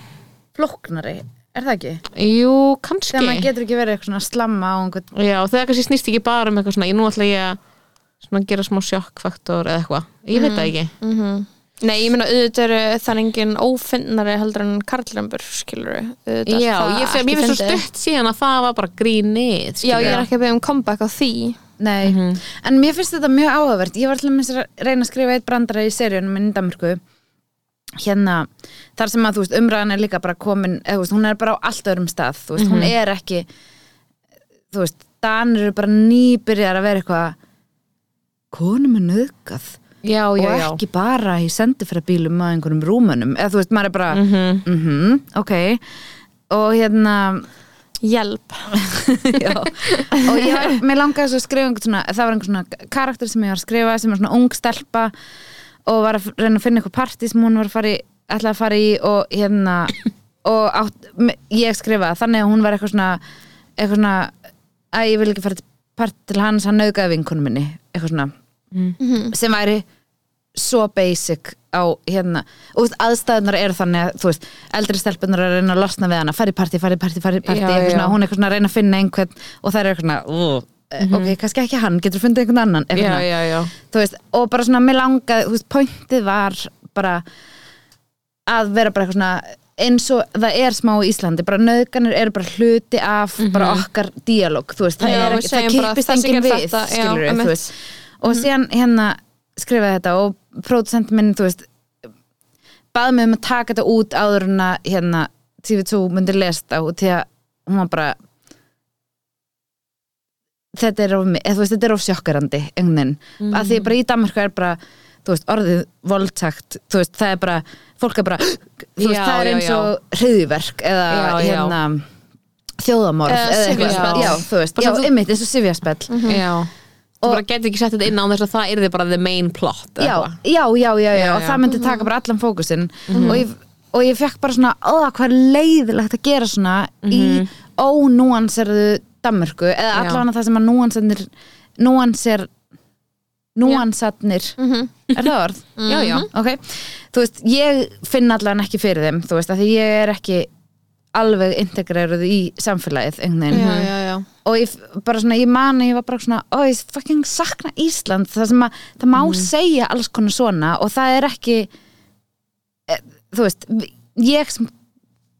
flóknari er það ekki? Jú, kannski þegar maður getur ekki verið eitthvað svona að slamma á einhvern Já, það kannski snýst ekki bara um eitthvað svona, ég nú ætla ég að svona gera smá sjokkfaktor eða eitthvað, ég veit Mm, það ekki Nei, ég meina auðvitað eru þann engin ófinnari heldur en karlrembur skilur auðvitað Já, það ég ekki fyrir, mér finnst svo fyndið. stutt síðan að það var bara grínið Já, skilurðu. ég er ekki að beða um comeback á því Nei, Mhm. en mér finnst þetta mjög áhugavert Ég var til dæmis að reyna að skrifa eitt brandara í seríunum minn í Danmörku hérna, þar sem að þú veist, umræðan er líka bara komin, eða þú veist, hún er bara á allt öðrum stað, þú veist, hún Mhm. er ekki þú veist, Danir eru bara nýbyrjar að vera eitthvað konum er nöðgað Já, já, og já ekki bara í sendifræðbílum að einhverjum rúmönum, eða þú veist, maður er bara mhm, Mhm. ok og hérna Hjálp Já. og ég var, mér langaði svo að skrifa einhvern svona, það var einhvern svona karakter sem ég var að skrifa sem var svona ung stelpa og var að f- reyna að finna eitthvað partí sem hún var að fara í, ætlaði að fara í og hérna og átt, m- ég skrifaði þannig að hún var eitthvað svona eitthvað svona að ég vil ekki fara til partí til hans, hann nauðgæði vinkunum minni eitthvað svona Mm. sem væri svo basic á hérna og þú veist, aðstæðunar eru þannig að þú veist, eldri stelpunar eru að reyna að losna við hana fari partí, fari partí, fari partí Já, eitthvað já. svona, hún er eitthvað svona að reyna að finna einhvern og það er eitthvað svona, "Ú, eh, Mhm. ok, kannski ekki hann getur fundið einhvern annan Já, eitthvað svona. já, já Þú veist, og bara svona, mér langaði þú veist, pointið var bara að vera bara eitthvað svona eins og það er smá í Íslandi bara nöðganir eru bara hluti af bara okkar díalóg, þú veist það, Mhm. Já, er við ekki, það segjum bara, kippist þessi enginn gerir við þetta, já, skilur einmitt. Mhm. þú veist og síðan hérna skrifaði þetta og pródusent minn, þú veist baði mig um að taka þetta út áður en að hérna TV2 myndi lesta og því að hún var bara þetta er of, mi- eða, þú veist, þetta er of sjokkarandi einhvern veginn, að Mhm. því bara í Danmarku er bara þú veist, orðið voldtakt þú veist, það er bara, fólk er bara þú Já, veist, það er já, eins og hriðverk eða Já, já. hérna þjóðamorð Eða eða eitthvað, sifjaspell. já, þú veist, Bara já, þú- einmitt eins og sifjaspell Mhm. já þú bara getur ekki sett þetta inn á þess að það yrði bara the main plot já, já, já, já, já, Já, Mhm. og já. það myndi taka bara allan fókusinn og, ég, og ég fekk bara svona aða hvað er leiðilegt að gera svona í ónúanserðu Danmörku, eða Mhm. Já. allan að það sem að núansarnir núanser núansarnir er það orð? Mhm. já, já, ok, þú veist, ég finn allan ekki fyrir þeim, þú veist, af því ég er ekki alveg integreruð í samfélagið einhvern veginn já, Mhm. já, já. og ég f- bara svona, ég man að ég var bara svona ó, ég fucking sakna Ísland það sem að, það má segja alls konar svona og það er ekki e, þú veist, vi- ég sem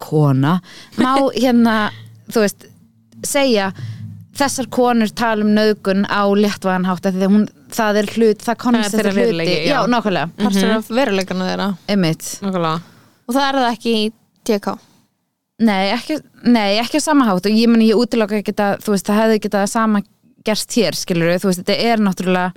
kona má hérna, þú veist segja, þessar konur tala um nöðgun á léttvagan hátt af því að hún, það er hlut, það konst þeirra hluti, veruleiki, já, já. nákvæmlega partur Mhm. af veruleikana þeirra einmitt nokkulega og það er það ekki í TK Nei, ekki, nei, ekki á sama hátt og ég meni ég útiloka ekki að þú veist, það hefði ekki það sama gerst hér skilur þú veist, þetta er náttúrulega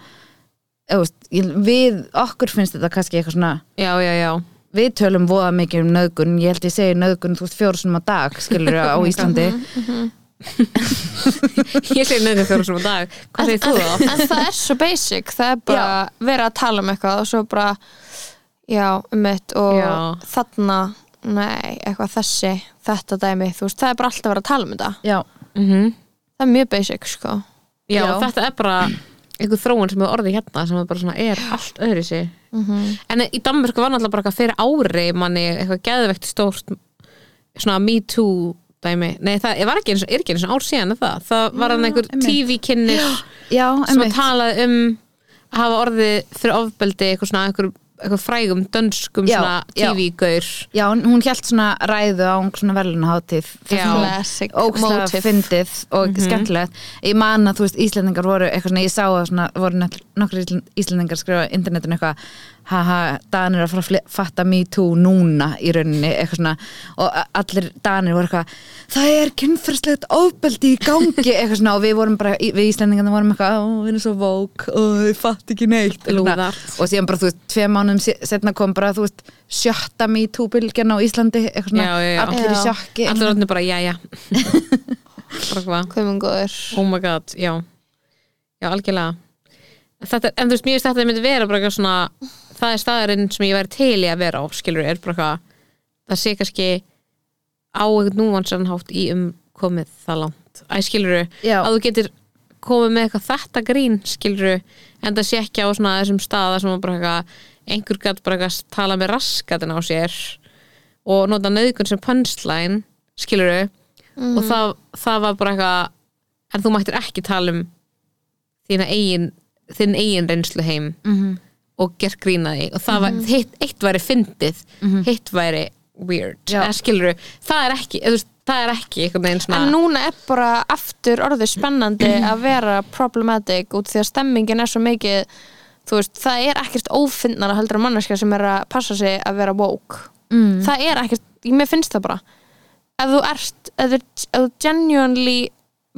eða, þú veist, ég- við, okkur finnst þetta kannski eitthvað svona, já, já, já, við tölum voða mikið um nöðgun, ég held ég segi nöðgun þú veist, fjórusunum á dag, skilur á Íslandi Mhm. ég segi nöðgum fjórum sem á dag hvað segir þú þá? en það er svo basic það er bara verið að tala um eitthvað og svo bara já, um mitt og Já. þarna nei, eitthvað þessi, þetta dæmi þú veist, það er bara alltaf að vera að tala um þetta Já, það er mjög basic sko já, Já. þetta er bara einhver þróun sem er orðið hérna sem er bara svona er allt öðru sig Mhm. en í Danmörku var náttúrulega bara eitthvað fyrir ári manni eitthvað geðvegt stórt svona me too dæmi nei, það var ekki eins og er ekki eins og ár síðan er það það var hann einhver einmitt. TV-kynnir já, sem emmitt talaði um að hafa orðið fyrir ofbeldi eitthvað svona einhver, einhver frægum dönskum Já, svona já. TV-gaur Já, hún hún hélt svona ræðu á hún svona verðlunaháttið Já. Classic ógslag motive. fyndið og Mhm. skemmtilegt ég man að þú veist Íslendingar voru eitthvað svona, ég sá að svona voru nökk- nokkrir Ísl- Íslendingar skrifa á internetinu eitthvað haha, Danir eru að fara að fle- fatta me too núna í rauninni eitthvað svona og a- allir Danir voru eitthvað það er kynferðslegt ofbeldi í gangi eitthvað svona og við vorum bara, í- við Íslendingarna vorum eitthvað "Ó, við erum svo vók, ó, ég fatt ekki neitt eitthvað svona. Lúðar. og síðan bara þú veist, tvei mánum setna kom bara þú veist, sjötta me too bylgjana á Íslandi eitthvað svona, Já, já, já. allir í Já. sjokki allir orðinu bara jæja bara hvað, hvað mun góður oh my god já, já algjörlega þetta, er- en þú veist, mér finnst þetta myndi vera bara eitthvað svona, það er staðurinn sem ég væri til í að vera á, skilur er bara eitthvað það sé kannski á eitthvað núvansanhátt í um komið það langt, æ skilur Já. að þú getur komið með eitthvað þetta grín skilur en það sé ekki á svona þessum staða sem að bara eitthvað einhver gætt bara eitthvað tala með raskatina á sér og nota nöðgun sem punchline skilur og það, það var bara eitthvað en þú mættir ekki tala um þína eigin, þinn eigin reynslu heim -hmm. og gert grína því og það var, hitt, eitt væri fyndið hitt væri weird Já. eða skilur, það er ekki eða þú veist, það er ekki einhvern veginn svona en núna er bara aftur orðið spennandi að vera problematic út því að stemmingin er svo mikið þú veist, það er ekkert ófindnara heldur en manneskja sem er að passa sig að vera woke mm. það er ekkert, mér finnst það bara ef þú ert ef þú, ef þú genuinely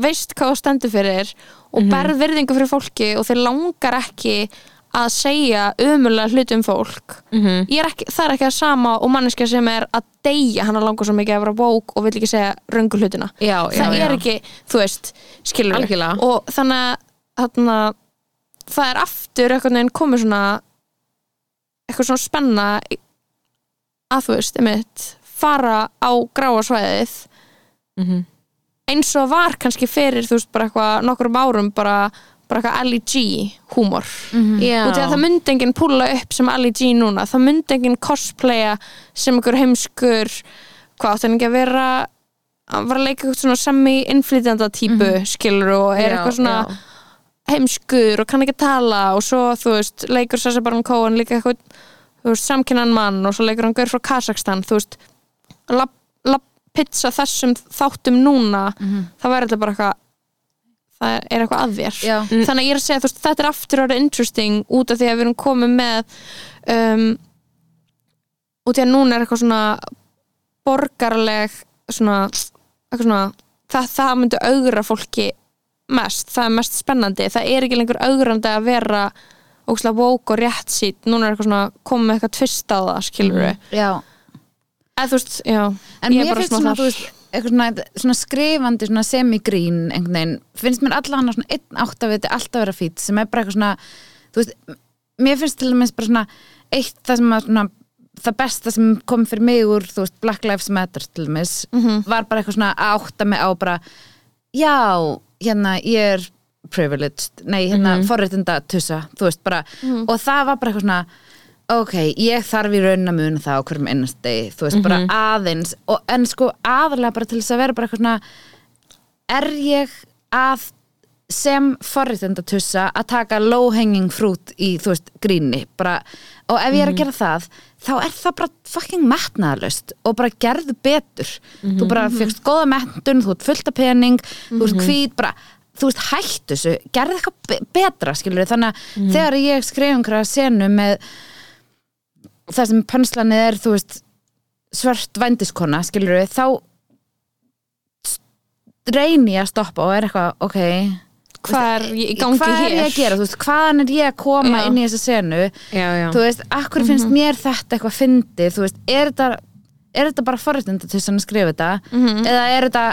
veist hvað þú stendur fyrir og berð virðingu fyrir fólki og þeir langar ekki að segja ömulega hluti um fólk Mhm. -hmm. er ekki, það er ekki það sama og manneskja sem er að deyja hann langar svo mikið að vera woke og vil ekki segja röngu hlutina Já, já, það já. er ekki, þú veist, skilur Algjörlega. og þannig að þarna, það er aftur eitthvað neginn komið svona eitthvað svona spenna í- að þú veist, einmitt fara á gráa svæðið Mhm. eins og var kannski fyrir þú veist bara eitthvað nokkrum árum bara, bara eitthvað E LEG húmor Mhm. Já. og því að það myndi enginn púla upp sem Ali G núna, það myndi enginn cosplaya sem einhver heimskur hvað átti hann ekki að vera hann var að leika eitthvað svona semi-inflytjanda típu skilur og er Mhm. Já, eitthvað svona já. heimskur og kann ekki tala og svo þú veist, leikur Sasha Baron Cohen líka eitthvað, þú veist, samkynnan mann og svo leikur hann gaur frá Kazakstan, þú veist lab, lab, pizza þessum þáttum núna Mhm. það væri alltaf bara eitthvað það er eitthvað að þér Já. þannig að ég er að segja þú veist, þetta er aftur ára interesting út af því að við erum komið með um, út í að núna er eitthvað svona borgarleg svona, eitthvað svona það, það myndi augra fólki mest, það er mest spennandi það er ekki lengur augrandi að vera ókslega vók og rétt sít núna er eitthvað svona komið með eitthvað tvist á það skilur við, já eða þú veist, já Mm. en ég er mér bara finnst smá svona, þar. þú veist, eitthvað svona, svona skrifandi svona semigrín einhvern veginn, finnst mér alla hann svona einn áttaviti alltaf vera fýtt sem er bara eitthvað svona þú veist, m- mér finnst til dæmis bara svona eitt það sem að svona það besta sem kom fyrir mig úr þú veist, Black Lives Matter til dæmis var bara eitthvað svona að átta mig á bara já, hérna ég er privileged, nei hérna mm tussa, þú veist bara og það var bara eitthvað svona ok, ég þarf í raun að muna það á hverjum einast degi, þú veist, bara aðeins og, en sko aðalega bara til þess að vera bara eitthvað svona er ég að sem forréttindatussa að taka low hanging fruit í, þú veist, gríni bara, og ef ég er að gera það þá er það bara fucking metnaðalust og bara gerðu betur þú bara fyrst góða metnun, þú ert fullt af pening þú ert hvít, bara þú veist, hættu þessu, gerðu eitthvað be- betra skilur þannig að þegar ég skrif einhverja senu með það sem pönslanið er, þú veist svört vændiskona, skilur þá reyni ég að stoppa og er eitthvað, ok hvað er ég í gangi hvað er hér ég að gera, þú veist, hvaðan er ég að koma Já. inn í þessa senu já, já. þú veist, akkur finnst mér þetta eitthvað fyndið, þú veist, er þetta er þetta bara forréttinda til að skrifa þetta eða er þetta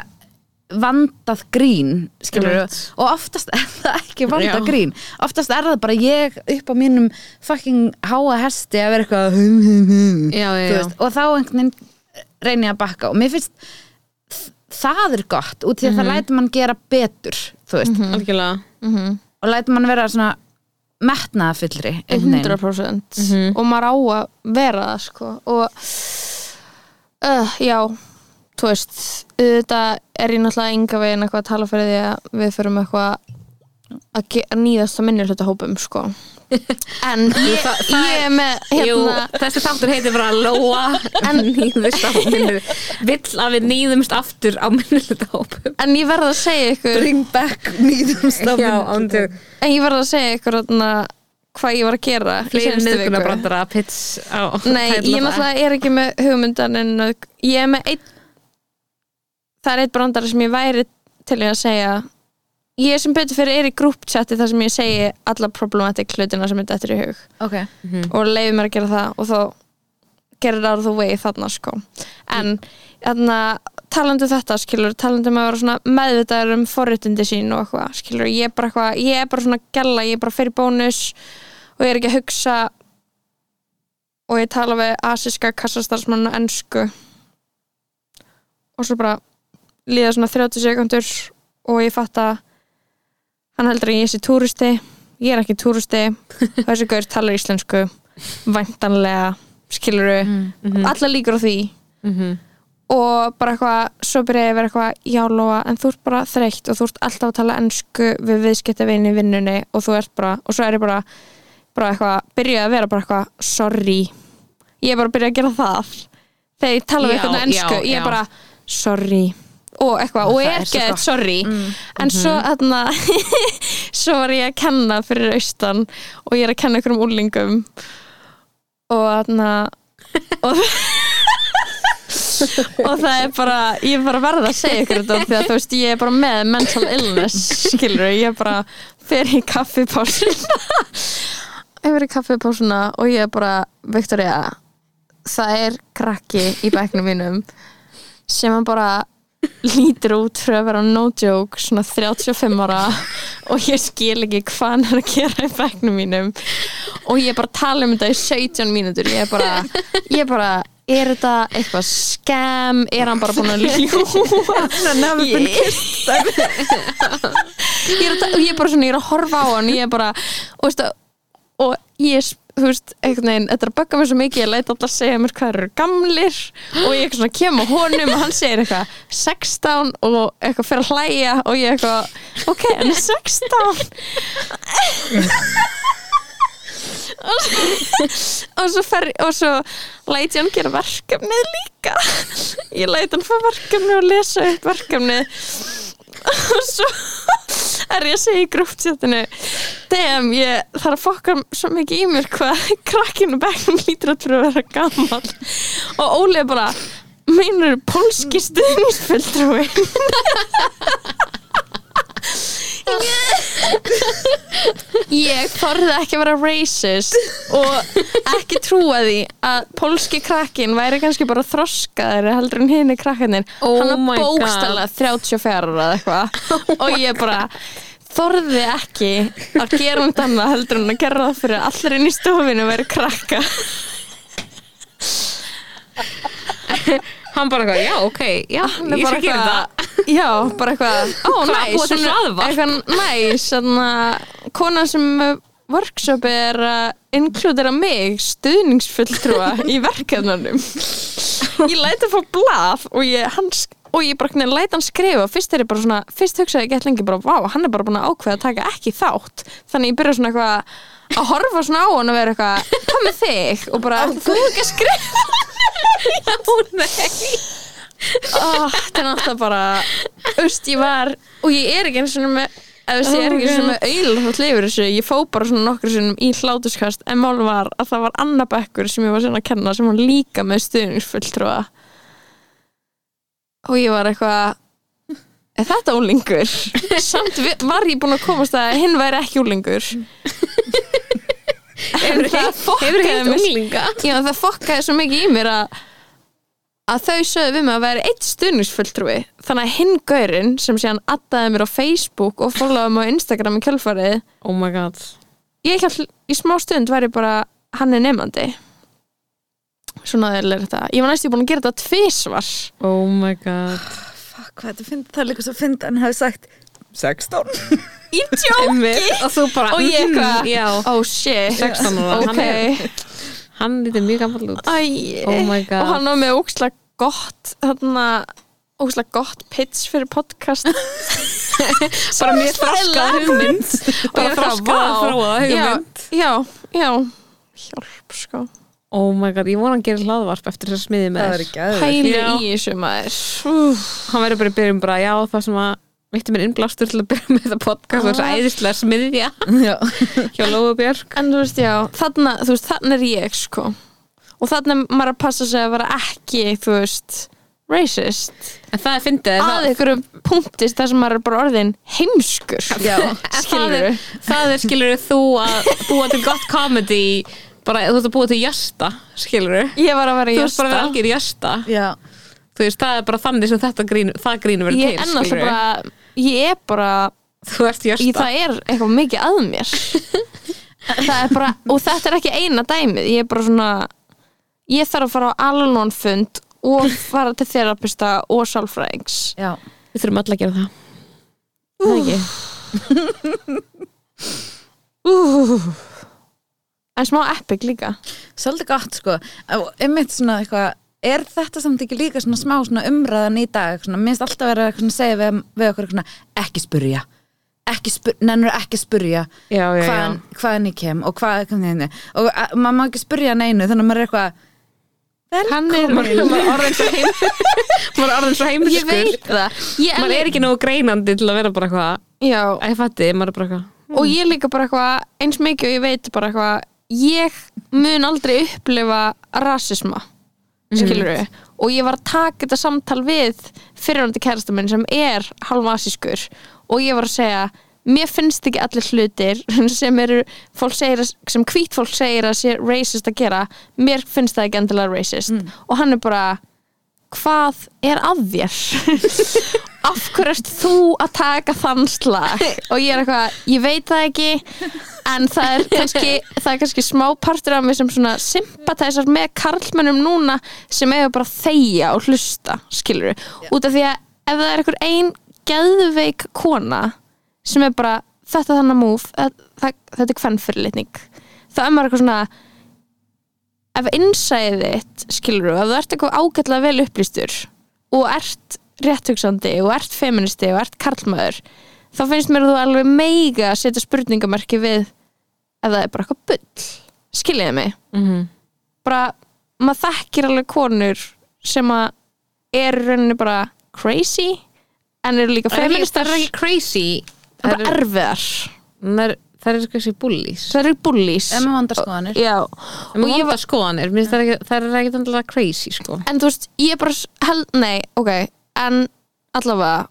vandað grín, skilur Einmitt. og oftast er það ekki vandað Já. grín oftast er það bara ég upp á mínum fucking háa hesti að vera eitthvað hum hum hum já, já, Þú já. veist, og þá einhvern veginn reyni ég að bakka og mér finnst þ- það er gott út í að það lætur mann gera betur þú veist, algjörlega og lætur mann vera svona metnaðafyllri einhvern veginn. 100% Mhm. og maður á að vera það sko og uh, já, þú veist þetta er ég náttúrulega enga veginn eitthvað að tala fyrir því að við förum eitthvað að ge- að nýðast að minni hluta hópum sko en ég, það- það ég er- er með Jú, hérna þessi þáttur heitir bara Lóa en nýðist á minni vill að við nýðumst aftur á minnilitahópum en ég verð að segja ykkur bring back nýðum Já, ándu en ég verð að segja ykkur hérna, hvað ég var að gera í fleiri seinustu viku. niðguna brandara pits á Nei, ég náttúrulega er ekki með hugmyndan en uh, ég er með einn það er einn brandara sem ég væri til í að segja ég sem betur fyrir er í grúpchatti þar sem ég segi alla problematic hlutina sem þetta er í hug ok, og leiði mér að gera það og þá gerir það the way þarna sko en þarna talandi um þetta skilur, talandi um að vera svona meðvitaður um forréttindi sín og eitthvað skilur, ég er bara eitthvað, ég er bara svona gæla, ég er bara fyrir bónus og ég er ekki að hugsa og ég tala við asíska kassastarfsmann og ennsku og svo bara líða svona 30 sekundur og ég fatt að hann heldur að ég sé túristi ég er ekki túristi þessi gaur talar íslensku væntanlega, skiluru allar líkur á því og bara eitthvað, svo byrja ég að vera eitthvað já Lóa, en þú ert bara þreytt og þú ert alltaf að tala ensku við viðskiptavini í vinnunni og þú ert bara, og svo er ég bara bara eitthvað, byrja að vera bara eitthvað sorry, ég er bara að byrja að gera það þegar ég tala við Já, eitthvað ensku, já, ég er já. bara sorry og eitthvað, og Það er er svo gett gott. sorry en svo þarna svo var ég að kenna fyrir austan og ég er að kenna ykkur um úlingum og þarna og, og það er bara ég er bara verð að segja ykkur þetta því að þú veist ég er bara með mental illness skilur ég er bara fer í kaffipásuna ég fer í kaffipásuna og ég er bara Viktoria það er krakki í bæknum mínum sem hann bara lítur út fyrir að vera no joke svona 35 ára og ég skil ekki hvað hann er að gera í bæknum mínum og ég er bara að tala um þetta í 17 mínútur ég er bara, ég er bara er þetta eitthvað skam er hann bara búin að ljúa ég, ég, er að, ég er bara svona, ég er að horfa á hann ég er bara, og veist að og ég, þú veist, einhvern veginn þetta er að bögga mér svo mikið, ég læt alltaf að segja mér hvað þeir eru gamlir og ég eitthvað svona kem á honum og hann segir eitthvað 16 og eitthvað fyrir að hlæja og ég eitthvað, ok, hann er 16 og svo, fer, og svo læti hann gera verkefnið líka ég læti hann fá verkefnið og lesa upp verkefnið og svo er ég að segja í grúptjáttinu damn, ég þarf að fokka svo mikið í mér hvað krakkinu bekknum lítur út fyrir að vera gammal og Óli er bara meinar pólski stuðningsfulltrúi ég þorði ekki að vera racist og ekki trúa því að pólski krakkin væri kannski bara þroskaðari heldur en hinn er krakkaninn Oh hann my var God. bókstala 34 ára eða eitthvað og ég bara þorði ekki að gera hann danna heldur en að gera það fyrir að allir inn í stofinu væri krakka Hann bara eitthvað, já, ok, já, Hann er ég bara skal gera það eitthvað- já, bara eitthvað ó, Hvað, næs, búa til hún er hlaðvarp? eitthvað næs þannig að konan sem uh, workshop er að inkludera mig stuðningsfulltrúa í verkefnunum ég læti að fá blað og ég, hans, og ég bara hvernig læti hann skrifa fyrst er ég bara svona, fyrst hugsaði ég gett lengi bara, vá, hann er bara búin að ákveða að taka ekki þátt þannig ég byrja svona eitthvað að horfa svona á hann og vera eitthvað hvað með þig og bara, þú er ekki að skrifa oh, þetta er náttúrulega bara Öst, ég var og ég er ekki eins og með eða þess, ég er ekki eins og með auðlótt lifur þessu ég fó bara svona nokkur sinnum í hlátuskast en mál var að það var Anna Bekkur sem ég var sinna að kenna sem var líka með stuðningsfulltrúa og ég var eitthvað er þetta úlingur? samt vi- var ég búin að komast að hinn væri ekki úlingur en það Hefur fokkaði heitt mig unglinga Já, það fokkaði svo mikið í mér að, að þau sögðu við mig að vera eitt stuðningsfulltrúi þannig að hinn gaurinn sem síðan addaði mér á Facebook og fólkaði mig á Instagram í kjölfarið Oh my god ég held í smá stund væri bara hann er nefnandi svona er þetta ég var næstu búin að gera þetta tvisvar Oh my god Fuck, hvað þetta fynd, það er líka svo fynd hann hafi sagt 16 í tjóki Og þú bara og ég mm, eitthvað Já, oh shit 16 ára ok Hann, er- hann lítið mjög gammal út Æ, Oh my god. og hann var með ókslega gott þarna, ókslega gott pitch fyrir podcast Bara mjög þroskað hugmynd Bara Og ég var eitthvað, þroskað vá. þróaða hugmynd já, já, já, hjálp sko Oh my god, ég vona hann gerir hlaðvarp eftir þess að smiði með það þér. er ekki aðeins pæli Já. í þessu maður Úff. Hann verður bara í byrjun bara, já, það sem að veitti mér innblástur til að byrja með það podcast og þess að æðislega smiðja Já, hjá Lóa Björk en þú veist, já, þarna þú veist, þarna er ég sko og þarna er maður að passa sig að vera ekki þú veist, racist En það er fyndið það- að ykkur punktist þar sem maður er bara orðin heimskur já, En það skilur er, það er skilur þú að búa til gott comedy bara þú ert að búa til jasta skilur ég var að vera þú í ert bara að vera Jösta. algjör jasta já þú veist það er bara þannig sem þetta grín það grínu verið ég til er náttúrulega skilurðu. bara ég er bara þú ert í jasta það er eitthvað mikið að mér það er bara, og þetta er ekki eina dæmið, ég er bara svona ég þarf að fara á alnón fund og fara til þerapista og sálfræðings Já, við þurfum alla að gera það Það ekki. en smá epic líka svolítið gott sko Og einmitt svona eitthvað er þetta samt ekki líka svona smá svona umræðan í dag svona, minnst alltaf vera eitthvað svona að segja við, við okkur svona, ekki spurja ekki spur, nennur ekki að spurja já, já, já. hvaðan, hvaðan ég kem og hvað kom þið henni og að, maður má ekki spurja hann einu þannig að maður er eitthvað hann er maður maður er orðin svo heim maður er orðin svo heimskur ég veit það ég, maður er ekki nógu greinandi til að vera bara eitthvað já, Æ, ég fatti, maður er bara eitthvað og ég líka bara eitthvað eins mikið og ég veit bara eitthvað ég mun aldrei upplifa rasisma skilur við og ég var að taka þetta samtal við fyrirhandi kærastu minn sem er halvasískur og ég var að segja mér finnst ekki allir hlutir sem eru, fólk segir að, sem hvít fólk segir að sé racist að gera mér finnst það ekki endilega racist og hann er bara hvað er að þér af hverju ert þú að taka þann slag og ég er eitthvað, ég veit það ekki en það er kannski, það er kannski smá partur af mig sem svona sympatæsar með karlmennum núna sem eiga bara að þegja og hlusta skilur út af því að ef það er einhver ein geðveik kona sem er bara, þetta er þannig múf þetta þetta er hvern fyrirlitning þá er maður eitthvað svona ef innsæðið þitt skilur ef þú ert eitthvað ágætlega vel upplýstur og ert rétthugsandi og ert feministi og ert karlmaður þá finnst mér að þú alveg meiga að setja spurningamarki við ef það er bara eitthvað bull skiljiði mig mm -hmm. bara, maður þekkir alveg konur sem að er rauninni bara crazy en eru líka feministar Það er ekki en crazy bara erfiðar er, Það er ekki bullies það eru bullies Ef með vandarskoðanir Já, Og Og ég ég var skoðanir, mér finnst það ekki- það er ekki andlega crazy sko en þú veist, ég bara held, nei, ok en allavega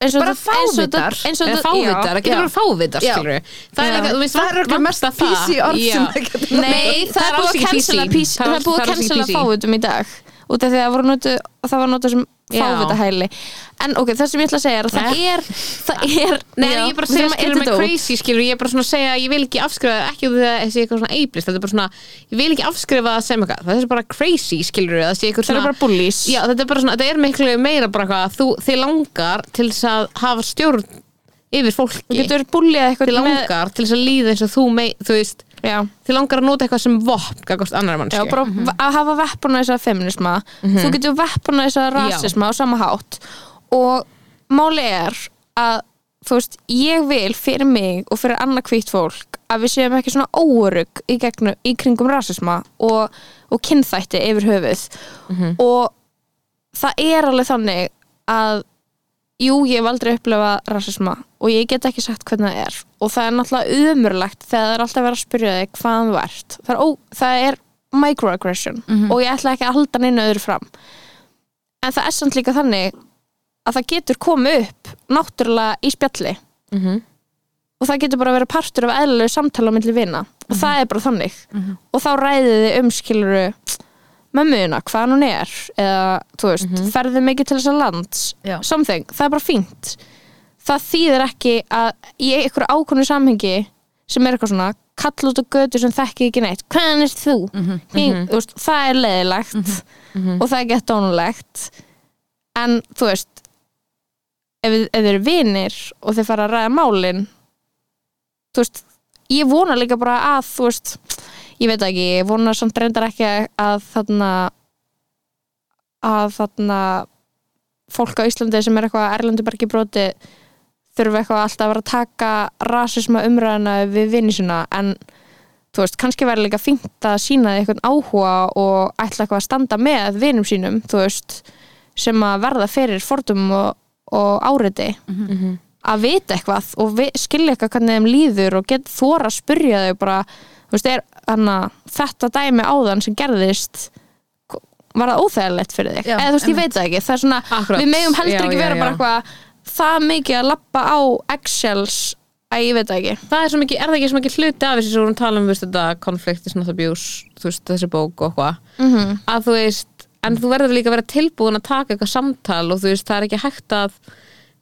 eins og Bara þetta- eins og þetta- fávitar. eins og Eða þetta- já. fávitar, það getur já. verið fávitar Já. skilur Það Já. er ekki, þú veist, Það er vanta okkur mest það. PC orð Já. sem það getur Nei, það, er búið alls að ekki cancela PC. PC Það er búið að alls ekki cancela PC. fávitum í dag út af því að það voru notu, það var notu sem Já. fávitahæli en ok, það sem ég ætla að segja er að það er það er, Nei, en ég er bara að segja skilur með crazy skilur Ég er bara svona að segja, ég vil ekki afskrifa það ekki út af því að það sé eitthvað svona eiblist Þetta er bara svona, ég vil ekki afskrifa það sem eitthvað Það er bara crazy skilur það sé eitthvað það er svona bara bullies Já, þetta er bara svona, þetta er miklu meira bara hvað þú, þið langar til þess að hafa stjórn yfir þú fólki getur bulljað þið eitthvað með langar til þess að líða eins og þú mei, þú veist, já, þið langar að nota eitthvað sem vopn gagast annar já, mannskju bara að hafa veppuna þess að feminisma Mhm. þú getur veppuna þess að rasisma á sama hátt og máli er að þú veist, ég vil fyrir mig og fyrir annað kvítt fólk að við séum ekki svona óörug í, gegnum, í kringum rasisma og, og kynþætti yfir höfuð og það er alveg þannig að jú, ég hef aldrei upplifað rasisma og ég get ekki sagt hvernig það er og það er náttúrulega umurlegt þegar það er alltaf verið að spyrja þig hvaðan þú ert það er, ó, það er microaggression og ég ætla ekki að halda neina öðru fram en það er samt líka þannig að það getur komið upp náttúrulega í spjalli Mhm. og það getur bara að vera partur af eðlilegu samtala á milli vina og það er bara þannig og þá ræðið þið umskiluru mömmuna, hvaðan hún er eða, þú veist, ferðið mikið til þessa lands Já. something, það er bara fínt það þýðir ekki að í einhverju ákvöndu samhengi sem er eitthvað svona kalla út á götu sem þekki ekki neitt hvaðan er þú? Ég, þú veist, það er leiðilegt og það er gett dónulegt en þú veist ef, þið- ef þeir eru vinir og þeir fara að ræða málin þú veist ég vona líka bara að þú veist ég veit það ekki, ég vona samt reyndar ekki að þarna að þarna fólk á Íslandi sem er eitthvað erlendubergi broti þurfa eitthvað alltaf að vera að taka rasisma umræðina við vinni sinna en þú veist, kannski væri líka fínt að sína því eitthvað áhuga og ætla eitthvað að standa með vinum sínum, þú veist sem að verða fyrir fordum og, og áriti að vita eitthvað og vi, skilja eitthvað hvernig þeim líður og get þóra að spyrja þau bara, þú veist, er hana, þetta dæmi áðan sem gerðist var það óþægilegt fyrir þig Já, eða þú veist, ég veit það ekki, það er svona Akkurat. við megum heldur Já, ekki já, vera já. bara eitthvað það mikið að lappa á eggshells að ég veit það ekki það er svo mikið, er það ekki svo mikið hluti af þessi sem við vorum að tala um, veist, þetta konflikt is not abuse, þú veist, þessi bók og hvað -hmm. að þú veist, en þú verður líka að vera tilbúin að taka eitthvað samtal og þú veist, það er ekki hægt að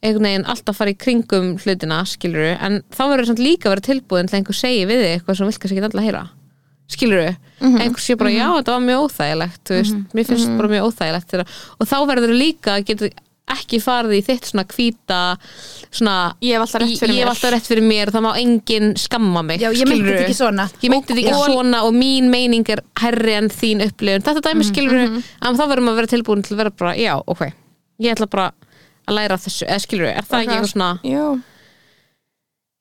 einhvern veginn alltaf fara í kringum hlutina skiluru, en þá verður samt líka að vera tilbúin til að einhver segi við þig eitthvað sem vilkast ekki alltaf heyra skiluru, mm einhver sé bara já, þetta var mjög óþægilegt, þú veist, mér finnst bara mjög óþægilegt þeirra, og þá verður líka að geta ekki farið í þitt svona hvíta svona Ég hef alltaf rétt fyrir ég, ég mér. hef alltaf rétt fyrir mér, það má enginn skamma mig Já, ég meinti skilurðu? þetta ekki svona. ég meinti þetta ekki svona og mín meining er herri en þín upplifun þetta dæmi skilur mm en þá verðum að vera tilbúin til að vera bara, já, ok ég ætla bara að læra af þessu eða skilur, er það ekki eitthvað svona Jú.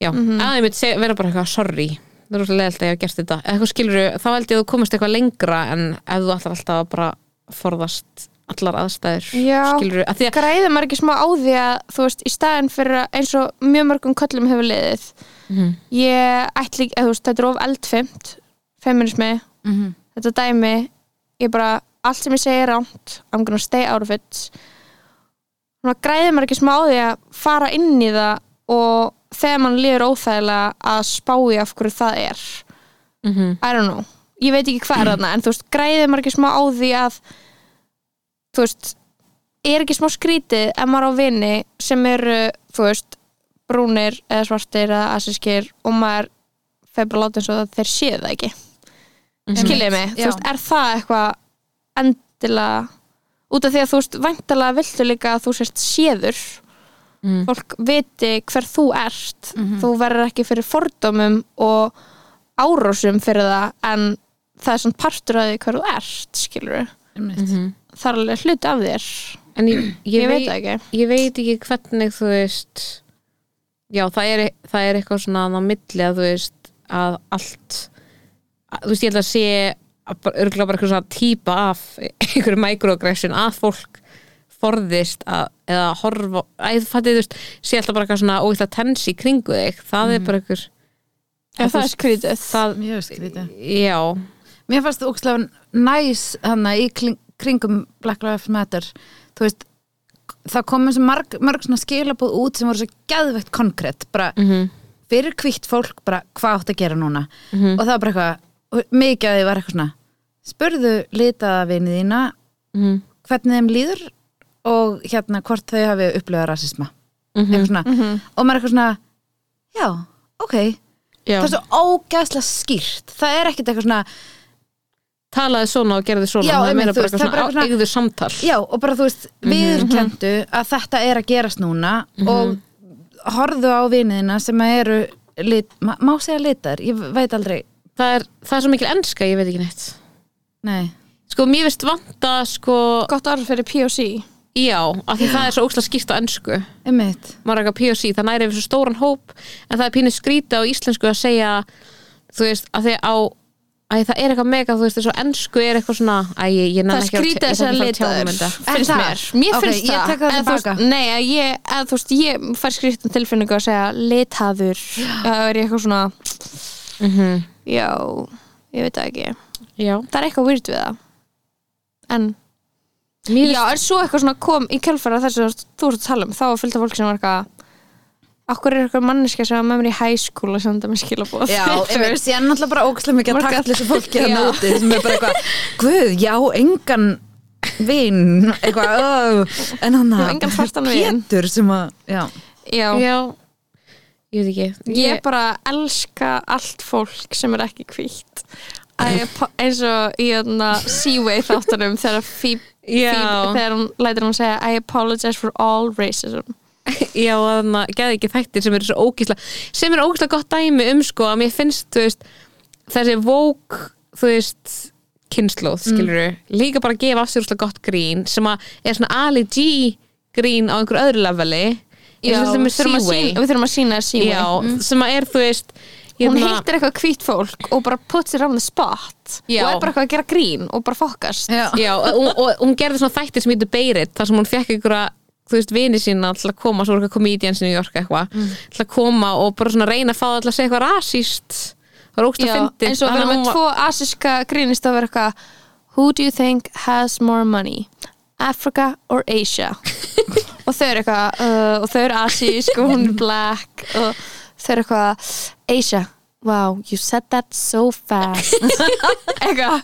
já, mm -hmm. að ég myndi seg, vera bara eitthvað sorry, það er rosalega leiðilegt að ég hef gert þetta eða eitthvað skilur, þá held ég að þú komast eitthvað lengra en ef þú ætlar alltaf að bara forðast allar aðstæður Já. skilur, að því að græðir maður ekki smá á því að þú veist, í staðin fyrir að eins og mjög mörgum köllum hefur liðið Mhm. ég ætli, eða, þú veist, þetta er of eldfimt feminismi, þetta dæmi ég bara, allt sem ég segi er rámt I'm gonna stay out of it þannig að græðir maður ekki smá á því að fara inn í það og þegar mann líður óþægilega að spái af hverju það er Mhm. I don't know, ég veit ekki hvað er þarna en þú veist, græðir maður ekki smá á því að þú veist er ekki smá skrítið ef maður á vini sem eru, þú veist brúnir eða svartir eða asískir og maður fer bara að láta eins og það þeir séu það ekki skiljiði mig, þú Já. veist, er það eitthvað endilega út af því að þú veist, væntalega viltu líka að þú sért séður fólk viti hver þú ert þú verður ekki fyrir fordómum og árásum fyrir það en það er svona partur af því hver þú ert skilur við, Einmitt. það er alveg hluti af þér en ég, ég, ég, veit veit það ekki ég veit ekki hvernig þú veist já það er, það er eitthvað svona á milli að þú veist að allt þú veist, ég held að sé að bara- örugglega bara eitthvað svona típa af einhverju microaggression að fólk forðist að, eða horfa, að ég fætti, þú veist sé alltaf bara eitthvað svona ógætla tensi í kringu þig það Mhm. er bara eitthvað Já, það er skrítið það, Mjög skrítið. já, Mér fannst það ógstlega næs hana í kling, kringum Black Lives Matter. Þú veist, það komið sem marg, mörg svona skilabúð út sem voru svo geðveikt konkrétt. Bara fyrir kvitt fólk, bara hvað átt að gera núna. Mhm. Og það var bara eitthvað, og mikið að þið var eitthvað svona, spurðu litaða vinið þína Mhm. hvernig þeim líður og hérna hvort þau hafi upplifað rasisma. Eitthvað svona. Og maður er eitthvað svona, já, ok, já. það er svo ógæðslega skýrt það er ekkert eitthvað svona talaði svona og gerði svona Já, það er einmitt, meira þú bara veist, eitthvað það er bara svona, eitthvað svona eigðu samtal já, og bara þú veist, viðurkendu að þetta er að gerast núna og horfðu á viniðina sem að eru lit, ma má segja litar, ég veit aldrei það, er, það er svo mikil enska, ég veit ekki neitt nei, sko, mér veist vanta sko, Gott orð fyrir POC já, af því það er svo ókslega skýrt á ensku einmitt maður er eitthvað POC, það næri yfir svo stóran hóp en það er pínu skrýta á íslensku að segja þú veist, að því á að það er eitthvað mega, þú veist, þessu ennsku er eitthvað svona, að ég, ég Það nenni er ekki skrítið ég þess að nenni ekki að lita tjá þér mig um þetta. Finnst það? mér, mér Ok, finnst ég það tek það Eða þú tilbaka. veist, Nei, að ég, eða þú veist, ég fær skrítið um tilfinningu að segja litaður Það er ég eitthvað svona Já, ég veit það ekki já, Það er eitthvað weird við það En, mér já, er svo eitthvað svona kom í kjálfæra þess að þú ert að tala um Þá var fylgta fólk sem var eitthvað Akkur er eitthvað manneska sem var með mér í high school og senda mér skilabóð já, einmitt, ég er náttúrulega bara ógæðslega mikið að Margar- takla þessu fólki að Já. nóti sem er bara eitthvað, guð, já, engan vin, eitthvað oh, en hann Já, engan svartan vin. Pétur sem að, já já, finnst já, ég veit ekki ég bara elska allt fólk sem er ekki hvítt Að ég pa- eins og í þarna Seaway þáttunum þegar Phoebe Já. Phoebe- þegar hún lætur hún segja I apologize for all racism já, þannig að geði ekki þættir sem eru svo ógísla sem eru ógísla gott dæmi um sko að mér finnst, þú veist þessi vók, þú veist kynnslóð, Mm. skilur líka bara að gefa af sér úrslega gott grín sem að er svona Ali G grín á einhverju öðru leveli eins og við sem er þurfum að Seaway. sýna- við þurfum að sína Seaway já, sem að er þú veist hérna- hún hittir eitthvað hvítt fólk og bara puts it on the spot Já. og er bara eitthvað að gera grín og bara fokast Já. já, og, og, og hún gerði svona þættir sem heitir Beirit þar sem hún fekk einhverja þú veist, vini sína til að koma, svo voru eitthvað komedians í New York eitthvað, Mm. til að koma og bara svona reyna að fá það til að segja eitthvað rasíst það var ógst að Já, fyndi eins og við erum með tvo asiska grínist að vera eitthvað Who do you think has more money? Africa or Asia? og þau eru eitthvað uh, og þau eru asísk og hún er black og þau eru eitthvað Asia, wow, you said that so fast eitthvað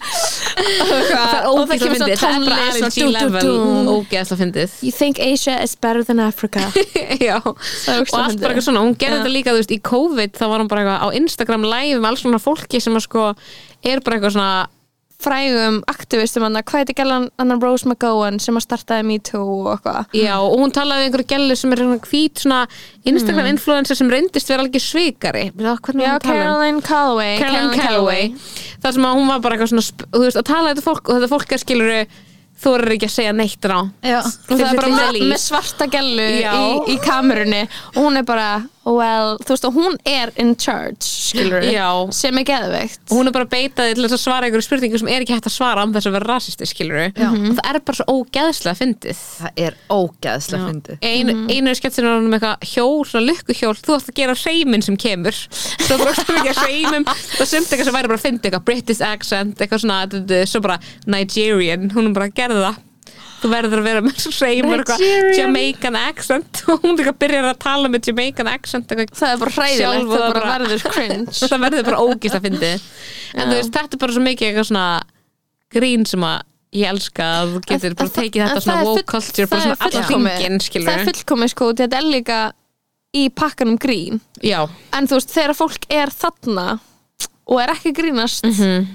það er og það ógæðslega kemur svo fyndið, það er bara alveg tónlist og dú, dú, G-level dú. ógæðslega fyndið You think Asia is better than Africa já, og er ógeðslega allt fyndið. bara eitthvað svona hún gerði Já. þetta líka, þú veist, í COVID þá var hún bara eitthvað á Instagram live með alls svona fólki sem að sko er bara eitthvað svona frægum aktivistum hann hvað heitir gælan annan Rose McGowan sem að startaði Me Too og eitthvað Já, og hún talaði við einhverju gælu sem er svona hvít svona Instagram influencer sem reyndist vera algjör svikari Mm. Já, hvernig Já, var hún talað um? Caroline Calloway Caroline Calloway þar sem að hún var bara eitthvað svona sp- þú veist, að tala við þetta fólk og þetta fólk er skilur þú eru ekki að segja neitt rá Já. og það er bara með, líf með svarta gellu Já. í, í kamerunni og hún er bara well, þú veist, og hún er in charge skilur Já. sem er geðveikt og hún er bara beitaði til þess að svara einhverju spurningu sem er ekki hægt að svara án þess að vera rasisti skilur og það er bara svo ógeðslega fyndið það er ógæðslega fyndið Ein, Mm. einu sketsin var hann með eitthvað hjól, svona lukkuhjól þú ætti að gera seimin sem kemur svo brókstum ekki að seimum og sumt eitthvað sem væri bara að fyndi eitthvað British accent eitthvað svona, d- d- svo bara Nigerian hún er bara að gera það þú verður að vera með seimur eitthvað Nigerian. Jamaican accent og hún er eitthvað að byrja að tala með Jamaican accent eitthvað það er bara hræðilegt, Sjálf og það það bara bara- verður cringe það verður bara ógist að fyndi en þú veist, þetta er bara svo mikið eitthvað svona grín sem að ég elska að þú getur En- bara en það- tekið þetta en svona það er woke full- culture bara það er svona allan fullkomið. hringinn, skilur það er fullkomið sko, þetta er líka í pakkanum grín já, en þú veist, þegar fólk er þarna og er ekki að grínast Mhm.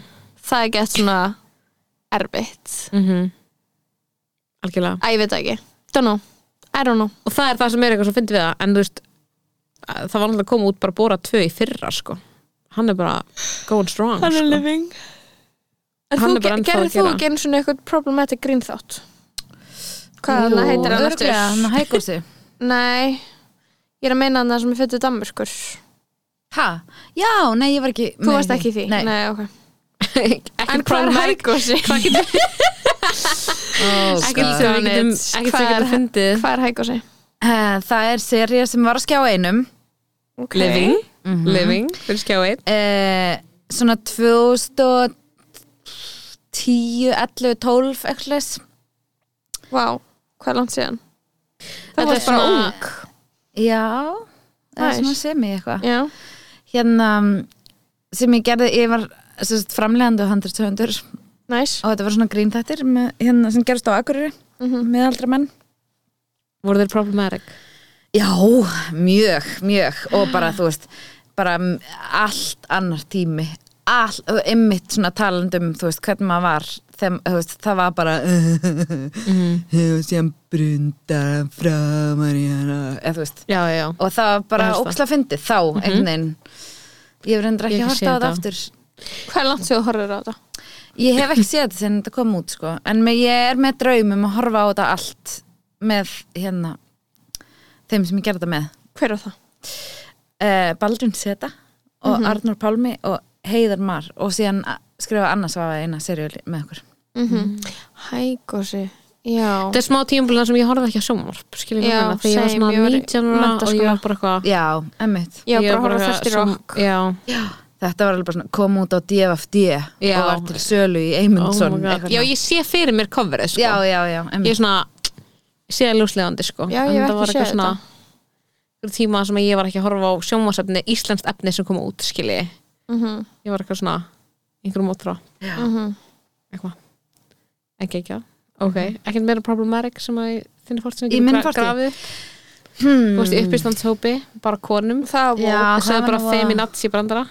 það er gett svona erfitt Mhm. algjörlega að ég veit það ekki, don't know I don't know og það er það sem er eitthvað svo fyndið við það en þú veist, að það var náttúrulega að koma út bara bóra tvö í fyrra sko hann er bara going strong sko. living En Hann þú er bara ennþá gerði að þú gera. ekki eins og eitthvað problematic grín þátt Hvað hann heitir hann aftur? Örugglega, hann hægósi Nei, ég er að meina hann það sem er fyrir Damerskur Hæ? Já, nei, ég var ekki Þú varst ekki í því? Nei, Nei ok ekki En hvað er problematic- hægósi? hvað getur ekki sem við getum God. Hvað ekki sem við er- getum fundið Hvað er hægósi? Eh, Það er serið sem var að skjá einum Okay. living Mhm. living fyrir skjáin eh, Svona 2010, 11, 12 eitthvað leys. Vá, hvað er langt síðan? Þetta Það var er bara svona- ung Já Það er Nice. svona semi eitthvað Já, Hérna sem ég gerði, ég var sem sagt, framlegandi á 100 höfundur næs og þetta var svona gríntættir með, hérna, sem gerist á Akureyri Mhm. með aldra menn voru þeir problematic Já, mjög, mjög og bara þú veist, bara m- allt annar tími all, og einmitt svona talandum þú veist, hvernig maður var þeim, veist, það var bara Mhm. og síðan brundar hann framar í hana eða þú veist, já, já, og það var bara Ég held það. Mhm. óksla fyndið þá, einhvern veginn ég hef reyndar Ég ekki hef ekki hort á séð þetta þetta. aftur Hvað er langt síðan þú horfir á þetta? ég hef ekki séð þetta sem þetta kom út sko. en með, ég er með draum um að horfa á þetta allt með hérna þeim sem ég gerði þetta með Hver er það? uh, Baldrun Seta og Mhm. Arnur Pálmi og Heiðar Mar og síðan a- skrifa Anna Svafa eina seríu með okkur Mm Hægósi, já Mhm. þetta er smá tíumblina sem ég horfði ekki að sjónvarp skiljum við Já, hana, þegar ég var same, svona ég var í 19 ára og ég var menntaskóla. bara eitthvað Já, emmitt ég Já, bara var horfa eitthvað þessir som- okk já, Þetta var alveg bara svona kom út á DFFD Já. og var til sölu í Eymundsson oh my god. eitthvað já, svona. ég sé fyrir mér coverið sko. já, já, já ég er emmitt svona sé það ljóslegandi sko Já, En ég þetta hef ekki var eitthvað séð svona þetta. einhver tíma sem ég var ekki að horfa á sjónvarsefni íslenskt efni sem kom út skilji mm -hmm. ég var eitthvað svona einhverjum ótrá Mhm. eitthvað ekki ekki ok ekkert meira problematic sem að þinni fórt sem Í minni fortíð? grafið upp. þú veist í uppíslandshópi bara konum Það var Já. það það er var bara nú að- feminazi brandara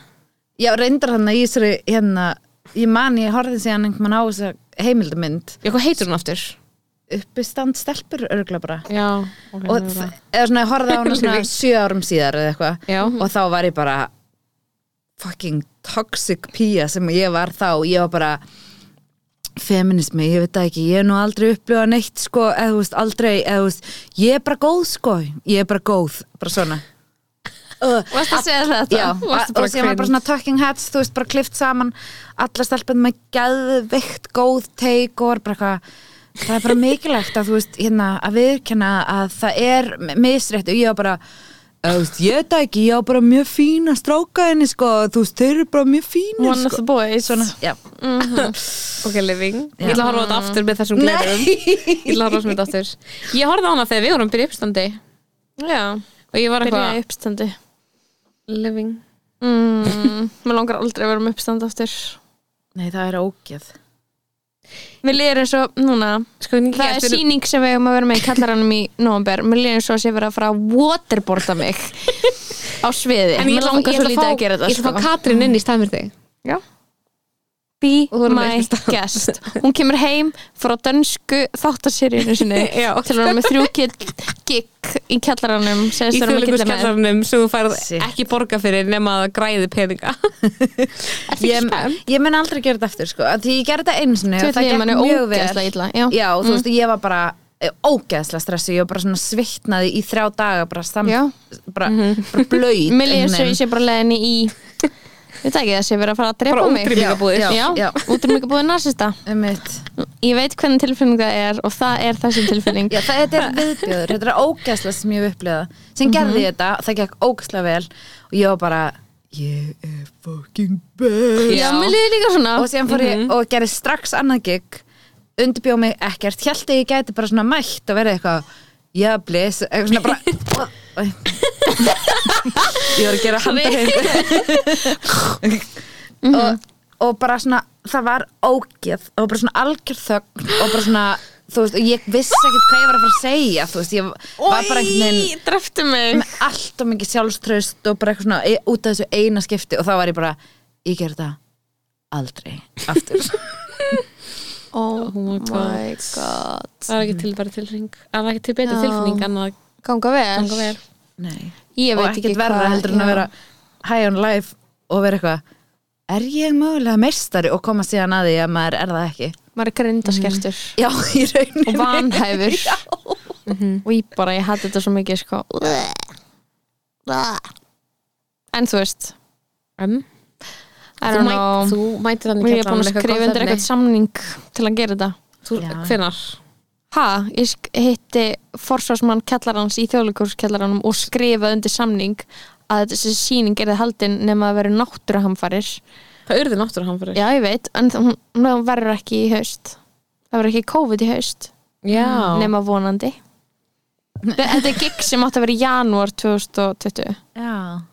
Já, reyndar hann að ég sér hérna ég man ég horfði síðan einhvern veginn á þessa heimildamynd já hvað heitir hún aftur uppistand stelpur örgla bara já ok nú er og þ- það. eða svona ég horfði á hana svona Living. sjö árum síðar eða eitthvað já og þá var ég bara fucking toxic pía sem ég var þá, ég var bara feminismi, ég veit það ekki ég hef nú aldrei upplifað neitt sko eða þú veist, aldrei, eða þú veist, ég er bara góð sko ég er bara góð, bara svona uh, Varst að segja þetta? já, Varstu og bara sem var cringe? bara svona talking heads, þú veist, bara klift saman alla stelpunum með geðveikt góð teik og var bara eitthvað það er bara mikilvægt að þú veist hérna, að viðurkenna að það er misrétt og ég var bara "Eða, þú veist, ég veit það ekki, ég á bara mjög fína strákaðinni sko, þú veist, þeir eru bara mjög fína One of sko. the boys svona, já ok living ég ætla að horfa á þetta aftur með þessum glerum ég ætla að horfa á þetta aftur ég horfði á hana þegar við vorum byrja uppstandi Já, og ég var byrja í eitthvað uppstandi living mm, Mér langar aldrei að vera með uppstand aftur Nei, það er ógeð Mér líður eins og núna sko ég Það er eftir- síning sem við eigum að vera með í kallaranum í november Mér líður eins og að sé verið að fara að waterboarda mig á sviði En ég Mér ætla langar ég svo ætla lítið fá- að gera ég ætla þetta að fá sko. Katrín inn í stæmir þig Já. Be Og þú erum my með uppstand. guest Hún kemur heim frá dönsku þáttaseríunum sinni Já. til að vera með þrjú gig- gig í kjallaranum sem í þess að vera með gilla með þjóðleikuskellarnum sem þú færð Shit. ekki borga fyrir nema að græði peninga Ertu ekki ég, spennt? ég mun aldrei gera þetta aftur sko, af því ég gerði þetta einu sinni og Þú það veit, ég gekk manni mjög ógeðslega vel illa, já. Mm. Já, og þú veist, ég var bara eh, ógeðslega stressu, ég var bara svona svittnaði í þrjá daga, bara samt Já. Mhm. bara, bara blöyt Mér líður svo ég sé bara leðinni í Við það ekki þessi verið að fara að drepa Bara mig útrýmingarbúðir. Já, já, Já. já. útrýmingabúðir nasista Einmitt. Ég veit hvernig tilfinning það er og það er þessi tilfinning Já, það, þetta er viðbjöður, þetta er ógæsla sem ég hef upplegað sem Mhm. gerði ég þetta, það gekk ógæsla vel og ég var bara ég er fucking best Já, mér líður líka svona og síðan fór ég og gerði strax annað gig undirbjóð mig ekkert, held að ég gæti bara svona mætt og verið eitthvað já, bliss, eitthvað svona bara Oj. ég var að gera handarheim og, og bara svona það var ógeð og bara svona algjör þögn og bara svona þú veist, og ég vissi ekkert hvað ég var að fara að segja þú veist, ég var bara einhvern veginn Í, dreftu mig með allt og mikið sjálfströst og bara eitthvað svona e- út af þessu eina skipti og þá var ég bara, ég ger þetta aldrei aftur Oh my my god. god það er ekki til bara tilfinning það er ekki til betri Já. tilfinning en að Ganga vel, ganga vel Nei. Ég og veit ekki ekkert verra hvað- heldur en já. að vera high on life og vera eitthvað er ég mögulega meistari og koma síðan að því að maður er það ekki Maður er grindaskertur já, í rauninni Mm-hmm. og vanhæfur Mm-hmm. og ég bara, ég hætti þetta svo mikið sko. en þú veist en I Þú don't mæt- know Þú mætir hann í Ég er kjallaranum búin að skrifa undir eitthvað samning til að gera þetta Þú, Já. hvenær? Ha, ég sk- hitti forsvarsmann kellarans í þjóðleikurskjallaranum og skrifaði undir samning að þessi síning gerði haldin nema að vera náttúruhamfarir Það urði náttúrulega hann fyrir Já, ég veit, en það- hún, hún verður ekki í haust Það verður ekki COVID í haust Já. nema vonandi Þetta er gig sem átti að vera í janúar 2020 Já.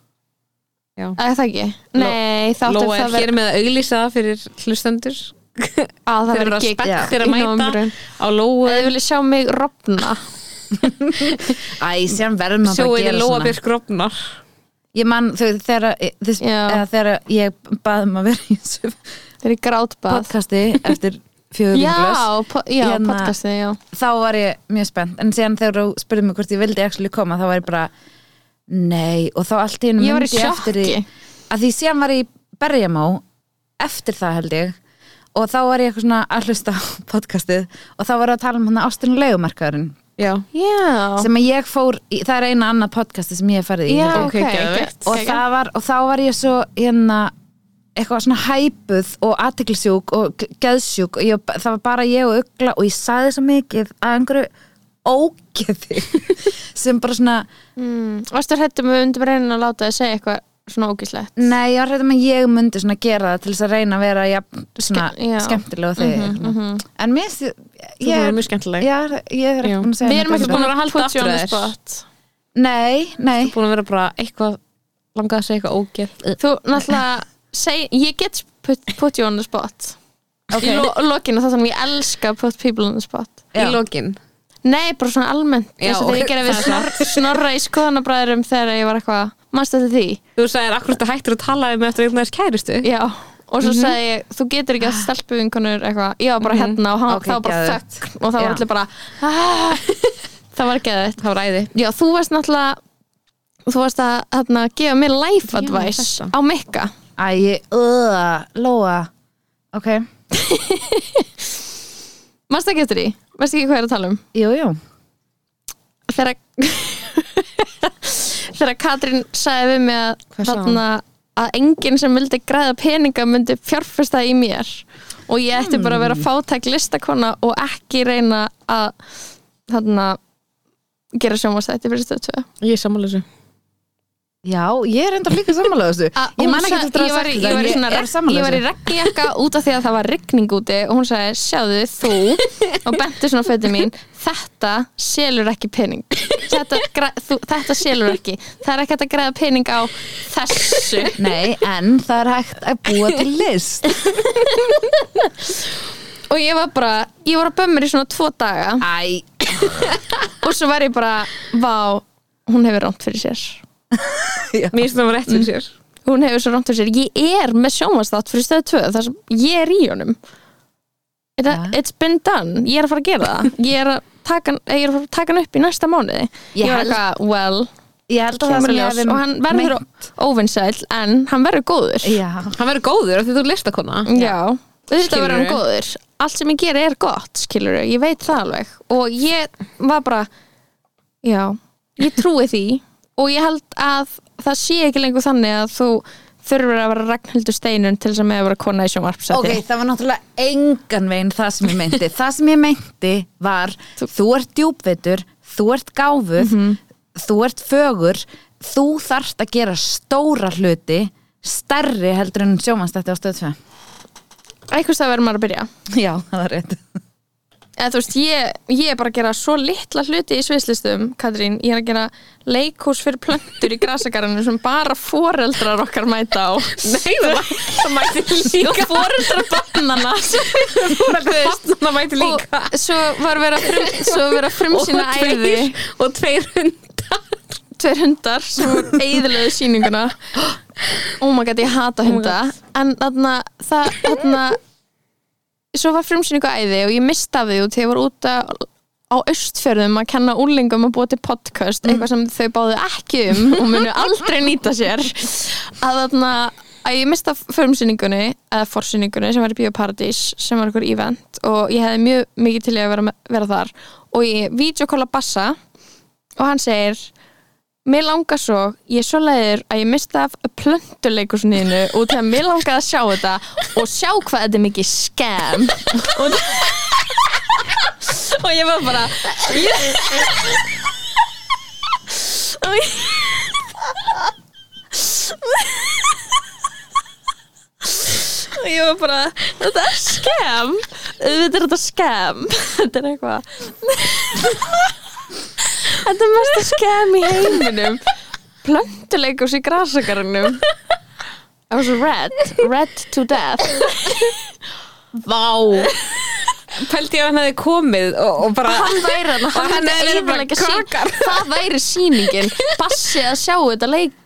Eða er það ekki? Nei, það átti Lóa að er það vera hér með að auglýsa það fyrir hlustendur að það Þeir eru vera að gig spennt fyrir í að mæta nóvemberinn. á Lóu Ef þið viljið sjá mig rofna Æ, síðan verður maður bara að sjóinni gera Lóa svona Björk Rofnar Ég man þau þegar, þess, Já. eða, þegar ég baðum að vera í þessu Þeir eru grátbað podcasti eftir fjögur glöss Já, po já Hérna- podcastið, já þá var ég mjög spennt en síðan þegar þú spurði mig hvort ég vildi actually koma þá var ég bara nei og þá allt í hennu Ég var í sjokki. að því síðan var ég í berjamá eftir það held ég og þá var ég eitthvað svona að hlusta á podcastið og þá var ég að tala um hann ástin og legumarkaðurinn Já, Já, sem að ég fór, í, það er eina annað podcasti sem ég hef farið í já held ég. ok, geðveikt. og, það var, og þá var ég svo hérna eitthvað svona hæpuð og aðtiklisjúk og g- geðsjúk og ég, var ba- það var bara ég og ugla og ég saði svo mikið að einhverju ógeði sem bara svona, mm, Varstu hættum við undir reynin að láta þið segja eitthvað svona ógislegt nei ég var hrædd um að ég myndi svona gera það til þess að reyna að vera jafn, svona, Ske- já. Mhm, skemmtilega og þig en mér finnst- þú ég, er mjög skemmtileg já, ég er Já. ekki búin að segja Við erum neitt ekki búin um búin að að halda halda aftur aftur af þess þér. þetta. nei, nei, Búin að vera bara eitthvað langað að segja eitthvað ógeð Þú náttúrulega seg, Ég get put, put you on the spot ok Í lo, lokinu þáttanum ég elska put people on the spot Já. í lokin Nei, bara svona almennt Já, eins og þegar ég ok. gerði við snor, snorra í skoðanabræðurum þegar ég var eitthvað, manstu þetta því? Þú sagðir akkur þetta hættur að tala um eftir einhvern veginn kæristu Já, og svo sagði ég þú getur ekki að stelpu vinkonur eitthvað ég var bara hérna og hann, Ok, það var bara geðveikt. þögn og það var Já. allir bara "Ah." það var geðið Það var æði Já, þú varst náttúrulega þú varst að hérna, gefa mér life Ég var advice þessa. á mikka æ, ég, öða, lóa ok, Manstu ekki eftir því? Veist ekki hvað ég er að tala um? jú, jú Þegar þegar Katrín sagði við mig að Hvað sagði þarna að enginn sem vildi græða peninga myndi fjárfesta í mér og ég ætti bara að vera Hmm. fátæk listakona og ekki reyna að þarna gera sjónvastætti fyrir stöð 2 Ég er sammála þessu Já, ég er enda líka sammála þessu Að Ég hún man ekki sagði- eftir að ég hafa var í- sagt ég var í svona þetta, ég er regn- ég sammála var í þessu regnjakka út af því að það var rigning úti og hún sagði, sjáðu þú og benti svona fötu mín þetta selur ekki pening þetta, græ- þú, þetta selur ekki það er ekki hægt að græða pening á þessu Nei, en það er hægt að búa til list og ég var bara, ég var að bömmur í svona tvo daga Æ, Ah. og svo var ég bara, vá hún hefur rámt fyrir sér Mér finnst það var rétt fyrir sér hún hefur svo rámt fyrir sér, ég er með sjónvastátt fyrir stöð 2, þar sem ég er í honum It, Ja. it's been done ég er að fara að gera það ég er að taka, hann- ég er að fara að taka hann upp í næsta mánuði Ég ég var held- eitthvað, well ég held að það kemur sem ég ljós. hefði og hann verður óvinnsæl en hann verður góður Já, Hann verður góður af því þú er listakona já, þetta verður hann Skilurðu? góður allt sem ég gera er gott, skilur ég veit það alveg og ég var bara já, ég trúi því og ég held að það sé ekki lengur þannig að þú þurfur að vera Ragnhildur Steinun til þess að með að vera kona í ok, sjónvarpsæti það var náttúrulega engan veginn það sem ég meinti Það sem ég meinti var Þú ert djúpveitur, þú ert gáfuð Mhm. Þú ert fögur Þú þarft að gera stóra hluti Stærri heldur en sjómanstætti á stöð 2 einhvers það verður maður að byrja Já, það er rétt eða þú veist, ég, ég er bara að gera svo litla hluti í svislistum, Katrín ég er að gera leikhús fyrir plöntur í grasakarinu sem bara foreldrar okkar mæta á Nei, það mæ- það mætti og líka foreldrar bannana Það mætti og líka svo var verið að frum, svo var verið að frumsýna æði tveir, og tveir hundar tveir hundar sem eðilegu sýninguna oh my god, ég hata hunda en þarna það, þarna svo var frumsýningu æði og ég misti af því út þegar ég var út að á austfjörðum að kenna úlingum að búa til podcast eitthvað sem þau báðu ekki um og munu aldrei nýta sér að þarna að ég mista förmsýningunni eða forsýningunni sem var í Bíóparadís sem var einhver event og ég hefði mjög mikið til í að vera, vera þar og ég videokolla Bassa og hann segir mér langar svo, ég er svo leiður að ég mista af plöntuleikusniðinu og þegar mér langar að sjá þetta og sjá hvað þetta er mikið skam og, og ég var bara ég, og ég og ég var bara þetta er skam þetta er þetta skam þetta er eitthvað þetta er mesta skam í heiminum plöntuleikus í grasakarinum I was red red to death Vá Pældi ég að hann hefði komið og, og bara hann væri hann, Og hann hann hefði myndi verið bara eyðileggja sýn- kakar. það væri sýningin bassi að sjá þetta leikrit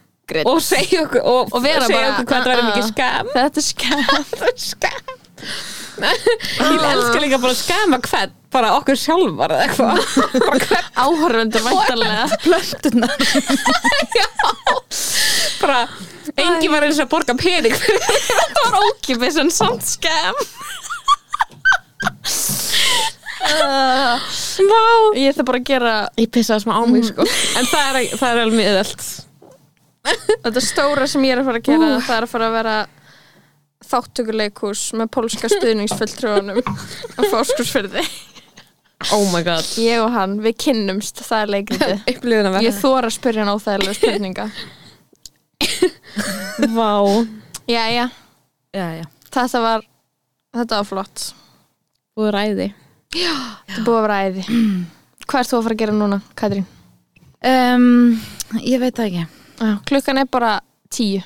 og segja okkur og, Og vera segja bara, okkur hvað það er uh-uh. mikið skam þetta er skam Það er skam Ég elska líka bara að skama hvern bara okkur sjálfar eða eitthvað bara hvern áhörfundur væntalega plönduna bara engin var eins og að borga pening fyrir þetta var ókipis en samt skam Vá ég ætla bara að gera Ég pissaði smá á mig sko En það er, það er alveg miðelt þetta stóra sem ég er að fara að gera það er að fara að vera þáttökuleikús með pólska stuðningsfulltrúanum á fóskursfyrði Oh my god ég og hann, við kynnumst, það er leikriti Upplifin að ég þóra að spyrja hann óþægilega spurninga Vá jæja, já, já. þetta var þetta var flott, Búið ræði þetta er búið að vera æði hvað ert þú að fara að gera núna, Katrín? Um, ég veit það ekki Já, klukkan er bara tíu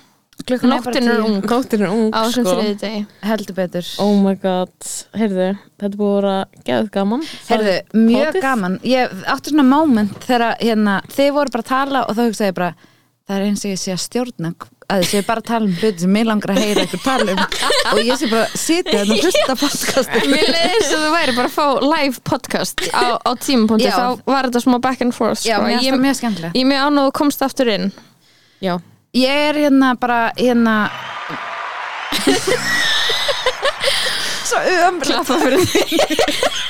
klukkan nóttin er tíu. ung Nóttin er ung á þessum sko þriði degi heldur betur Oh my god, heyrðu, þetta búið að vera geðið gaman Herðu, mjög Hátíð? gaman Ég átti svona moment þegar hérna, þið voru bara að tala og þá hugsaði ég bara það er eins og ég sé að stjórna að þið séu bara að tala um hluti sem mig langar að heyra ykkur tala um og ég sé bara að sitja þetta og hlusta podcastum Mér leiði þess að þú væri bara að fá live podcast á, á tímapunkti Já. þá var þetta smá back and forth Já, sko. mér finnst ég, það mjög skemmtilega ég er mjög ánúð að þú komst aftur inn Já, Ég er hérna bara hérna Svo umrætt Klappa fyrir því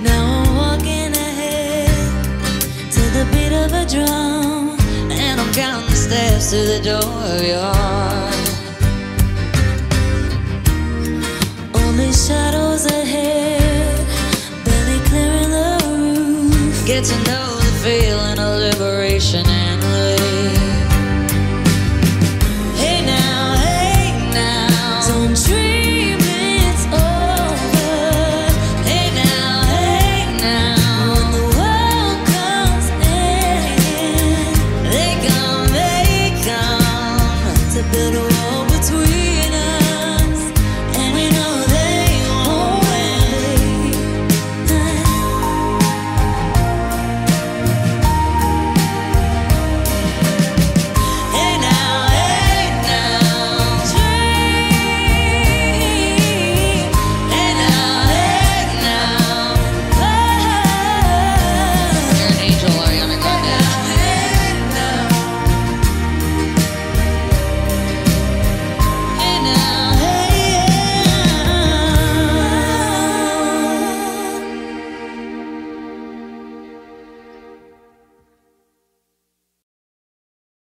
Now I'm walking ahead to the beat of a drum, and I'm counting the steps to the door of your heart. Only shadows ahead, barely clearing the roof. Get to know the feeling of liberation and